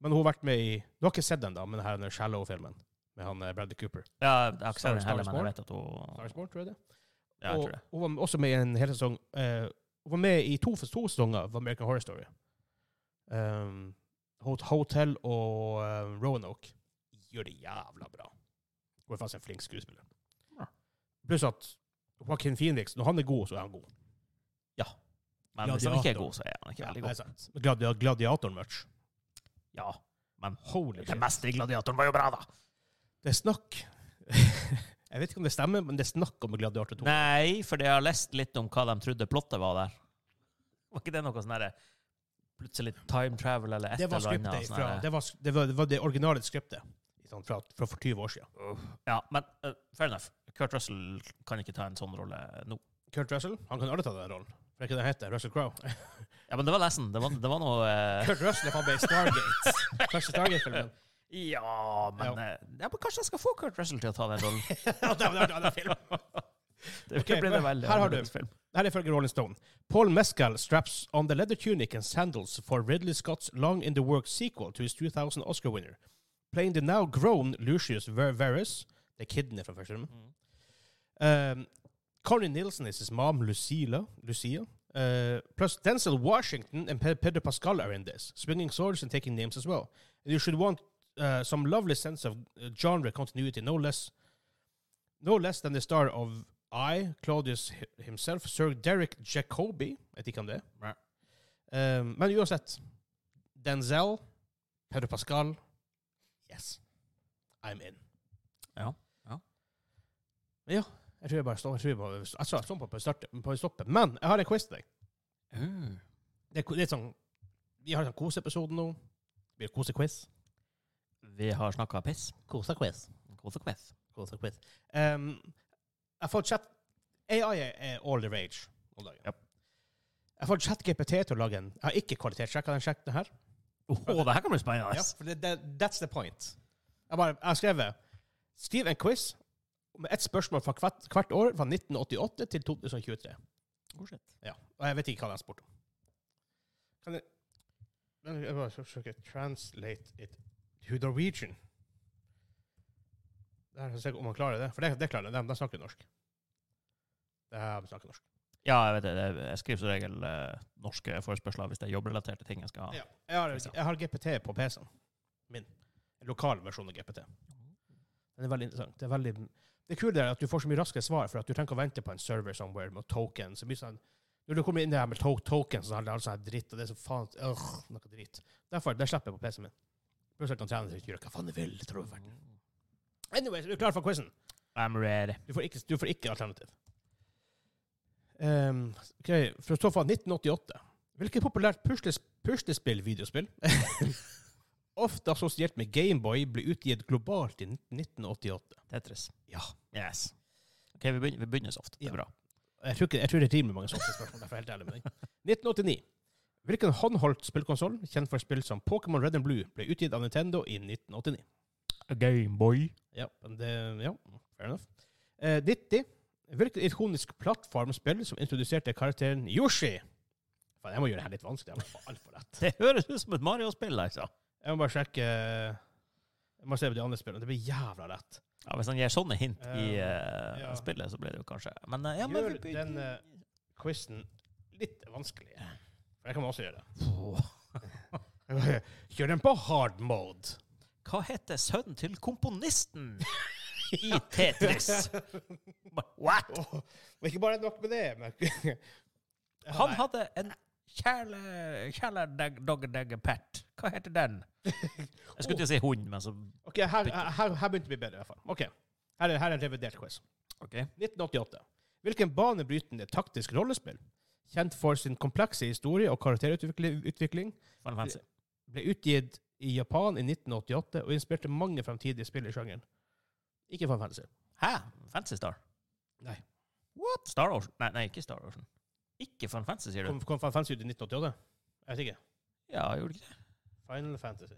Speaker 1: Men hun har vært med i Du har ikke sett den, da, men her den Shallow-filmen med han eh, Bradley Cooper.
Speaker 2: Ja, jeg har ikke sett
Speaker 1: Star-
Speaker 2: den heller,
Speaker 1: Star
Speaker 2: men
Speaker 1: Wars
Speaker 2: jeg vet at hun
Speaker 1: Starsport, tror jeg det.
Speaker 2: Ja, jeg
Speaker 1: og
Speaker 2: tror det.
Speaker 1: hun var også med i en hel sesong eh, Hun var med i to, to sesonger av American Horror Story. Um, Hot- Hotel og eh, Roanoke. Gjør det jævla bra. Hun er faktisk en flink skuespiller.
Speaker 2: Ja.
Speaker 1: Pluss at Joaquin Phoenix, når han er god, så er han god.
Speaker 2: Men hvis han ikke er
Speaker 1: Gladiator.
Speaker 2: god, så er han ikke veldig
Speaker 1: det er
Speaker 2: god.
Speaker 1: sant. Gladi Gladiator-merch.
Speaker 2: Ja, men
Speaker 1: Holy
Speaker 2: det
Speaker 1: shit.
Speaker 2: meste i Gladiatoren var jo bra, da!
Speaker 1: Det er snakk Jeg vet ikke om det stemmer, men det er snakk om Gladiator 2.
Speaker 2: Nei, for jeg har lest litt om hva de trodde plottet var der. Var ikke det noe sånn derre Plutselig time travel eller et
Speaker 1: det var
Speaker 2: eller annet.
Speaker 1: skriptet
Speaker 2: sånn
Speaker 1: fra,
Speaker 2: derre-
Speaker 1: det, var, det, var, det var det originale skriptet sånn, fra, fra for 20 år siden.
Speaker 2: Ja, men eh, fair enough. Kurt Russell kan ikke ta en sånn rolle nå.
Speaker 1: Kurt Russell, han kan aldri ta den rollen. For det er ikke det han heter, Russell Crowe.
Speaker 2: Ja, men det var nesten. Det var, det var noe eh,
Speaker 1: Kurt Russell er faen meg i Stargate. Første Stargate-filmen.
Speaker 2: Ja, men, uh,
Speaker 1: Ja.
Speaker 2: eh, ja, men kanskje jeg skal få Kurt Russell til å ta den rollen.
Speaker 1: Ja, det var- det var- det var filmen.
Speaker 2: Det
Speaker 1: Ok,
Speaker 2: ble det veldig
Speaker 1: her har du.
Speaker 2: annerledes film.
Speaker 1: Her er ifølge Rolling Stone. Paul Mescal straps on the leather tunic and sandals for Ridley Scott's Long in the Works sequel to his 2000 Oscar winner, playing the now grown Lucius Ver Verus, the kidney from first film.
Speaker 2: Mm.
Speaker 1: Um, Connie Nielsen is his mom, Lucila, Lucia. Uh, plus Denzel Washington and Pe- Pedro Pascal are in this, swinging swords and taking names as well. And you should want uh, some lovely sense of uh, genre continuity, no less, no less than the star of I, Claudius hi- himself, sir Derek Jacobi Jeg vet ikke om det.
Speaker 2: Nei.
Speaker 1: Um, men uansett Denzel, Pedro Pascal Yes. I'm in.
Speaker 2: Ja, ja.
Speaker 1: Men ja, jeg tror jeg bare står Jeg tror jeg bare Jeg sa jeg står på, på, start, på stoppet. Men jeg har en quiz til deg. Mm.
Speaker 2: Uh,
Speaker 1: Det er ko- litt sånn Vi har en sånn koseepisode nå. Det blir kosequiz.
Speaker 2: vi har snakka piss.
Speaker 1: Kosequiz.
Speaker 2: Kosequiz.
Speaker 1: Kosequiz. Um, jeg har fått chat AI er- er all the rage om dagen.
Speaker 2: Japp.
Speaker 1: Jeg har fått ChatGPT til å lage en Jeg har ikke kvalitetssjekka den sjekken her.
Speaker 2: Åh, det her kan bli spennende.
Speaker 1: Ja, for det, det, that's the point. Jeg, bare, jeg har skrevet Skriv en quiz med ett spørsmål fra hvert, hvert år fra 1988 til 2023.
Speaker 2: Oh, shit.
Speaker 1: Ja, og jeg vet ikke hva den spurte om. Kan jeg Men Jeg bare skal forsøke å translate it to Norwegian. Det her skal jeg se om han klarer det, for det, det klarer de. De snakker norsk. Det her de snakker norsk.
Speaker 2: Ja, jeg vet det. det. Jeg skriver som regel eh, norske forespørsler hvis det er jobbrelaterte ting jeg skal ha.
Speaker 1: Ja. Jeg, har, jeg har GPT på PC-en min. Mm. En lokal versjon av GPT. Men Det er veldig interessant. Det er veldig... Det kule er at du får så mye raskere svar, for at du trenger ikke å vente på en server somewhere med tokens. Så mye sånn, når du kommer inn der med to tokens, så har det all sånn dritt, og det er så faen øh, noe dritt. Derfor det slipper jeg på PC-en min. Plutselig kan trene seg gjøre hva faen du vil. det tror jeg verden. Anyways, er du klar for quizen?
Speaker 2: I'm ready.
Speaker 1: Du får ikke, du får ikke alternativ. Um, ok, For å stå fra 1988 Hvilket populært pusles- puslespill, videospill, ofte assosiert med Gameboy, ble utgitt globalt i 1988?
Speaker 2: Tetris.
Speaker 1: Ja.
Speaker 2: Yes. Ok, vi begynner, vi begynner soft. Det
Speaker 1: Ja.
Speaker 2: er bra.
Speaker 1: Jeg tror, ikke, jeg tror det rimer mange sånne spørsmål. derfor er jeg helt ærlig med deg. 1989. Hvilken håndholdt spillkonsoll, kjent for spill som Pokémon Red and Blue, ble utgitt av Nintendo i 1989?
Speaker 2: Gameboy.
Speaker 1: Ja, men det, ja fair enough. Eh, 90. Hvilket ikonisk plattformspill som introduserte karakteren Yoshi? Faen, jeg må gjøre det her litt vanskelig. Jeg var altfor lett.
Speaker 2: Det høres ut som et Mario-spill, altså.
Speaker 1: Jeg må bare sjekke Jeg må se på de andre spillene. Det blir jævla lett.
Speaker 2: Ja, Hvis han gir sånne hint i eh,
Speaker 1: ja.
Speaker 2: spillet, så blir det jo kanskje Men eh, ja, men
Speaker 1: Gjør
Speaker 2: vi begynner-
Speaker 1: den eh, quizen litt vanskelig. For jeg kan også gjøre det.
Speaker 2: Åh.
Speaker 1: Kjør den på hard mode.
Speaker 2: Hva heter sønnen til komponisten i Tetris? What?
Speaker 1: Åh, men ikke bare nok med det. Men
Speaker 2: Han hadde en kjæle... Kjæledogg-dogg-pert. Hva heter den? Jeg skulle til å si hund, men så
Speaker 1: Ok, her, her, her begynte det å bli bedre, i hvert fall. Ok, Her er, her er en revidert quiz.
Speaker 2: OK.
Speaker 1: 1988. Hvilken banebrytende taktisk rollespill, kjent for sin komplekse historie og karakterutvikling,
Speaker 2: Final Fantasy.
Speaker 1: ble utgitt i Japan i 1988 og inspirerte mange fremtidige spill i sjangeren? Ikke for fancy.
Speaker 2: Hæ? Fantasy Star?
Speaker 1: Nei.
Speaker 2: What? Star Ocean? Nei, nei ikke Star Ocean. Ikke Final Fantasy, sier
Speaker 1: Kom,
Speaker 2: du?
Speaker 1: kom fancy ut i 1988? Jeg vet ikke.
Speaker 2: Ja, gjorde det ikke det?
Speaker 1: Final Fantasy.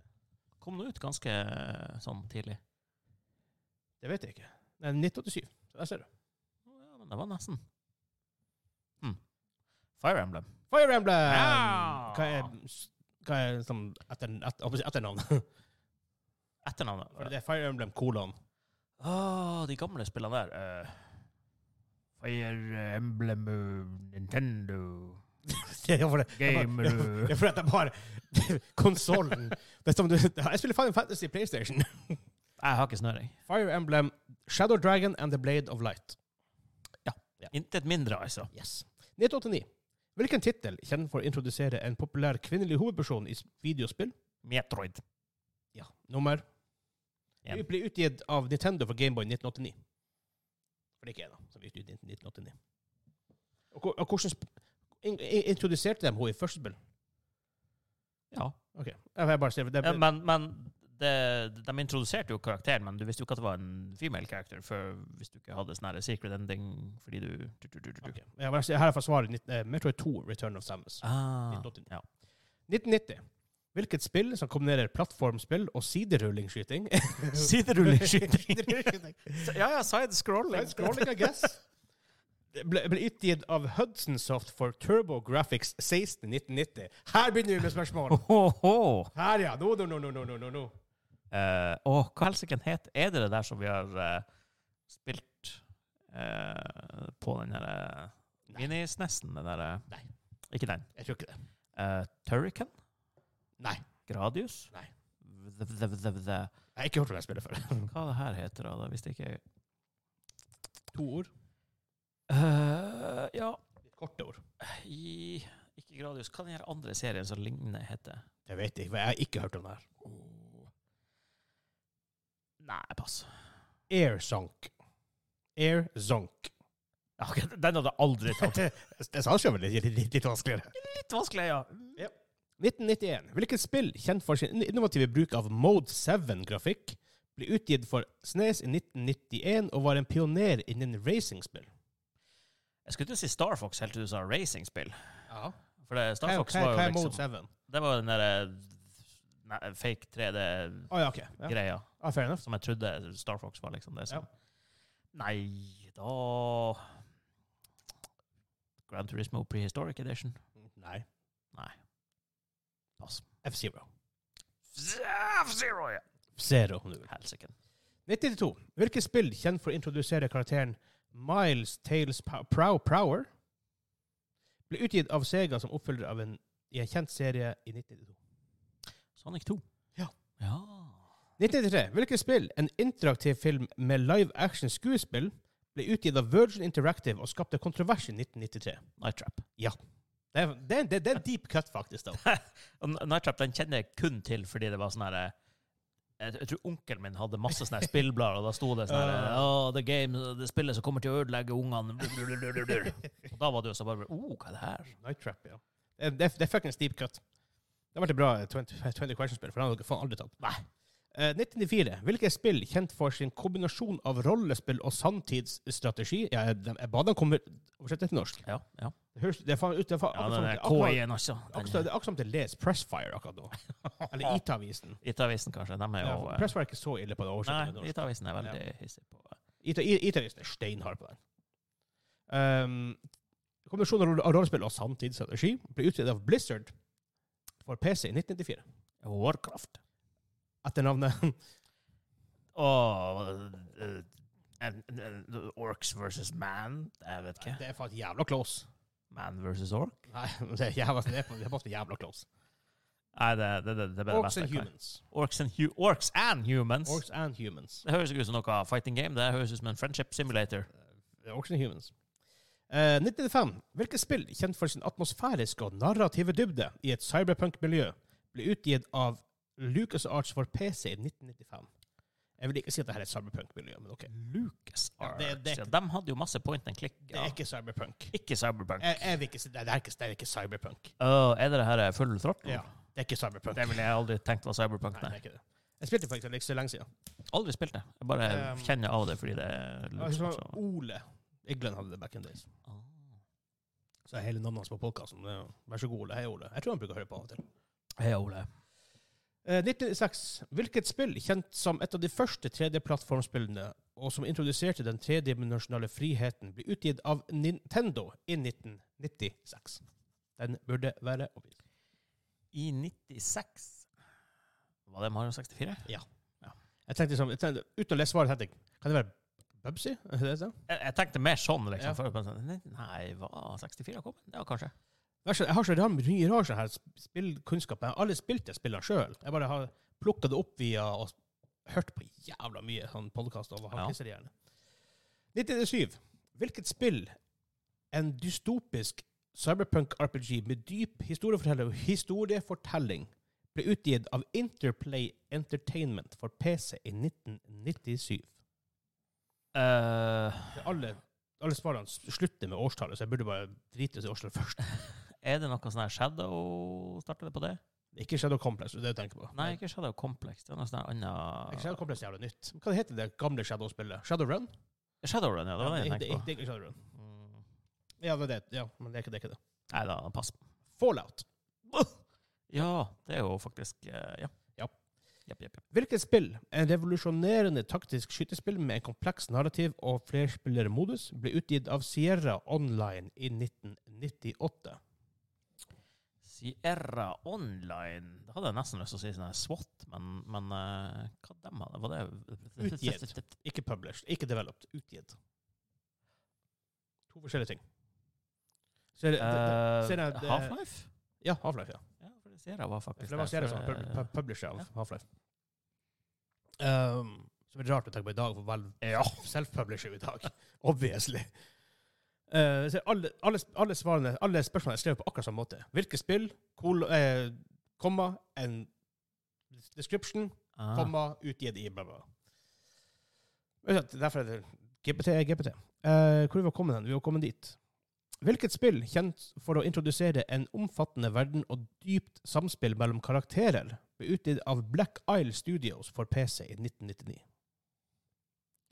Speaker 2: Kom nå ut ganske eh, sånn tidlig.
Speaker 1: Det vet jeg ikke. Nei, 1987. Så der ser du.
Speaker 2: Ja, men det var nesten. Hm. Fire Emblem.
Speaker 1: Fire Emblem!
Speaker 2: Ja!
Speaker 1: Hva er, hva er sånn etter, etter, jeg holdt på å si etternavn?
Speaker 2: Etternavnet.
Speaker 1: For det er Fire Emblem kolon.
Speaker 2: Å, de gamle spillene der. eh, Fire Emblem eh, Nintendo
Speaker 1: Det er for det.
Speaker 2: Gamer
Speaker 1: Det er for- Det er fordi at jeg bare Konsollen. Det er som du Jeg spiller Final Fantasy i PlayStation.
Speaker 2: Jeg har ikke snøring.
Speaker 1: Fire Emblem, Shadow Dragon and The Blade of Light.
Speaker 2: Intet mindre, altså.
Speaker 1: Yes. 1989. Hvilken tittel kjenner for å introdusere en populær kvinnelig hovedperson i s- videospill?
Speaker 2: Metroid.
Speaker 1: Ja. Nummer
Speaker 2: En.
Speaker 1: Det Ble utgitt av Nintendo for Gameboy i 1989. For det er ikke en, da, som ble utgitt i 1989. Og, hvor- og hvordan sp in in introduserte de henne i første spill?
Speaker 2: Ja.
Speaker 1: Ok, jeg vil bare se. Det,
Speaker 2: Eh, Men, men det, de introduserte jo karakteren, men du visste jo ikke at det var en female character før hvis du ikke hadde sånn her secret ending fordi du, du, du, du, du.
Speaker 1: Ok, jeg bare se- Her er fra svaret. nitt- eh, Metroid 2, Return of Samus.
Speaker 2: Ah,
Speaker 1: 1989.
Speaker 2: ja.
Speaker 1: 1990. Hvilket spill som kombinerer plattformspill og siderullingskyting?
Speaker 2: Siderulleskyting.
Speaker 1: Siderullingsskyting.
Speaker 2: ja, ja, side scrolling.
Speaker 1: Side scrolling, I guess. Det ble, ble utgitt av Hudson Soft for Turbo Graphics 16 1990. Her begynner vi med spørsmål.
Speaker 2: Ohoho.
Speaker 1: Her, ja. Nå, nå, nå, nå, nå, nå, nå, nå.
Speaker 2: Eh, åh, hva helsiken het? Er det det der som vi har eh, spilt eh, på den der eh,
Speaker 1: Nei.
Speaker 2: minisnessen? Den der, eh,
Speaker 1: Nei.
Speaker 2: Ikke den.
Speaker 1: Jeg tror ikke det.
Speaker 2: Eh, Turrican?
Speaker 1: Nei.
Speaker 2: Gradius?
Speaker 1: Nei.
Speaker 2: The, the, the, the.
Speaker 1: Jeg har ikke hørt om det spillet før.
Speaker 2: Hva det her heter da? Det visste ikke jeg.
Speaker 1: To ord.
Speaker 2: Eh, ja,
Speaker 1: Litt korte ord.
Speaker 2: i, ikke Gradius. Hva den her andre serien som ligner heter?
Speaker 1: Jeg vet ikke, for jeg har ikke hørt om det her.
Speaker 2: Nei, pass.
Speaker 1: Airzonk. Airzonk.
Speaker 2: Ja, ok, den hadde jeg aldri tatt.
Speaker 1: Det sa seg vel litt, litt, litt vanskeligere.
Speaker 2: Litt vanskelig, ja.
Speaker 1: 1991. Hvilket spill, kjent for sin innovative bruk av Mode 7-grafikk, ble utgitt for Snes i 1991 og var en pioner innen racingspill?
Speaker 2: Jeg skulle til å si Star Fox helt til du sa racingspill.
Speaker 1: Ja.
Speaker 2: For det,
Speaker 1: Hva
Speaker 2: Star
Speaker 1: er-
Speaker 2: Fox
Speaker 1: hva er-
Speaker 2: var
Speaker 1: hva
Speaker 2: jo
Speaker 1: er Mode
Speaker 2: liksom
Speaker 1: 7?
Speaker 2: Det var den derre fake 3D-greia
Speaker 1: Å ja, OK. Ja. Ja, fair enough.
Speaker 2: som jeg trodde Star Fox var, liksom. det som-
Speaker 1: Ja.
Speaker 2: Nei, da Grand Turismo Prehistoric Edition.
Speaker 1: Nei.
Speaker 2: Pass.
Speaker 1: F-Zero.
Speaker 2: Zero, ja.
Speaker 1: Zero, om du vil.
Speaker 2: Helsike.
Speaker 1: 1992. Hvilket spill, kjent for å introdusere karakteren Miles Tales Pow- Prow Prower, ble utgitt av Sega som oppfølger av en, i en kjent serie i 1992?
Speaker 2: Sonic 2.
Speaker 1: Ja.
Speaker 2: Ja.
Speaker 1: 1993. Hvilket spill, en interaktiv film med live action skuespill, ble utgitt av Virgin Interactive og skapte kontrovers i 1993?
Speaker 2: Night Trap.
Speaker 1: Det er, det, er- det, det er en deep cut, faktisk. da.
Speaker 2: Og N- Night Trap den kjenner jeg kun til fordi det var sånn herre jeg jeg tror onkelen min hadde masse sånne her spillblader, og da sto det sånn her oh, the game, det spillet som kommer til å ødelegge ungene. Og da var det jo så bare oh, hva er det her?
Speaker 1: Night Trap, ja. Det, er- det, er- det er fuckings deep cut. Det har vært et bra 20, 20 question-spill, for det har dere faen aldri tatt.
Speaker 2: Nei.
Speaker 1: Eh, 1994. Hvilket spill, kjent for sin kombinasjon av rollespill og sanntidsstrategi ja, Jeg, de- jeg ba dem komme oversette til norsk.
Speaker 2: Ja, ja.
Speaker 1: Det høres det er faen ut det er faen,
Speaker 2: ja
Speaker 1: akkurat
Speaker 2: den
Speaker 1: som-
Speaker 2: der
Speaker 1: akkurat-
Speaker 2: KI-en, altså.
Speaker 1: akkurat- sånn, det er akkurat som til Les Pressfire akkurat nå. Eller IT-avisen.
Speaker 2: IT-avisen, kanskje. De er
Speaker 1: Ja,
Speaker 2: jo
Speaker 1: for
Speaker 2: eh,
Speaker 1: Pressfire er ikke så ille på det oversettet.
Speaker 2: Nei,
Speaker 1: til norsk.
Speaker 2: IT-avisen er veldig hissig på
Speaker 1: IT- I- IT-avisen er steinhard på den. Um, kombinasjonen av roll- av rollespill og sanntidsstrategi ble utredet av Blizzard for PC i 1994.
Speaker 2: eh, Warcraft.
Speaker 1: Etter navnet
Speaker 2: Og eh, en- en- Orcs versus man. Jeg vet ikke.
Speaker 1: Det er faen jævla close.
Speaker 2: Man versus orc?
Speaker 1: Nei, men det er jævla, det er på- det er faktisk jævla close.
Speaker 2: Nei, det, det, det, det ble det
Speaker 1: Orcs
Speaker 2: beste.
Speaker 1: and
Speaker 2: jeg kan.
Speaker 1: humans.
Speaker 2: Orcs and, hu orcs and humans.
Speaker 1: Orcs and humans.
Speaker 2: Det høres ikke ut som noe fighting game. Det høres ut som en friendship simulator.
Speaker 1: Orcs and humans. Eh, 1995. Hvilket spill, kjent for sin atmosfæriske og narrative dybde i et cyberpunk-miljø, ble utgitt av LucasArts for PC i 1995? Jeg vil ikke si at dette er et cyberpunk-miljø, men OK.
Speaker 2: Lucas
Speaker 1: Ja,
Speaker 2: Arts.
Speaker 1: det-
Speaker 2: Ja,
Speaker 1: det-
Speaker 2: de hadde jo masse point and click.
Speaker 1: Det
Speaker 2: Mm, Ja.
Speaker 1: er ikke
Speaker 2: Ikke,
Speaker 1: Eh. cyberpunk.
Speaker 2: Cyberpunk.
Speaker 1: Jeg, jeg vil ikke si, det, er ikke, det er ikke cyberpunk.
Speaker 2: Åh, er det det her full throttle?
Speaker 1: Ja, det er ikke cyberpunk.
Speaker 2: Det ville jeg aldri tenkt var cyberpunk.
Speaker 1: Nei, det
Speaker 2: Nei.
Speaker 1: er ikke det. Jeg spilte faktisk ikke så lenge siden.
Speaker 2: Aldri spilt det. Jeg bare
Speaker 1: Um, altså,
Speaker 2: kjenner av det fordi det er
Speaker 1: Jeg
Speaker 2: Lucas
Speaker 1: husker
Speaker 2: Arts.
Speaker 1: det var Ole Iglen hadde det back in days. Så er hele navnet hans på podkasten. Vær så god, Ole. Hei, Ole. Jeg tror han bruker å høre på av og til.
Speaker 2: Hei, Ole.
Speaker 1: Eh, 1996. Hvilket spill, kjent som et av de første 3D-plattformspillene, og som introduserte den tredimensjonale friheten, ble utgitt av Nintendo i 1996? Den burde være oppgitt.
Speaker 2: I 96 Var det Mario 64?
Speaker 1: Jeg tenkte som, jeg tenkte, Uten å lese svaret tenkte jeg Kan det være Bubsy? Er det det?
Speaker 2: Jeg, jeg tenkte mer sånn, liksom.
Speaker 1: Ja.
Speaker 2: før, men sånn, Nei, var 64 kommet? Ja, kanskje.
Speaker 1: Vær så- Jeg har så rar, mye rar sånn her sp- spillkunnskap. Jeg har aldri spilt det spillet sjøl. Jeg bare har plukka det opp via og hørt på jævla mye sånn podkast over
Speaker 2: Ja.
Speaker 1: hankeseriene. 1997. Hvilket spill, en dystopisk cyberpunk-RPG med dyp historiefortelling, historiefortelling ble utgitt av Interplay Entertainment for PC i 1997?
Speaker 2: Eh,
Speaker 1: Det er Alle, alle svarene s- slutter med årstallet, så jeg burde bare drite i årstallet først.
Speaker 2: er det noe sånn her Shadow Starter det på det?
Speaker 1: Ikke Shadow Complex, det er det jeg tenker på.
Speaker 2: Nei, ikke Shadow Complex. Det er noe sånn her
Speaker 1: Er ikke
Speaker 2: annet
Speaker 1: Shadow Complex jævla nytt? Hva heter det gamle Shadow-spillet? Shadowrun?
Speaker 2: Shadowrun, ja. Det var
Speaker 1: det,
Speaker 2: det jeg
Speaker 1: det,
Speaker 2: tenkte på.
Speaker 1: det er ikke Shadowrun.
Speaker 2: Mm.
Speaker 1: Ja, det er det. Ja, men det er ikke det. Er ikke det.
Speaker 2: Nei da, pass.
Speaker 1: Fallout.
Speaker 2: Ja, det er jo faktisk eh, Ja.
Speaker 1: Ja.
Speaker 2: Jepp, jepp, jepp.
Speaker 1: Hvilket spill, en revolusjonerende taktisk skytespill med en kompleks narrativ og flerspillermodus, ble utgitt av Sierra Online i 1998?
Speaker 2: Sierra Online Det hadde jeg nesten lyst til å si sånn her SWAT, men, men eh, hva dem hadde? Var det
Speaker 1: Utgitt. Ikke published, ikke developed, utgitt. To forskjellige ting. Ser, det-
Speaker 2: Eh,
Speaker 1: ser jeg det-
Speaker 2: Half-Life?
Speaker 1: ja, Half-Life, ja.
Speaker 2: Ja, for det Sierra var
Speaker 1: For
Speaker 2: faktisk
Speaker 1: det var
Speaker 2: der,
Speaker 1: serien som
Speaker 2: for,
Speaker 1: pub-
Speaker 2: eh,
Speaker 1: pub- publisher av
Speaker 2: ja.
Speaker 1: Half-Life. Um, som er rart å tenke på i dag, for Valve
Speaker 2: Ja.
Speaker 1: self-publisher i dag. Obviously. Eh, så alle, alle, alle svarene, alle spørsmålene er skrevet på akkurat samme måte. Hvilket spill, kol, eh, komma, en description,
Speaker 2: Ah.
Speaker 1: komma, utgitt i bla, bla. Men sant, Derfor er det GPT er GPT. Eh, hvor er vi kommet hen? Vi har kommet dit. Hvilket spill, kjent for å introdusere en omfattende verden og dypt samspill mellom karakterer, ble utgitt av Black Isle Studios for PC i 1999?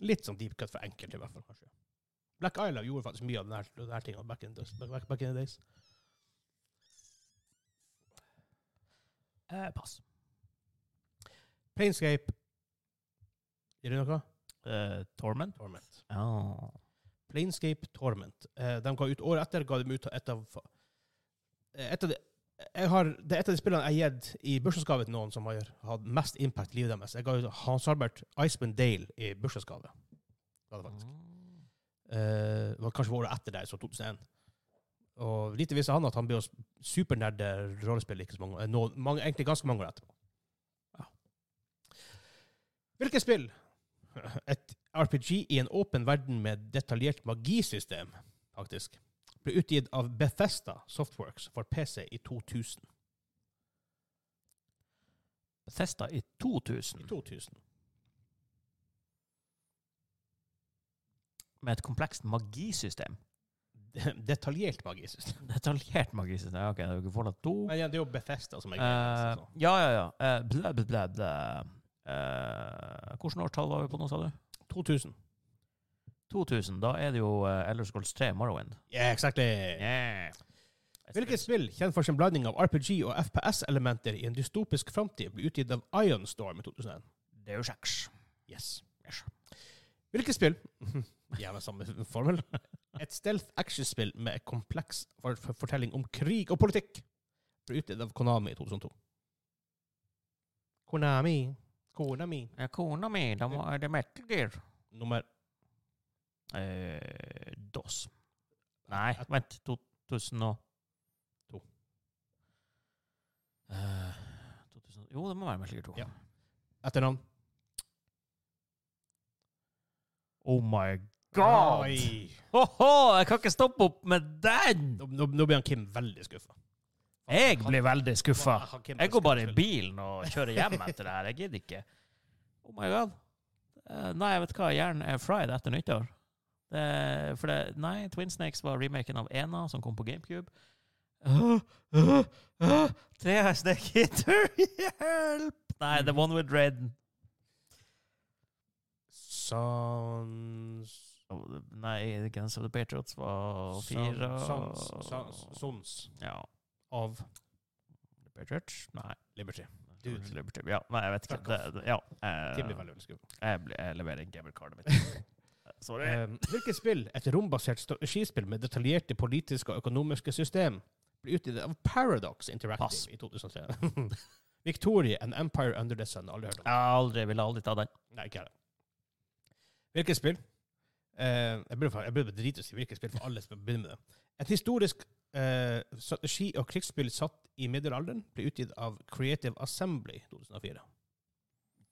Speaker 1: Litt sånn deep cut for enkelte, i hvert fall. kanskje. Black Isle gjorde faktisk mye av denne, denne tinga back, in the- back, back in the days.
Speaker 2: Eh, pass.
Speaker 1: Planescape Gjør det noe?
Speaker 2: Eh, Torment?
Speaker 1: Torment.
Speaker 2: Ja.
Speaker 1: Planescape Torment. Eh, de ga ut året etter, ga de ut et av eh, et av de, jeg har, Det er et av de spillene jeg har gitt i bursdagsgave til noen som har hatt mest impact i livet deres. Jeg ga ut Hans Albert Iceman Dale i bursdagsgave. Det var det faktisk.
Speaker 2: Mm.
Speaker 1: Eh, det var kanskje året etter det, så 2001. Og lite visste han at han ble å supernerde rollespill ikke så mange, eh, noen, mange, egentlig ganske mange år etterpå. Ja. Hvilket spill? Et RPG i en åpen verden med detaljert magisystem, faktisk, ble utgitt av Bethesda Softworks for PC i 2000.
Speaker 2: Bethesda i 2000,
Speaker 1: I 2000.
Speaker 2: med et komplekst magisystem.
Speaker 1: Detaljert magisystem.
Speaker 2: Detaljert magisystem. Ja, ok, det er jo ikke Fallout 2.
Speaker 1: Men igjen, det altså. er jo Bethesda som er
Speaker 2: Eh,
Speaker 1: greia. så-
Speaker 2: ja, ja, ja. Eh, blæ, blæ, blæ, blæ. Eh, Hvilket årstall var vi på nå, sa du?
Speaker 1: 2000.
Speaker 2: 2000. Da er det jo uh, Elder Scrolls 3 Morrowind.
Speaker 1: Yeah, exactly.
Speaker 2: Yeah.
Speaker 1: Hvilket spill, kjent for sin blanding av RPG og FPS-elementer i en dystopisk framtid, ble utgitt av Ironstorm i 2001?
Speaker 2: eh, Det er jo kjeks.
Speaker 1: Yes.
Speaker 2: Yes.
Speaker 1: Hvilket spill Gjerne samme formel. Et stealth action-spill med en kompleks for for fortelling om krig og politikk ble utgitt av Konami i 2002. Konami. Konami.
Speaker 2: Ja, kona mi, da må, er det Metal Gear.
Speaker 1: Nummer
Speaker 2: Eh, DOS. Nei, vent. 2002.
Speaker 1: To.
Speaker 2: Eh, 2000, jo, det må være Metal Gear 2.
Speaker 1: Ja. Etternavn?
Speaker 2: Oh my god!
Speaker 1: Oi.
Speaker 2: Hoho, jeg kan ikke stoppe opp med den!
Speaker 1: Nå, nå, nå blir han Kim veldig skuffa.
Speaker 2: Jeg blir veldig skuffa. Jeg går bare i bilen og kjører hjem etter det her. Jeg gidder ikke. Oh my god. Eh, Nei, vet du hva? Hjernen er fried etter nyttår. Det, for det, nei, Twin Snakes var remaken av Ena, som kom på GameCube. Uh, uh, uh, tre er Snake Hitter! Hjelp! Nei, The One With Raiden.
Speaker 1: Sans...
Speaker 2: Oh, Nei, Guns of the Patriots var fire.
Speaker 1: Sons, sons, sons
Speaker 2: Ja.
Speaker 1: av
Speaker 2: The Patriots? Nei.
Speaker 1: Liberty. Dude.
Speaker 2: Dude. Liberty. Ja, nei, jeg vet ikke.
Speaker 1: Fuck
Speaker 2: Det,
Speaker 1: off.
Speaker 2: det, ja. eh,
Speaker 1: Kim blir veldig skuffet.
Speaker 2: Jeg, ble- jeg leverer ikke gamblekartet mitt. Sorry.
Speaker 1: Um, hvilket spill, et rombasert strategispill med detaljerte politiske og økonomiske system, ble utgitt av Paradox Interactive
Speaker 2: Pass.
Speaker 1: i 2003? Victoria and Empire Under the Sun. Aldri hørt om.
Speaker 2: Jeg har aldri, ville aldri ta den.
Speaker 1: Nei, ikke heller. Hvilket spill? Eh, jeg burde fa- jeg burde drite i å si hvilket spill, for alle skal begynne med det. Et historisk eh, strategi- og krigsspill satt i middelalderen ble utgitt av Creative Assembly 2004.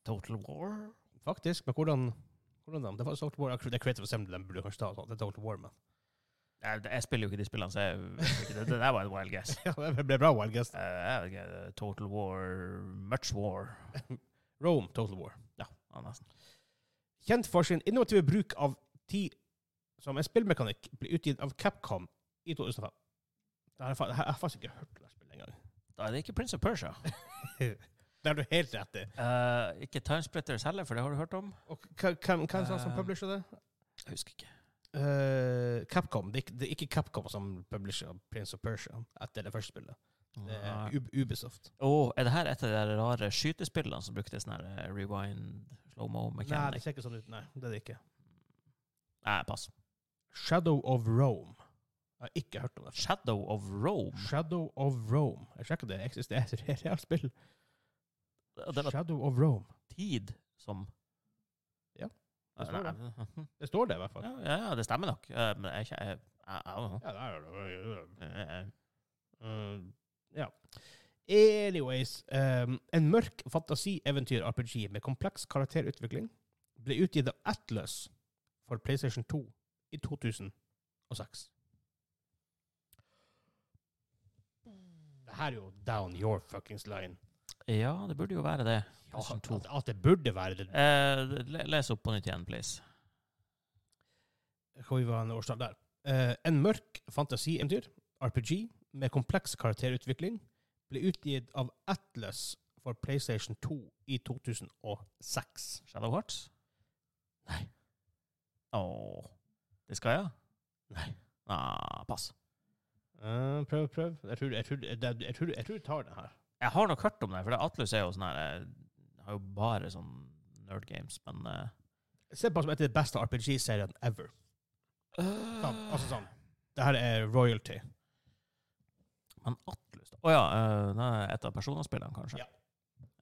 Speaker 2: Total War?
Speaker 1: Faktisk, men hvordan, hvordan da? Det var Total War, det er Creative Assembly de burde kanskje ta, sånn. det er Total War, men.
Speaker 2: Jeg, jeg spiller jo ikke de spillene, så jeg vet ikke. Det, det der var en wild guess.
Speaker 1: Ja, det ble bra, Wild Guess.
Speaker 2: Eh, jeg vet ikke, Total War Much War.
Speaker 1: Rome, Total War.
Speaker 2: Ja, nesten.
Speaker 1: Kjent for sin innovative bruk av tid som en spillmekanikk, ble utgitt av Capcom i 2005. Det her er fa- Jeg har faktisk ikke hørt det spillet engang.
Speaker 2: Da er det ikke Prince of Persia.
Speaker 1: Det har du helt rett i.
Speaker 2: Eh, ikke Timesplitters heller, for det har du hørt om?
Speaker 1: Og hvem- hvem hvem sa som
Speaker 2: Eh.
Speaker 1: publisher det?
Speaker 2: Jeg husker ikke.
Speaker 1: Eh, Capcom. Det er, ikke, det er ikke Capcom som publisher Prince of Persia etter det første spillet. Det er Ub Ubisoft.
Speaker 2: Åh, er det her et av de der rare skytespillene som brukte sånn her eh, rewind, slow-mo
Speaker 1: Nei, det
Speaker 2: mechanic?
Speaker 1: ser ikke sånn ut. Nei, det er det ikke.
Speaker 2: Nei, pass.
Speaker 1: Shadow of Rome. Jeg har ikke hørt om det.
Speaker 2: Shadow of Rome.
Speaker 1: Shadow of Rome. Jeg sjekker det eksisterer i reelt spill.
Speaker 2: Og Det var
Speaker 1: Shadow of Rome.
Speaker 2: tid som
Speaker 1: Ja, det
Speaker 2: det
Speaker 1: står
Speaker 2: Nei,
Speaker 1: det. Det står det, i hvert fall.
Speaker 2: ja, ja, ja, det stemmer nok. Eh, Men jeg er ikke Eh, jeg, jeg, jeg,
Speaker 1: Ja, det er det.
Speaker 2: jeg, jeg.
Speaker 1: Mm, ja. Anyways, ehm, en mørk fantasi-eventyr-RPG med kompleks karakterutvikling ble utgitt av Atlas for PlayStation 2 i 2006. Det her er jo down your fuckings line.
Speaker 2: eh. Ja, det burde jo være det. PlayStation 2.
Speaker 1: at, at det burde være det.
Speaker 2: Eh, le- les opp på nytt igjen, please.
Speaker 1: Hva var en årstall der? Eh, en mørk fantasi-eventyr, RPG, med kompleks karakterutvikling, ble utgitt av Atlas for PlayStation 2 i 2006.
Speaker 2: Shadow Hearts? Nei. Åh. Det skal jeg?
Speaker 1: Nei.
Speaker 2: Ah, pass.
Speaker 1: Eh, prøv, prøv. Jeg tror, jeg, tror, jeg, tror, jeg, tror, jeg tror du tar den her.
Speaker 2: Jeg har nok hørt om det, for det Atlus er jo sånn her eh, Har jo bare sånn nerd games, men eh,
Speaker 1: Se på som et av de beste RPG-seriene ever. Sånn, altså sånn. Det her er royalty.
Speaker 2: Men Atlus Å ja, eh, det er et av personaspillene, kanskje?
Speaker 1: Ja.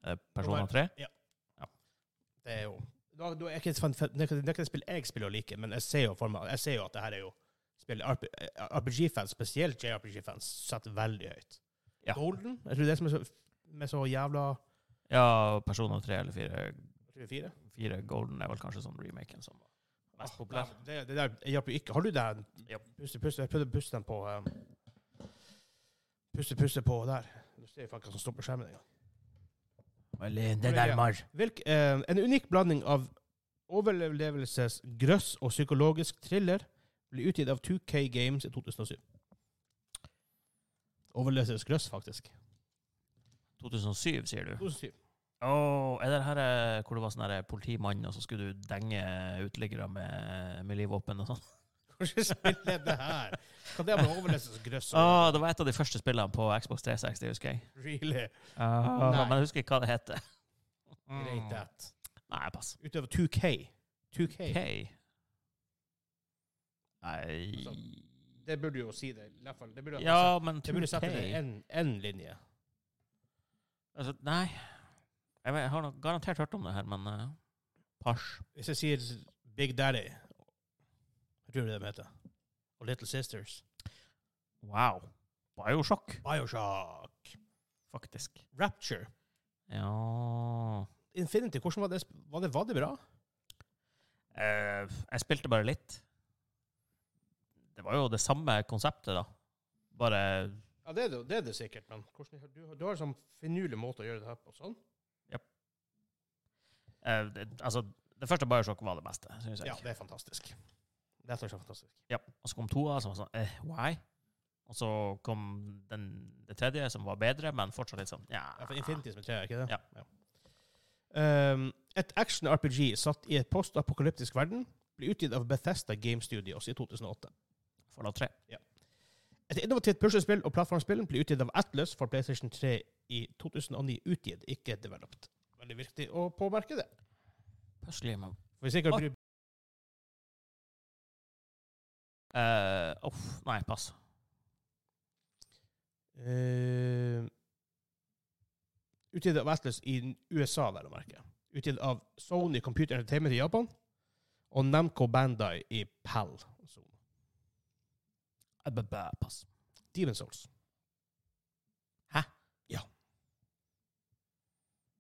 Speaker 2: Eh, Persona 3?
Speaker 1: Det er jo da, da, er ikke et fan- Det er ikke det er ikke et spill jeg spiller og liker, men jeg ser jo, for meg, jeg ser jo at det her er jo spill eh, RPG-fans, spesielt JRPG-fans, setter veldig høyt.
Speaker 2: Ja.
Speaker 1: Golden? Jeg tror det er som er så, med så jævla
Speaker 2: Ja, Persona 3 eller 4.
Speaker 1: 24?
Speaker 2: 4 Golden er vel kanskje sånn remaken som var mest populær.
Speaker 1: Det, det der jeg hjelper jo ikke. Har du den?
Speaker 2: Ja.
Speaker 1: Puste, puste. Jeg prøvde å puste den på um, Puste, puste på der. Du ser jo faktisk hva som står på skjermen. engang.
Speaker 2: Malin,
Speaker 1: det der,
Speaker 2: marr.
Speaker 1: Hvilk, eh, en unik blanding av overlevelsesgrøss og psykologisk thriller ble utgitt av 2K Games i 2007. Overlevelsesgrøss, faktisk.
Speaker 2: 2007, sier du?
Speaker 1: 2007.
Speaker 2: Å, er det her eh, hvor det var sånn her politimann, og så skulle du denge eh, uteliggere med, med livvåpen og sånn?
Speaker 1: Hvordan spiller det her? Hva det er med overlevelsesgrøss?
Speaker 2: Å, Ah, det var et av de første spillene på Xbox 360, husker jeg.
Speaker 1: Really?
Speaker 2: Ah,
Speaker 1: Nei.
Speaker 2: men jeg husker ikke hva det heter. Mm.
Speaker 1: Great that.
Speaker 2: Nei, pass.
Speaker 1: Utover 2K. 2K.
Speaker 2: OK. Nei
Speaker 1: Det burde jo si det. I hvert fall. Det burde,
Speaker 2: Ja, men
Speaker 1: det burde sette det
Speaker 2: 2K
Speaker 1: én linje.
Speaker 2: altså, Nei. Jeg, vet, jeg har nok garantert hørt om det her, men eh, Pars.
Speaker 1: Hvis jeg sier Big Daddy Jeg tror det er det de heter. Og Little Sisters.
Speaker 2: Wow. Biosjokk,
Speaker 1: Bioshock.
Speaker 2: faktisk.
Speaker 1: Rapture.
Speaker 2: Ja
Speaker 1: Infinity, hvordan var det? sp- Var det, var det bra?
Speaker 2: Eh, Jeg spilte bare litt. Det var jo det samme konseptet, da. Bare
Speaker 1: Ja, det er det, det, er det sikkert, men hvordan, du, har- du har en sånn finurlig måte å gjøre det her på. sånn.
Speaker 2: eh, det, Altså, det første Biosjokk var det beste, syns jeg.
Speaker 1: Ja, det er fantastisk. Det er faktisk fantastisk.
Speaker 2: Ja. Og så kom toa, som var sånn eh, Why? Og så kom den, det tredje, som var bedre, men fortsatt litt sånn Ja.
Speaker 1: Ja, for Infinity som er tre, er ikke det?
Speaker 2: Ja.
Speaker 1: Um, et action-RPG satt i et postapokalyptisk verden ble utgitt av Bethesda Game Studios i 2008.
Speaker 2: Fallout 3.
Speaker 1: Et innovativt puslespill og plattformspill ble utgitt av Atlas for PlayStation 3 i 2009. Utgitt, ikke developed. Veldig viktig å påmerke det.
Speaker 2: Plutselig, men
Speaker 1: For hvis ikke
Speaker 2: Ah.
Speaker 1: blir
Speaker 2: Eh, uff, nei, pass.
Speaker 1: Eh, Utgitt av Atlas i USA, vel å merke. Utgitt av Sony Computer Entertainment i Japan og Namco Bandai i PAL.
Speaker 2: Eh, bæ, bæ, pass.
Speaker 1: Demon Souls.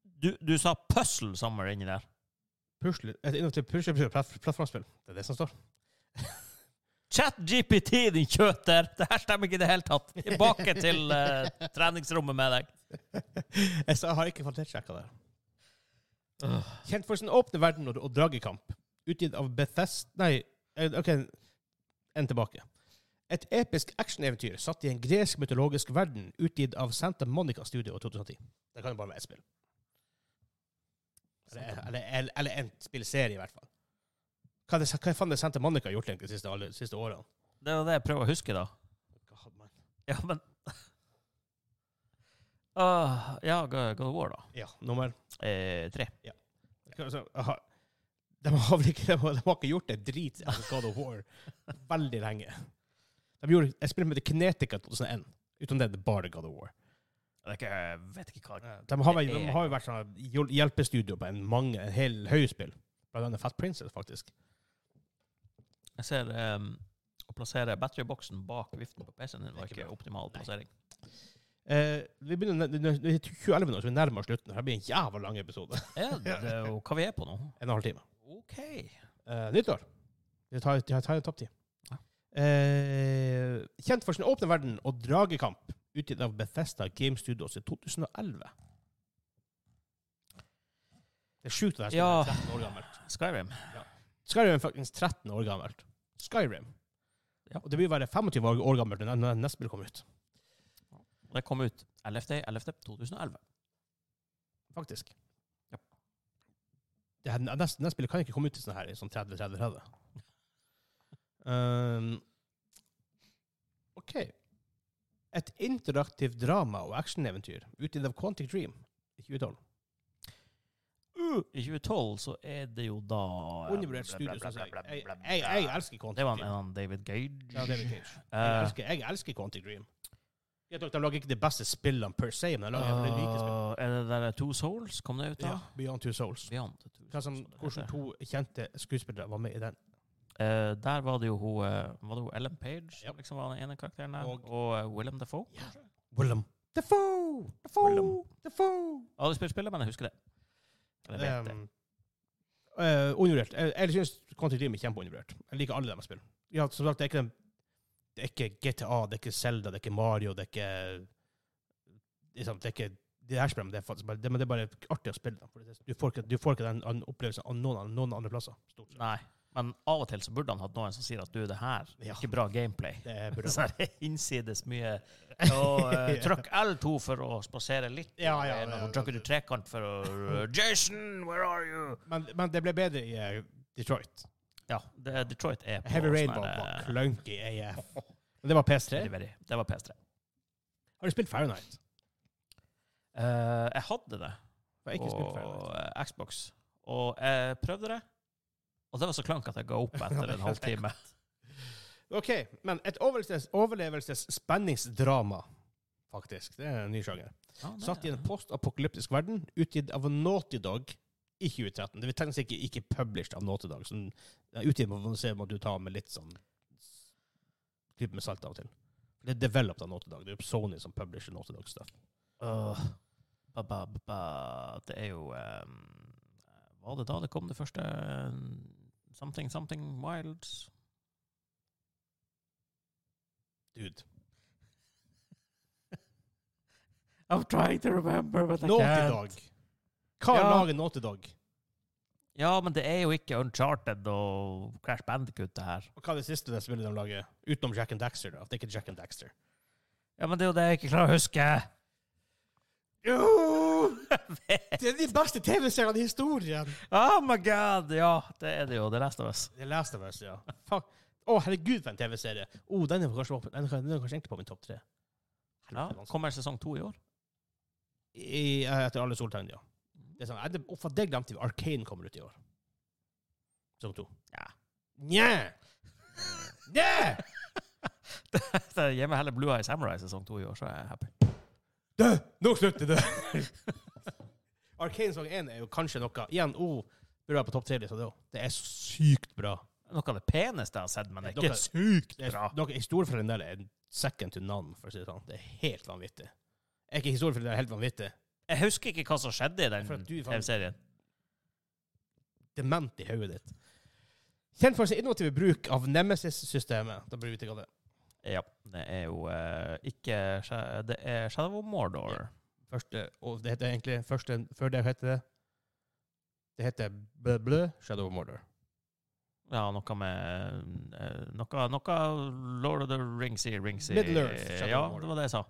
Speaker 2: Du, du sa puzzle somewhere inni der.
Speaker 1: Pusle, et innovativt puslespill og platt- plattformspill. Det er det som står.
Speaker 2: ChatGPT, din kjøter! Det her stemmer ikke i det hele tatt. Tilbake til eh, treningsrommet med deg.
Speaker 1: Jeg sa- jeg har ikke kvalitetssjekka det. Kjent for sin åpne verden og, og dragekamp. Utgitt av Bethesda Nei, eh, OK, en tilbake. Et episk actioneventyr satt i en gresk mytologisk verden, utgitt av Santa Monica Studio i 2010. Det kan jo bare være ett spill. Eller, eller, eller, eller en spillserie, i hvert fall. Hva, er det, hva faen er Santa Monica gjort egentlig de siste, alle- de siste årene?
Speaker 2: Det var det jeg prøver å huske, da.
Speaker 1: God, man.
Speaker 2: Ja, men Åh, Ah, ja, God God of War, da.
Speaker 1: Ja, nummer
Speaker 2: Eh, tre.
Speaker 1: Altså, aha. De har vel ikke, de har, de har ikke gjort det drit etter God of War veldig lenge. De gjorde, jeg spilte med The Kinetica 2001. Uten det er det bare God of War.
Speaker 2: Det er ikke, jeg vet ikke hva
Speaker 1: De har, vel- de har jo vært sånn hjel- hjelpestudio på en, mange, en hel haug spill. Blant annet Fat Princess, faktisk.
Speaker 2: Jeg ser um, å plassere batteryboksen bak viften på PC-en din
Speaker 1: Det
Speaker 2: var
Speaker 1: er ikke
Speaker 2: ikke
Speaker 1: bra.
Speaker 2: optimal plassering.
Speaker 1: Eh, vi begynner, det er 2011 nå, så vi nærmer oss slutten. Dette blir en jævla lang episode.
Speaker 2: Ja, det er jo hva vi er på nå.
Speaker 1: En og en halv time.
Speaker 2: OK.
Speaker 1: Eh, nyttår. Det tar, det tar en topp ti.
Speaker 2: Ja.
Speaker 1: Eh, kjent for sin åpne verden og dragekamp, utgitt av Bethesda Game Studios i 2011. Det er sjukt å være
Speaker 2: Ja.
Speaker 1: 13 år gammelt.
Speaker 2: Skyrim.
Speaker 1: Skyrim er faktisk 13 år gammelt. Skyrim.
Speaker 2: Ja.
Speaker 1: Og det vil være 25 år- år gammelt når når neste spill kommer ut.
Speaker 2: Det kom ut 11.11.2011.
Speaker 1: Faktisk.
Speaker 2: Ja.
Speaker 1: Det her, neste, neste spillet kan ikke komme ut til sånn her, i sånn 30-30-30. Um, OK. Et interaktivt drama og actioneventyr utgitt av Quantic Dream i 2012.
Speaker 2: I 2012 så er det jo da
Speaker 1: Undervurdert studio, synes jeg. Jeg, jeg. jeg elsker Quantic
Speaker 2: Det var en,
Speaker 1: Dream.
Speaker 2: en David Gage.
Speaker 1: Ja, David Cage. Jeg
Speaker 2: Eh,
Speaker 1: elsker, jeg elsker Quantic Dream. Jeg tror De lager ikke de beste spillene per se, men de lager uh, like spill.
Speaker 2: eh, er det der Two Souls? Kom det ut da?
Speaker 1: Ja, Beyond Two Souls.
Speaker 2: Beyond Two Souls.
Speaker 1: Hva som,
Speaker 2: det
Speaker 1: hvordan
Speaker 2: heter.
Speaker 1: to kjente skuespillere var med i den?
Speaker 2: Eh, der var det jo hun, eh, var det hun Ellen Page
Speaker 1: Ja.
Speaker 2: som liksom var den ene karakteren der,
Speaker 1: Og-
Speaker 2: og, eh, Willem Dafoe.
Speaker 1: Ja. Willem. Defoe! Defoe!
Speaker 2: Willem.
Speaker 1: Defoe!
Speaker 2: Jeg har aldri spilt spillet, men jeg husker det. Eller vet det.
Speaker 1: Um, eh, undervurdert. Jeg, jeg syns Quantic Dream er kjempeundervurdert. Jeg liker alle deres spill. Ja, som sagt, det er ikke den det er ikke GTA, det er ikke Zelda, det er ikke Mario, det er ikke liksom, Det er ikke de her spillene, men det er faktisk bare, det, men det er bare artig å spille dem. for det- Du får ikke, du får ikke den an- opplevelsen av noen, an- noen andre plasser. Stort sett.
Speaker 2: Nei, men av og til så burde han hatt noen som sier at du, det her er
Speaker 1: Ja.
Speaker 2: ikke bra gameplay.
Speaker 1: Det er bra.
Speaker 2: Så er det innsides mye og, eh, Trykk L2 for å spasere litt.
Speaker 1: Ja, ja,
Speaker 2: og
Speaker 1: ja.
Speaker 2: trykker du trekant for å Jason, where are you?
Speaker 1: Men, men det ble bedre i eh, Detroit.
Speaker 2: Ja, det, Detroit er på
Speaker 1: Heavy
Speaker 2: sånn
Speaker 1: Rain
Speaker 2: her,
Speaker 1: var, var
Speaker 2: eh,
Speaker 1: clunky AF. Men det var PS3.
Speaker 2: delivery. Det var PS3.
Speaker 1: Har du spilt Fahrenheit?
Speaker 2: Eh, jeg hadde det.
Speaker 1: Jeg har ikke spilt
Speaker 2: og
Speaker 1: Fahrenheit.
Speaker 2: eh, Xbox. Og jeg prøvde det, og det var så klank at jeg ga opp
Speaker 1: Ja,
Speaker 2: etter
Speaker 1: det
Speaker 2: en halvtime.
Speaker 1: OK, men et overlevelses, overlevelsesspenningsdrama, faktisk. Det er en ny sjanger.
Speaker 2: Ja, det-
Speaker 1: Satt i en postapokalyptisk verden, utgitt av Naughty Dog i 2013. Det vil tegnes ikke, ikke published av Naughty Dog. Sånn, det er utgitt må man se om du tar med litt sånn klype med salt av og til. Det er developed av Naughty Dog. Det er jo Sony som publisher Naughty Dog stuff.
Speaker 2: Åh, ba, ba, ba, ba. Det er jo eh, Var det da det kom det første eh, Something Something Wilds?
Speaker 1: Dude.
Speaker 2: I'm trying to remember, but
Speaker 1: Naughty Dog. Hva
Speaker 2: Ja.
Speaker 1: lager Naughty Dog?
Speaker 2: Ja, men det er jo ikke Uncharted og Crash Bandicoot, det her.
Speaker 1: Og hva er det siste det spillet de lager? Utenom Jack and Daxter, da. Det er ikke Jack and Daxter.
Speaker 2: Ja, men det er jo det jeg ikke klarer å huske.
Speaker 1: Jo!
Speaker 2: Jeg vet.
Speaker 1: Det er de beste TV-seriene i historien!
Speaker 2: oh my god! Ja, det er det jo. Det leste oss.
Speaker 1: The Last of Us, ja. Fuck. Å, herregud, for en TV-serie! Oh, den er kanskje, på- den er, den er kanskje egentlig på min topp tre.
Speaker 2: Ja, kommer sesong to i år?
Speaker 1: I, eh, etter alle soltegn, ja. Det er sånn, eh, det, oh, for det glemte vi. Arcane kommer ut i år. Sesong to.
Speaker 2: Ja.
Speaker 1: Nja! Nja!
Speaker 2: Det gir meg heller Blue Eye Samurai sesong to i år, så er jeg happy.
Speaker 1: Du! Nå slutter du! Arcane sesong én er jo kanskje noe Igjen, oh, burde være på topp tre-lista, det òg. Det er sykt bra.
Speaker 2: Noe av det peneste jeg har sett, men det er
Speaker 1: Dere-
Speaker 2: ikke sykt
Speaker 1: Det er,
Speaker 2: bra.
Speaker 1: dere, historiefortellingen der er second to none, for å si det sånn. Det er helt vanvittig. Er ikke historiefortellingen helt vanvittig?
Speaker 2: Jeg husker ikke hva som skjedde i
Speaker 1: For at
Speaker 2: den
Speaker 1: du var-
Speaker 2: TV-serien.
Speaker 1: Dement i hodet ditt. Kjent for sin innovative bruk av Nemesis-systemet. Da blir vi ikke av det.
Speaker 2: Ja, det er jo eh, ikke Sha- Det er Shadow of Mordor.
Speaker 1: Første, og det heter egentlig første, Før det heter det Det heter Blø Blø Shadow of Mordor.
Speaker 2: Ja, noe med eh, noe, noe Lord of the Ringsy Ringsy
Speaker 1: Middle-earth, Shadow
Speaker 2: Ja,
Speaker 1: of Mordor.
Speaker 2: det var det jeg sa.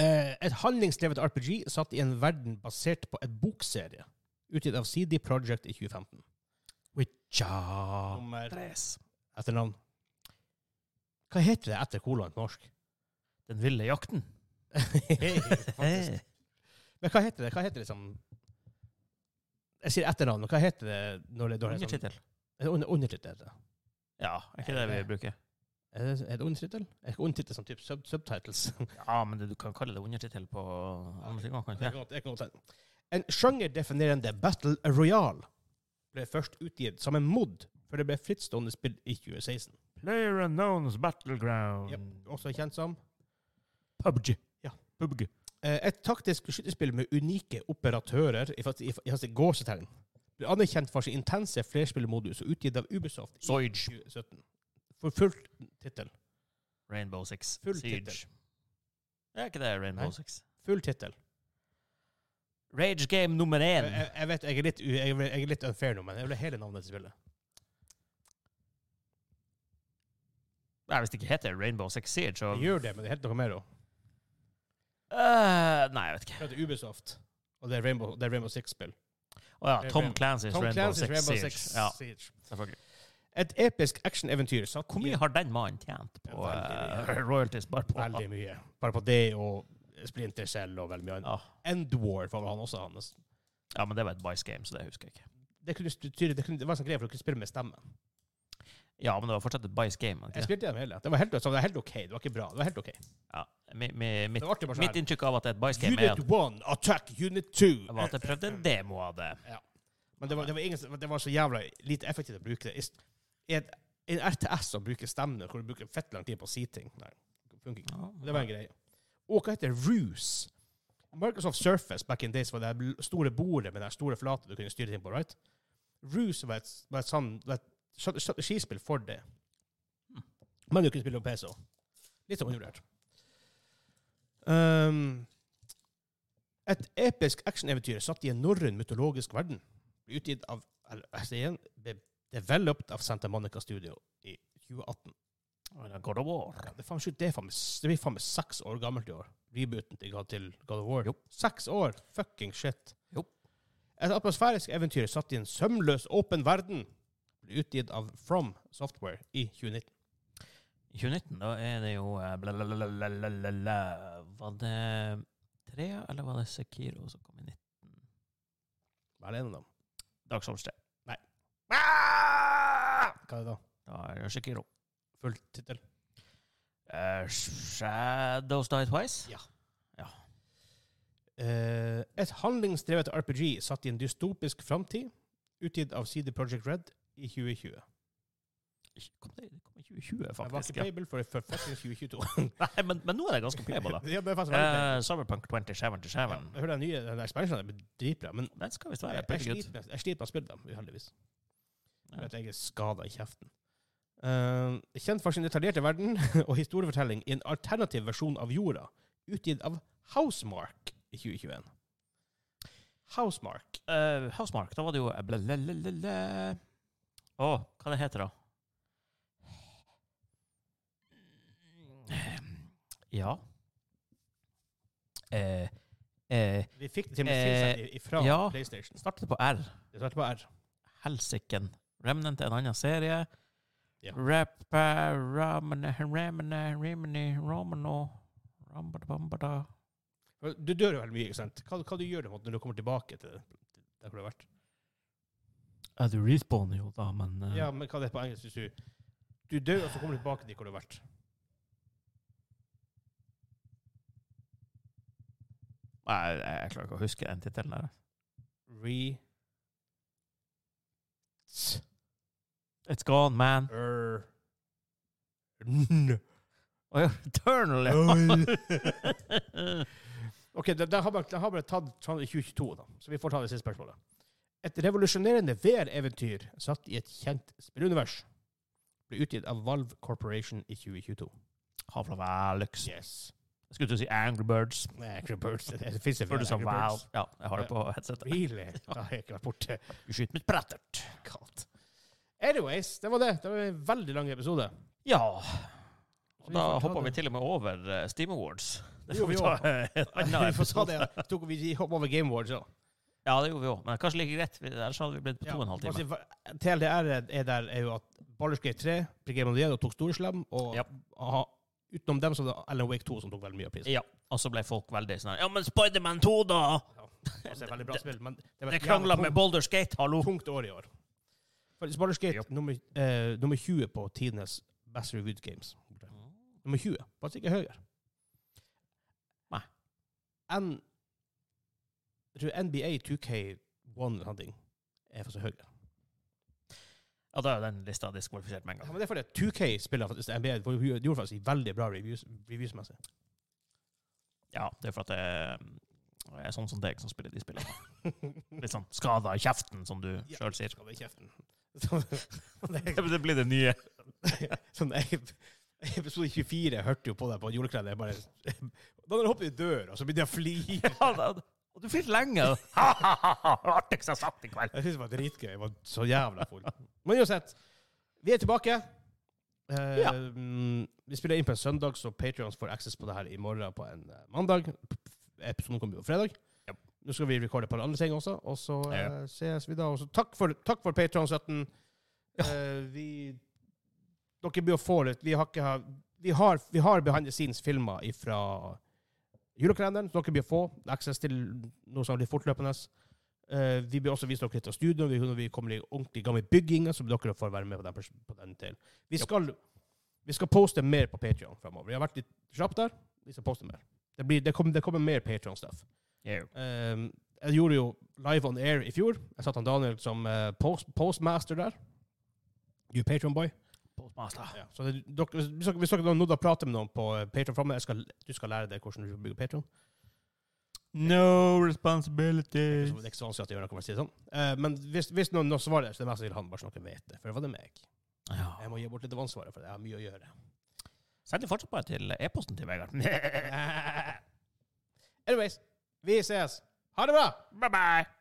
Speaker 1: Eh, et handlingsdrevet RPG satt i en verden basert på en bokserie utgitt av CD Projekt i 2015.
Speaker 2: Witcha
Speaker 1: Nummer
Speaker 2: Tres.
Speaker 1: etternavn. Hva heter det etter kolon på norsk?
Speaker 2: Den ville jakten.
Speaker 1: Faktisk. Men hva heter det? Hva heter det som Jeg sier etternavn, men hva heter det når det, når det er sånn-
Speaker 2: Undertittel.
Speaker 1: Eh, under- Undertittel. heter det.
Speaker 2: Ja, er ikke det vi bruker?
Speaker 1: Er det, er det undertittel? Er ikke undertittel som typ sub subtitles?
Speaker 2: Ja, men det, du kan kalle det undertittel på andre ting. Kan du
Speaker 1: Jeg
Speaker 2: ikke?
Speaker 1: kan godt- jeg kan godt si det. En sjangerdefinerende battle royal ble først utgitt som en mod før det ble frittstående spill i 2016.
Speaker 2: Player unknowns battleground.
Speaker 1: Yep. Også kjent som
Speaker 2: PubG.
Speaker 1: Ja.
Speaker 2: PubG.
Speaker 1: eh, et taktisk skytespill med unike operatører i, fast- i, fast- i, fast- i gåsetegn. Ble anerkjent for sin intense flerspillmodus og utgitt av Ubisoft i
Speaker 2: Soij.
Speaker 1: 2017. For fullt tittel.
Speaker 2: Rainbow Six.
Speaker 1: Full
Speaker 2: Siege.
Speaker 1: tittel.
Speaker 2: Er ikke det Rainbow
Speaker 1: Nei.
Speaker 2: Six?
Speaker 1: Full tittel.
Speaker 2: Rage game nummer
Speaker 1: Jeg,
Speaker 2: én.
Speaker 1: jeg, jeg vet jeg er, litt, u- jeg, er- jeg er litt unfair nå, men jeg vil ha hele navnet til spillet.
Speaker 2: Nei, hvis det ikke heter Rainbow Six Siege, så
Speaker 1: Jeg gjør det, men det heter noe mer òg.
Speaker 2: Øh, Nei, jeg vet ikke.
Speaker 1: Det heter Ubisoft, og det er Rainbow, det er Rainbow Six-spill.
Speaker 2: Å ja, Tom Clancy's
Speaker 1: Tom
Speaker 2: Rainbow
Speaker 1: Clancy's
Speaker 2: Six
Speaker 1: Rainbow
Speaker 2: Siege.
Speaker 1: Six
Speaker 2: Ja,
Speaker 1: Siege.
Speaker 2: selvfølgelig.
Speaker 1: Et episk actioneventyr satt
Speaker 2: Hvor mye har den mannen tjent på
Speaker 1: Ja, veldig
Speaker 2: eh, royalties? Bare på
Speaker 1: Veldig mye. Bare på det og Splinter Cell og veldig mye annet.
Speaker 2: Ja.
Speaker 1: Endwar var vel han også hans.
Speaker 2: ja, men det var et Vice Game, så det husker jeg ikke.
Speaker 1: Det, kunne, stu- tyde- det, kunne, det var en sånn greie for å kunne spille med stemmen.
Speaker 2: Ja, men det var fortsatt et Vice Game. var det
Speaker 1: Jeg
Speaker 2: Ikke? det?
Speaker 1: spilte gjennom hele. Det var helt, så det var helt OK. Det var ikke bra. Det var helt OK.
Speaker 2: Ja, mi, mi,
Speaker 1: Det
Speaker 2: mitt,
Speaker 1: var artig bare
Speaker 2: mitt
Speaker 1: sånn. her.
Speaker 2: inntrykk av at det er et Vice Game, er
Speaker 1: Unit 1,
Speaker 2: at,
Speaker 1: attack unit 2.
Speaker 2: var at jeg prøvde en demo av det.
Speaker 1: Men det var, det, var ingen, som- det var så jævla lite effektivt å bruke det. I s- I et, i en RTS som bruker stemmene, hvor du bruker fett lang tid på å si ting Nei, det funker ikke.
Speaker 2: Ja,
Speaker 1: Det var en greie. Og hva heter Ruse? Microsoft Surface back in days var det bl- store bordet med den store flaten du kunne styre ting på, right? Ruse var et, var et sånn var et strate- strategispill for det.
Speaker 2: Mm.
Speaker 1: Men du kunne spille på PC òg. Litt sånn undervurdert. Um, et episk actioneventyr satt i en norrøn mytologisk verden. Ble utgitt av eller, jeg sier igjen, ble developed av Santa Monica Studio i 2018.
Speaker 2: Eller God of War.
Speaker 1: Ja, det, er faen, ikke- det, er faen, meg s- det blir faen meg seks år gammelt i år. Rebooten til God, til God of War.
Speaker 2: Jo.
Speaker 1: Seks år! Fucking shit.
Speaker 2: Jo.
Speaker 1: Et atmosfærisk eventyr satt i en sømløs, åpen verden. Ble utgitt av From Software i 2019.
Speaker 2: I 2019, da er det jo eh, bla, bla, bla, bla, bla, bla, bla, bla. Var det tre, eller var det Sekiro som kom i 19?
Speaker 1: Hva er det en av dem?
Speaker 2: Dark Souls 3.
Speaker 1: Hva er det da?
Speaker 2: Da er det Sekiro.
Speaker 1: Full tittel?
Speaker 2: Eh, Shadows Die Twice.
Speaker 1: Eh, et handlingsdrevet RPG satt i en dystopisk framtid. Utgitt av CD Projekt Red i 2020.
Speaker 2: Kom det, det kom i 2020,
Speaker 1: Det var
Speaker 2: faktisk.
Speaker 1: ikke
Speaker 2: Ja.
Speaker 1: playable for, for fucking 2022.
Speaker 2: Nei, men, men nå er det ganske playable, da.
Speaker 1: Ja, det er faktisk veldig playable.
Speaker 2: Eh, Cyberpunk 2077.
Speaker 1: Ja, Jeg hører den nye den expansionen er dritbra, men
Speaker 2: Den skal visst være
Speaker 1: jeg,
Speaker 2: pretty good.
Speaker 1: sliter med- jeg sliter med å spille dem, uheldigvis.
Speaker 2: Ja.
Speaker 1: For at jeg er skada i kjeften. Eh, kjent for sin detaljerte verden og historiefortelling i en alternativ versjon av jorda, utgitt av Housemark i 2021. Housemark.
Speaker 2: Eh, Housemark, da var det jo eh, bla, la, la, la, la. Å, hva det heter da? Ja eh, eh,
Speaker 1: Vi fikk det til og
Speaker 2: Eh,
Speaker 1: med tilsendt fra
Speaker 2: ja.
Speaker 1: PlayStation.
Speaker 2: Startet på R.
Speaker 1: Det starter på R.
Speaker 2: Helsiken. Remnant er en annen serie.
Speaker 1: Ja.
Speaker 2: Rappa, Ramene, Remene, Remene, Romano Rambadabambada.
Speaker 1: Du dør jo veldig mye, ikke sant? Hva, hva du gjør du når du kommer tilbake til der hvor du har vært?
Speaker 2: Ja, du respawner jo da, men eh,
Speaker 1: Ja, men hva det er på engelsk hvis du Du dør, og så kommer du tilbake dit hvor du har vært.
Speaker 2: Nei, jeg, jeg klarer ikke å huske den tittelen der.
Speaker 1: Re...
Speaker 2: It's gone, man.
Speaker 1: Er...
Speaker 2: Oh, ja. Eternal, ja.
Speaker 1: Ok, det, det, har bare, det har bare tatt sånn i 2022, da. så vi får ta det siste spørsmålet. Et revolusjonerende VR-eventyr satt i et kjent spillunivers ble utgitt av Valve Corporation i 2022.
Speaker 2: Havla Valux.
Speaker 1: Yes.
Speaker 2: Jeg skulle til å si Angry Birds.
Speaker 1: Angry Birds. Det, det finnes en
Speaker 2: Før du sånn sa
Speaker 1: Angry
Speaker 2: Val.
Speaker 1: Birds.
Speaker 2: Ja, jeg har det på headsetet.
Speaker 1: Really? Da har jeg ikke vært borte.
Speaker 2: Du skyter mitt brettert.
Speaker 1: Kaldt. Anyways, det var det. Det var en veldig lang episode.
Speaker 2: Ja.
Speaker 1: Så vi
Speaker 2: Og da
Speaker 1: får ta
Speaker 2: hoppa vi
Speaker 1: det.
Speaker 2: til og med over eh, Steam Awards. Det
Speaker 1: Jo,
Speaker 2: får vi
Speaker 1: vi
Speaker 2: ta
Speaker 1: også.
Speaker 2: eh, en annen
Speaker 1: Vi får ta
Speaker 2: episode.
Speaker 1: det. Tok vi hoppa over Game Awards òg.
Speaker 2: Ja, det gjorde vi òg. Men kanskje like greit, vi- ellers hadde vi blitt på to og en halv time.
Speaker 1: Altså, TLDR er der er jo at Baldur's Gate 3 ble Game of the Year og tok store slem, og
Speaker 2: Ja.
Speaker 1: aha, utenom dem, så var det Alan Wake 2 som tok veldig mye av prisen.
Speaker 2: Ja, og så ble folk veldig sånn her, Ja, men Spiderman 2, da!
Speaker 1: Altså, det er veldig bra
Speaker 2: Det-
Speaker 1: spill, men det, var et
Speaker 2: Det
Speaker 1: jævla
Speaker 2: krangla med
Speaker 1: tungt,
Speaker 2: Boulder Skate, hallo!
Speaker 1: tungt år i år. Faktisk Baldur's Gate
Speaker 2: Japp.
Speaker 1: nummer, eh, nummer 20 på tidenes best reviewed games. Nummer 20. Faktisk ikke høyere.
Speaker 2: Nei.
Speaker 1: Enn jeg tror NBA 2K1 eller noe er faktisk høyere.
Speaker 2: Ja, da er jo den lista diskvalifisert med en
Speaker 1: Ja,
Speaker 2: gang.
Speaker 1: men det er fordi at 2K spiller faktisk NBA. hvor De gjorde faktisk veldig bra reviews, reviewsmessig.
Speaker 2: Ja, det er for at det er- er sånn som deg som spiller de spillene. Litt sånn skada i kjeften, som du
Speaker 1: Ja.
Speaker 2: sjøl sier.
Speaker 1: Skal vi i kjeften. Sånn-
Speaker 2: Det blir det nye.
Speaker 1: sånn, jeg, episode 24 hørte jo på deg på julekledd. Jeg bare Da når du hopper i døra, så begynner jeg å flire.
Speaker 2: Ja, da, og du flirer lenge. Ha-ha-ha! Artigst jeg har sagt i kveld.
Speaker 1: Jeg synes det var dritgøy. Jeg var så jævla full. Men uansett, vi er tilbake. Eh,
Speaker 2: Ja.
Speaker 1: mm, Vi spiller inn på en søndag, så Patrions får access på det her i morgen på en eh, mandag. Episoden kommer jo fredag.
Speaker 2: Ja.
Speaker 1: Nå skal vi recorde et par andre ting også, og så eh,
Speaker 2: Ja,
Speaker 1: ses vi da. Og så takk for, takk for Patreon 17. Eh, vi Dere blir å få litt Vi har ikke ha- Vi har, vi har behind the scenes-filmer fra julekalenderen, så dere blir å få access til noe som blir fortløpende. Eh, vi blir også vist dere litt av studioet. Vi, når vi kommer i ordentlig gang med bygginga, så dere får være med på den, pers- på den til. Vi skal, vi skal poste mer på Patreon fremover. Vi har vært litt kjappe der. Vi skal poste mer. Det, blir, det, kommer, det kommer mer Patreon-stuff. Ehm, jeg gjorde jo Live on Air i fjor. Jeg satt han Daniel som eh, post, postmaster der. You Patreon-boy.
Speaker 2: Postmaster.
Speaker 1: Ja. Så det, dere, hvis dere- hvis dere har noe å prate med noen på eh, Patreon framme, du skal lære deg hvordan du bygger Patreon.
Speaker 2: No responsibilities.
Speaker 1: Så Det er ikke så vanskelig at jeg gjør noe, kan man si det sånn. Eh, men hvis, hvis noen, noen svarer, så er det mest sannsynlig han bare så dere vet det. For det var det meg.
Speaker 2: Ja.
Speaker 1: Jeg må gi bort litt av ansvaret, for jeg har mye å gjøre.
Speaker 2: Send det fortsatt bare til e-posten til Vegard.
Speaker 1: Anyways, vi ses. Ha det bra!
Speaker 2: Bye-bye.